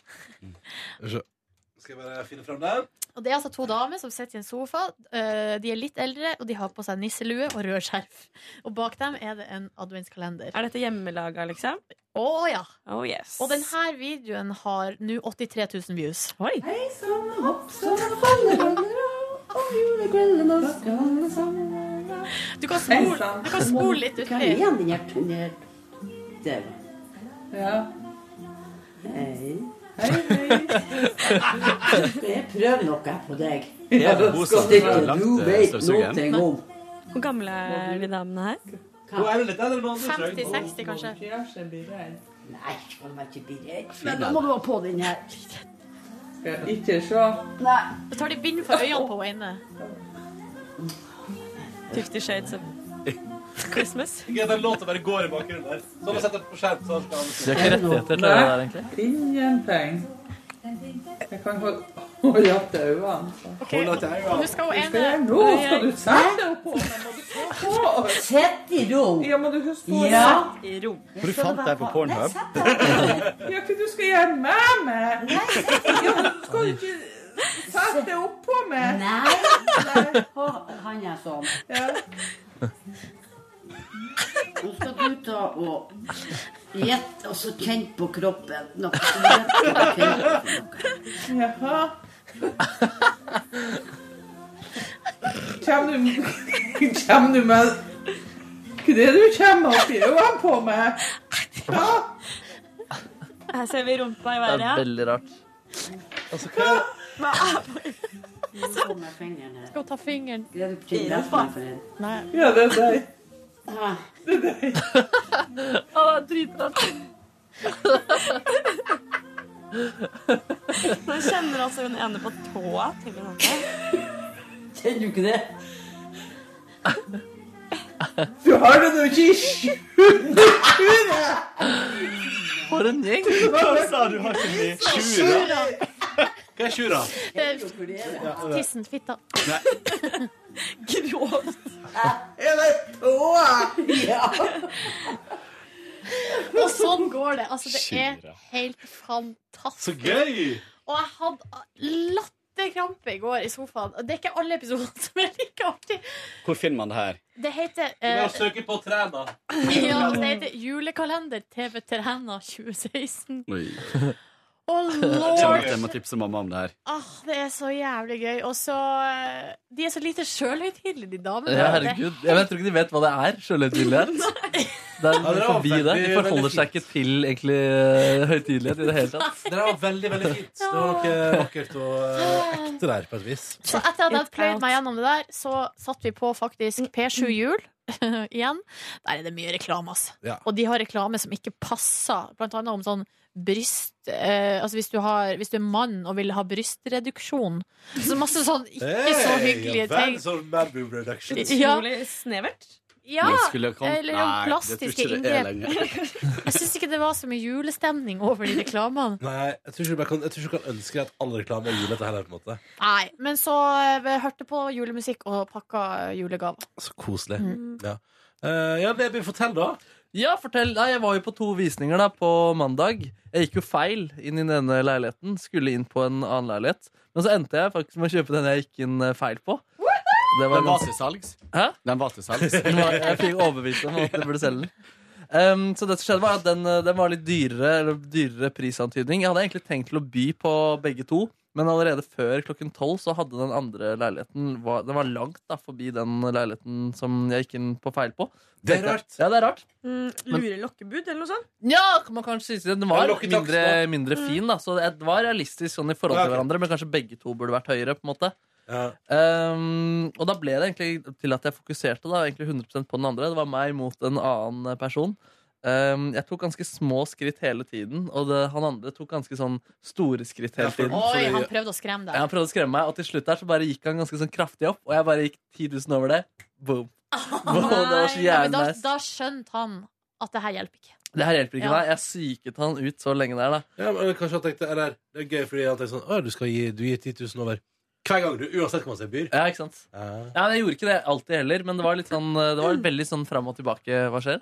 Skal jeg bare finne fram den?
Og det er altså to damer som sitter i en sofa. Eh, De er litt eldre, og de har på seg nisselue og rød skjerf. Og bak dem er det en adventskalender.
Er dette hjemmelaga, liksom?
Å ja.
Oh yes.
Og denne videoen har nå 83 000 views.
Oi.
Hei sann, hopp sann, alle ganger og julekvelden og skålene sammen.
Du kan spole, du kan spole litt uti.
Hei. Hei, hei. Jeg prøver noe på deg.
Ja,
Jeg
hun satt
skal ikke
langt,
du
eh,
vet
støvsugeren.
noe om.
Hvor gamle er de damene her?
Hun
er litt eldre enn
andre, tror jeg.
50-60, kanskje.
Nei, skal man ikke bli redd.
Fin,
Men
da.
nå må du ha på den her. Ikke se. Nei.
Så tar de bind for øynene på henne ene.
Fifty Shades of Christmas.
Den låta bare går i bakgrunnen der. Så har vi sett det på skjerm. Så skal
De har ikke rettigheter til det der, egentlig.
Ingenting. Jeg kan hol- holde opp til øynene.
Holde opp til øynene. nå skal hun ene-
Nå skal du sette deg opp på meg. Sett i ro. Ja, må du huske på ja.
Sett i rom.
Hvor du fant deg på Pornhub?
Ja, hva du skal gjøre med meg? Ja, men skal du ikke sette det opp på meg?
Nei. Å, Han er sånn. Nå skal du ta og gjette og så kjenne på kroppen. Noe som gjette og kjenne på kroppen.
Jaha. Kjem du, kjem du med Hva er det du kommer opp i øynene på meg? Ja,
Her ser vi rumpa i
Det er
været.
veldig rart.
Altså,
Hva
Nå kommer fingeren her.
Skal hun ta fingeren?
Hva er det du kjenner best med for en?
Nei.
ja det er deg.
Ah,
Å, dritrart. Nå kjenner altså hun ene på tåa til hun andre.
Kjenner du ikke det?
Du har det nå ikke i skjulet!
For en gjeng!
Hva sa du? Har ikke det
Hva er tjura?
Det er tissen, fitta.
Grovt.
Er det tåa?
Ja.
Og sånn går det. Altså, det er helt fantastisk.
Så gøy!
Og jeg hadde latterkrampe i går i sofaen. Og Det er ikke alle episodene som er like artig.
Hvor finner man det her?
Det heter
Du
eh,
må søke på Træna.
Ja, det heter Julekalender TV Træna 2016.
Oi.
Å,
Kjenner at jeg
lord!
må tipse mamma om det her.
Ah, det er så jævlig gøy. Og så eh, De er så lite sjølhøytidelige, de damene.
Ja, herregud. Jeg vet- tror ikke de vet hva det er, sjølhøytidelighet. Det er
Ja, det er
forbi
veldig-
det. De forholder
veldig
seg ikke til egentlig eh, høytidelighet i det hele tatt.
Det var veldig, veldig fint. Det var noe vakkert og eh, ekte der, på et vis.
Så etter at jeg hadde pløyd meg gjennom det der, så satt vi på faktisk P7 Jul igjen. Der er det mye reklame, altså.
Ja.
Og de har reklame som ikke passer, blant annet om sånn bryst eh, Altså hvis du, har, hvis du er mann og vil ha brystreduksjon. Så masse sånn ikke så hyggelige
Hey,
ting.
Veldig sånn man boob reduction.
Ja.
Utrolig snevert.
Ja,
Men skulle det kommet-
eller om
Nei, det tror
plastiske
ikke det er
inngrep.
lenger.
Jeg syns ikke det var så mye julestemning over de reklamene.
Nei, jeg tror ikke du bare kan, jeg tror ikke du kan ønske deg at all reklame er julete heller. på en måte
Nei, men så eh, hørte på julemusikk og pakka julegaver.
Så koselig.
Mm.
Ja. Eh, ja, Neby, fortell, da.
Ja, fortell. Nei, jeg var jo på to visninger da på mandag. Jeg gikk jo feil inn i den ene leiligheten. Skulle inn på en annen leilighet. Men så endte jeg faktisk med å kjøpe den jeg gikk inn eh, feil på.
Den var
ganske-
til salgs?
Hæ?
Den var til salgs.
Den var- jeg fikk overbevist dem om at jeg burde selge den. Um, så det som skjedde var at den, eh, den var litt dyrere, eller dyrere prisantydning. Jeg hadde egentlig tenkt til å by på begge to, men allerede før klokken tolv så hadde den andre leiligheten var, Den var langt da, forbi den leiligheten som jeg gikk inn på feil på.
Det er
Tenkte jeg-
rart.
Ja, det er rart.
Mm, lure lokkebud, eller noe sånt?
Ja, man kan kanskje si det. Den var mindre, mindre fin, da. Så det var realistisk sånn i forhold
Ja,
til
ok.
hverandre, men kanskje begge to burde vært høyere. på en måte Ehm, Og da ble det egentlig til at jeg fokuserte da egentlig 100 på den andre. Det var meg mot en annen person. Ehm, jeg tok ganske små skritt hele tiden, og det, han andre tok ganske sånn store skritt hele
Mm,
tiden.
Oi,
Fordi-
han prøvde å skremme
ja, han
deg.
prøvde å skremme meg, og til slutt der så bare gikk han ganske sånn kraftig opp, og jeg bare gikk 10 000 over det. Boom. Boom, det var så
Ja,
jævlig
men da,
nice.
da skjønte han at det her hjelper ikke.
Det her hjelper ikke,
Ja.
nei. Jeg psyket han ut så lenge der, da.
Ja, men kanskje han tenkte eller, Det er gøy fordi han tenkte sånn Å, du skal gi, du gir 10 000 over Hver gang du, uansett hva man ser byr
Ja, ikke sant Ja, men Jeg gjorde ikke det alltid heller, men det var litt sånn Det
Mm.
var veldig sånn fram og tilbake. Hva skjer?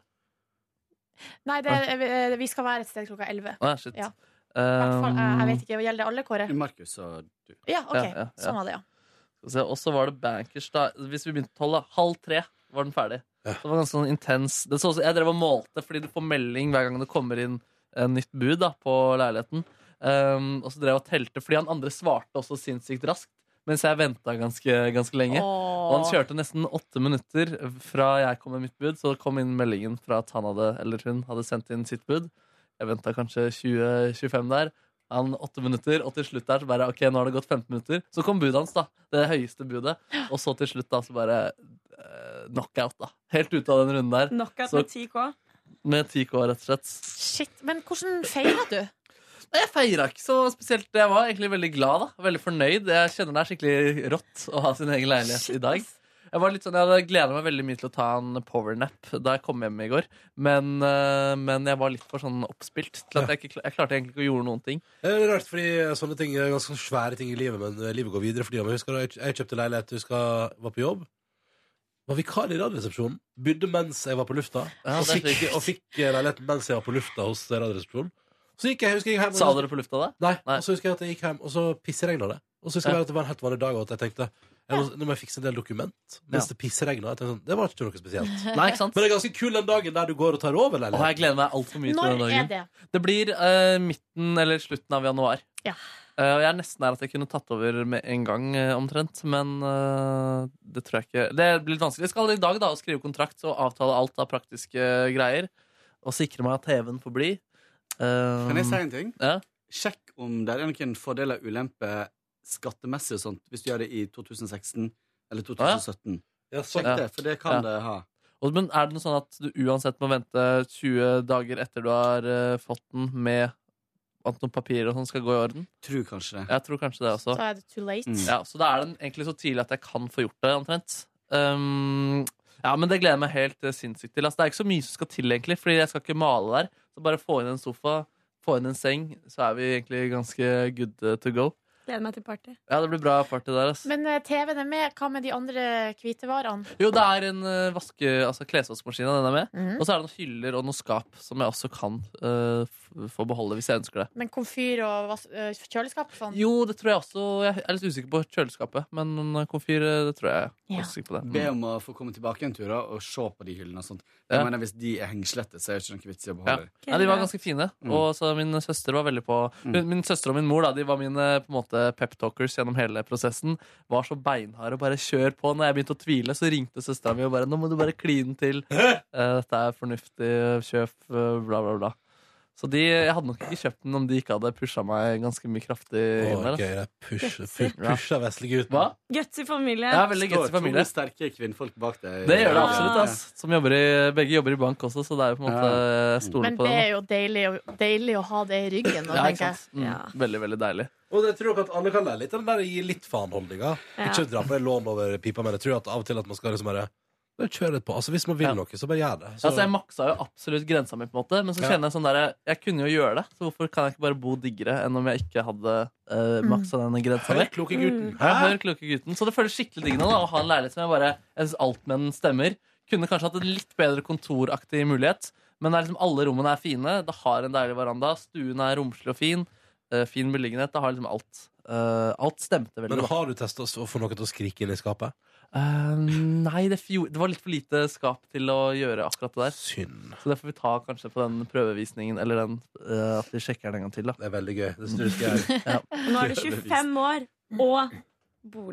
Nei, det, eh, vi skal være et sted klokka elleve.
Å, ja, shit.
Ja.
Um,
Faen, eh, Jeg jeg vet ikke, gjelder det alle, Kåre?
Markus og du.
Ja, ok. Sånn var det, ja.
Skal vi se, Og så var det bankers, da. Hvis vi begynte tolv, da. Halv tre var den ferdig. Det var ganske sånn intens. Det så, også- jeg drev og målte, fordi du får melding hver gang det kommer inn eh, nytt bud da, på leiligheten. Um, og så drev jeg og telte, fordi han andre svarte også sinnssykt raskt. Mens jeg venta ganske, ganske lenge.
Åh.
Og han kjørte nesten åtte minutter fra jeg kom med mitt bud. Så kom inn meldingen fra at han hadde, eller hun hadde sendt inn sitt bud. Jeg venta kanskje 20-25 der. Han åtte minutter, og til slutt der så bare Ok, nå har det gått 15 minutter. Så kom budet hans, da. Det høyeste budet. Og så til slutt, da, så bare eh, knockout, da. Helt ute av den runden der.
Knockout
Så-
med 10K.
med 10K, rett og slett.
Shit, Men hvordan feirer du?
Nei, Jeg feira ikke så spesielt. Jeg var egentlig veldig glad. da Veldig fornøyd. Jeg kjenner det er skikkelig rått å ha sin egen leilighet i dag. Jeg var litt sånn, jeg hadde gleda meg veldig mye til å ta en powernap da jeg kom hjem i går. Men, eh, men jeg var litt for sånn oppspilt til at jeg, ikke, kla- jeg klarte egentlig ikke å gjøre noen ting.
Eh, Det er rart fordi sånne ting er ganske sånn svære ting i livet Men eh, livet går videre for tiden. Men husker du, jeg, jeg kjøpte leilighet, husker jeg var på jobb Var vikar i radioresepsjonen Bydde mens jeg var på lufta og,
det er
fikk,
sjukt.
og fikk eh, leiligheten mens jeg var på lufta hos eh, radioresepsjonen Så gikk jeg, husker jeg hjem og-
Sa dere på lufta da?
Nei, og så husker jeg at jeg gikk hjem, og så pisseregna det. Og så husker jeg bare at det var en helt vanlig dag, og at jeg tenkte jeg må, nå må jeg fikse en del dokument mens det pisseregna. Jeg tenkte Sånn, det var ikke noe spesielt.
Nei, ikke sant?
Men det er ganske kul den dagen der du går og tar over
Og
leiligheten.
jeg gleder meg altfor mye
Når
til den
er
dagen.
det?
blir eh, midten eller slutten av januar.
Ja.
Eh, og jeg er nesten her at jeg kunne tatt over med en gang, eh, omtrent. Men eh, det tror jeg ikke Det blir litt vanskelig. Jeg skal i dag da og skrive kontrakt og avtale alt av praktiske greier. Og sikre meg at TV-en får bli. Eh,
Kan jeg si en ting?
Ja.
Sjekk om det er noen fordeler og ulemper skattemessig og sånt, hvis du gjør det i 2016 eller 2017.
Ja, sånn.
Sjekk det, for det kan
Ja.
det ha.
Og, men er det noe sånn at du uansett må vente 20 dager etter du har eh, fått den, med at noen papirer og sånn skal gå i orden?
Tror kanskje det.
Jeg tror kanskje det også.
Da er det too late.
Mm. Ja, så da er den egentlig så tidlig at jeg kan få gjort det, omtrent. Um, ja, men det gleder jeg meg helt eh, sinnssykt til. Altså, det er ikke så mye som skal til, egentlig, fordi jeg skal ikke male der. Så bare få inn en sofa, få inn en seng, så er vi egentlig ganske good eh, to go.
Gleder meg til party.
Ja, det blir bra party der, altså. ass.
Men eh, TV-en er med. Hva med de andre hvite varene?
Jo, det er en eh, vaske, altså klesvaskmaskin, den er med.
Mhm.
Og så er det noen hyller og noen skap som jeg også kan eh, f- få beholde hvis jeg ønsker det.
Men komfyr og vas- eh, kjøleskap? og Sånn.
Jo, det tror jeg også. Jeg er litt usikker på kjøleskapet, men eh, komfyr, eh, det tror jeg. jeg er også sikker på det.
Be om å få komme tilbake en tur da, og se på de hyllene og sånt. Jeg
Ja.
mener, Hvis de er hengslette, så er det ikke noe vits i å
Ja.
beholde
ja, De var ganske fine. Og så min søster var veldig på Hun- Min søster og min mor da, de var mine på en måte peptalkers gjennom hele prosessen. Var så beinharde og bare kjør på. Når jeg begynte å tvile, så ringte søstera mi og bare 'Nå må du bare kline til. Eh, Dette er fornuftig kjøp, eh, bla, bla, bla'. Så de, jeg hadde nok ikke kjøpt den om de ikke hadde pusha meg ganske mye kraftig inn der.
Å, gøy,
altså.
det pusher, pu- pusher vesle gutten.
Hva?
Gutsy familie.
Ja, veldig gutsy familie.
To sterke kvinnfolk bak deg.
Det gjør det absolutt. ass. Som jobber i, begge jobber i bank også, så det er jo på en måte jeg stoler
Men
på
det er
dem.
jo deilig, å- deilig å ha det i ryggen.
Ja,
Da,
ikke
tenker jeg.
sant? Mm, veldig, veldig deilig.
Og jeg tror nok at alle kan lære litt av den der gi litt faen-holdninga.
Ja.
Ikke dra på det lån over pipa, men jeg tror at av og til at man skal liksom bare bare kjør litt på. Altså, hvis man vil noe, så bare gjør det. Så,
Altså, jeg maksa jo absolutt grensa mi, på en måte men så
Ja.
kjenner jeg sånn der Jeg kunne jo gjøre det, så hvorfor kan jeg ikke bare bo diggere enn om jeg ikke hadde eh, maksa denne grensa mi?
Hør kloke gutten.
Ja,
Hæ?
hør kloke gutten. Så det føles skikkelig diggende da, å ha en leilighet som jeg bare Jeg syns altmenn stemmer. Kunne kanskje hatt en litt bedre kontoraktig mulighet, men det er liksom alle rommene er fine. Det har en deilig veranda, stuen er romslig og fin, eh, fin beliggenhet. Det har liksom alt. Eh, alt stemte veldig
Men
bra.
har du testa å få noe til å skrike inn i skapet?
Eh, nei, det, fjo- det var litt for lite skap til å gjøre akkurat det der.
Synd.
Så det får vi ta kanskje på den prøvevisningen, eller den, eh, at vi sjekker den en gang til. Da.
Det er veldig gøy. Det synes jeg.
ja.
Nå er du 25 år og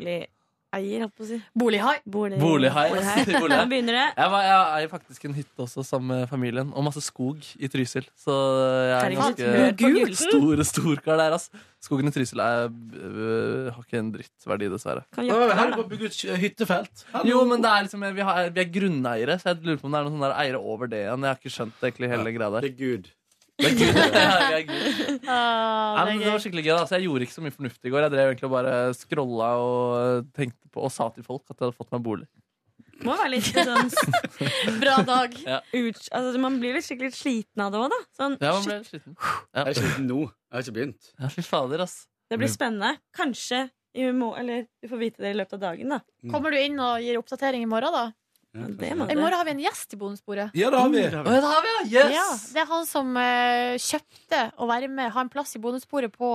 boligeier, holdt på å si.
Bolighai.
Eh,
Bolighai. Bolighai.
Nå begynner det.
Jeg, var, jeg eier faktisk en hytte også sammen med familien, og masse skog i Trysil. Så jeg er
Herregud,
ganske
du gutten!
stor storkar der, ass. Skogen i Trysil er, øh, har ikke en drittverdi, dessverre.
Kan
Å, her er det bare å bygge ut hyttefelt. Hallo.
Jo, men det er liksom, vi, har, vi er grunneiere, så jeg lurer på om det er noen sånne der eiere over det igjen. Jeg har ikke skjønt egentlig hele greia der.
Det er
Det er
Gud.
Gud. ja, vi er Gud.
Ah,
Nei, men
det
det
er
var
gøy.
skikkelig gøy da, så Jeg gjorde ikke så mye fornuftig i går. Jeg drev egentlig og bare scrolla og øh, tenkte på og sa til folk at jeg hadde fått meg bolig.
Må være litt sånn
Bra dag.
Ja.
Ut, altså, man blir litt skikkelig sliten av det òg, da. Sånn,
Ja, man ble
shit,
sliten.
Jeg er sliten nå. Jeg har ikke begynt.
Ja, fy fader, ass.
det blir spennende. Kanskje i morgen, eller du får vite det i løpet av dagen, da.
Kommer du inn og gir oppdatering i morgen, da?
Det må
I
du.
morgen har vi en gjest i bonusbordet.
Ja, det har vi.
Mm,
Å, ja, det har vi, ja! Yes!
Ja, det er han som eh, kjøpte å være med, ha en plass i bonusbordet på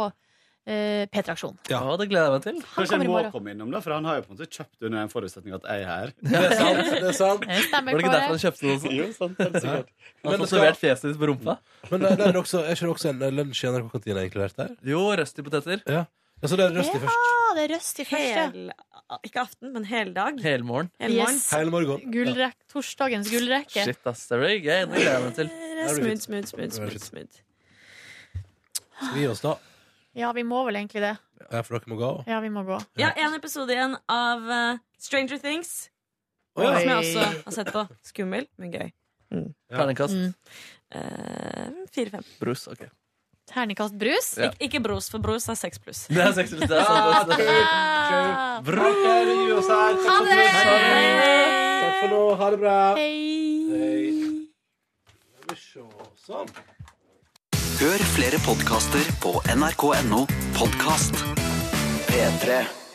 eh, P3 Aksjon.
Ja.
det gleder jeg meg til.
Kanskje
kommer i
jeg må
morgen.
komme innom, da, for han har jo på en måte kjøpt under en forutsetning at jeg er her.
Det er sant. Det er sant.
Jeg Eh,
Var det
stemmer på
ikke
det.
derfor han kjøpte den også?
Jo, sant, helt sikkert.
Han har
Men det
fått
skal-
servert fjeset ditt på rumpa?
Men det, det er, også, er ikke det også en eh, lunsj i NRK-kantina inkludert der?
Jo, røstipoteter.
Ja. Altså, det er røst i først.
Ja, Ah, det er røst i første.
Hel, ikke aften, men hele dag.
Helmorgen.
Hele morgen.
Yes.
Hele morgen.
Gullrekk, torsdagens gullrekke.
Shit, ass. Det blir gøy. Det gleder jeg meg til.
Eh, Smooth, smooth, smooth, smooth, smooth.
Skal vi gi oss, da?
Ja, vi må vel egentlig det.
Ja, for dere må gå.
Ja, vi må gå.
Ja, en episode igjen av eh, Stranger Things.
Å, ja.
Som jeg også har sett på. Skummel, men gøy.
Terningkast.
Mm.
Eh, Fire-fem.
Brus. Ok.
Terningkast brus.
Ja.
Ik ikke bros, for bros er seks pluss.
Det er seks pluss. Det er sånn sant. det er sant.
Ah,
Brus.
ha det!
Takk for nå. Ha det bra.
Hei!
Sånn.
Hør flere podkaster på nrk.no podkast. P3.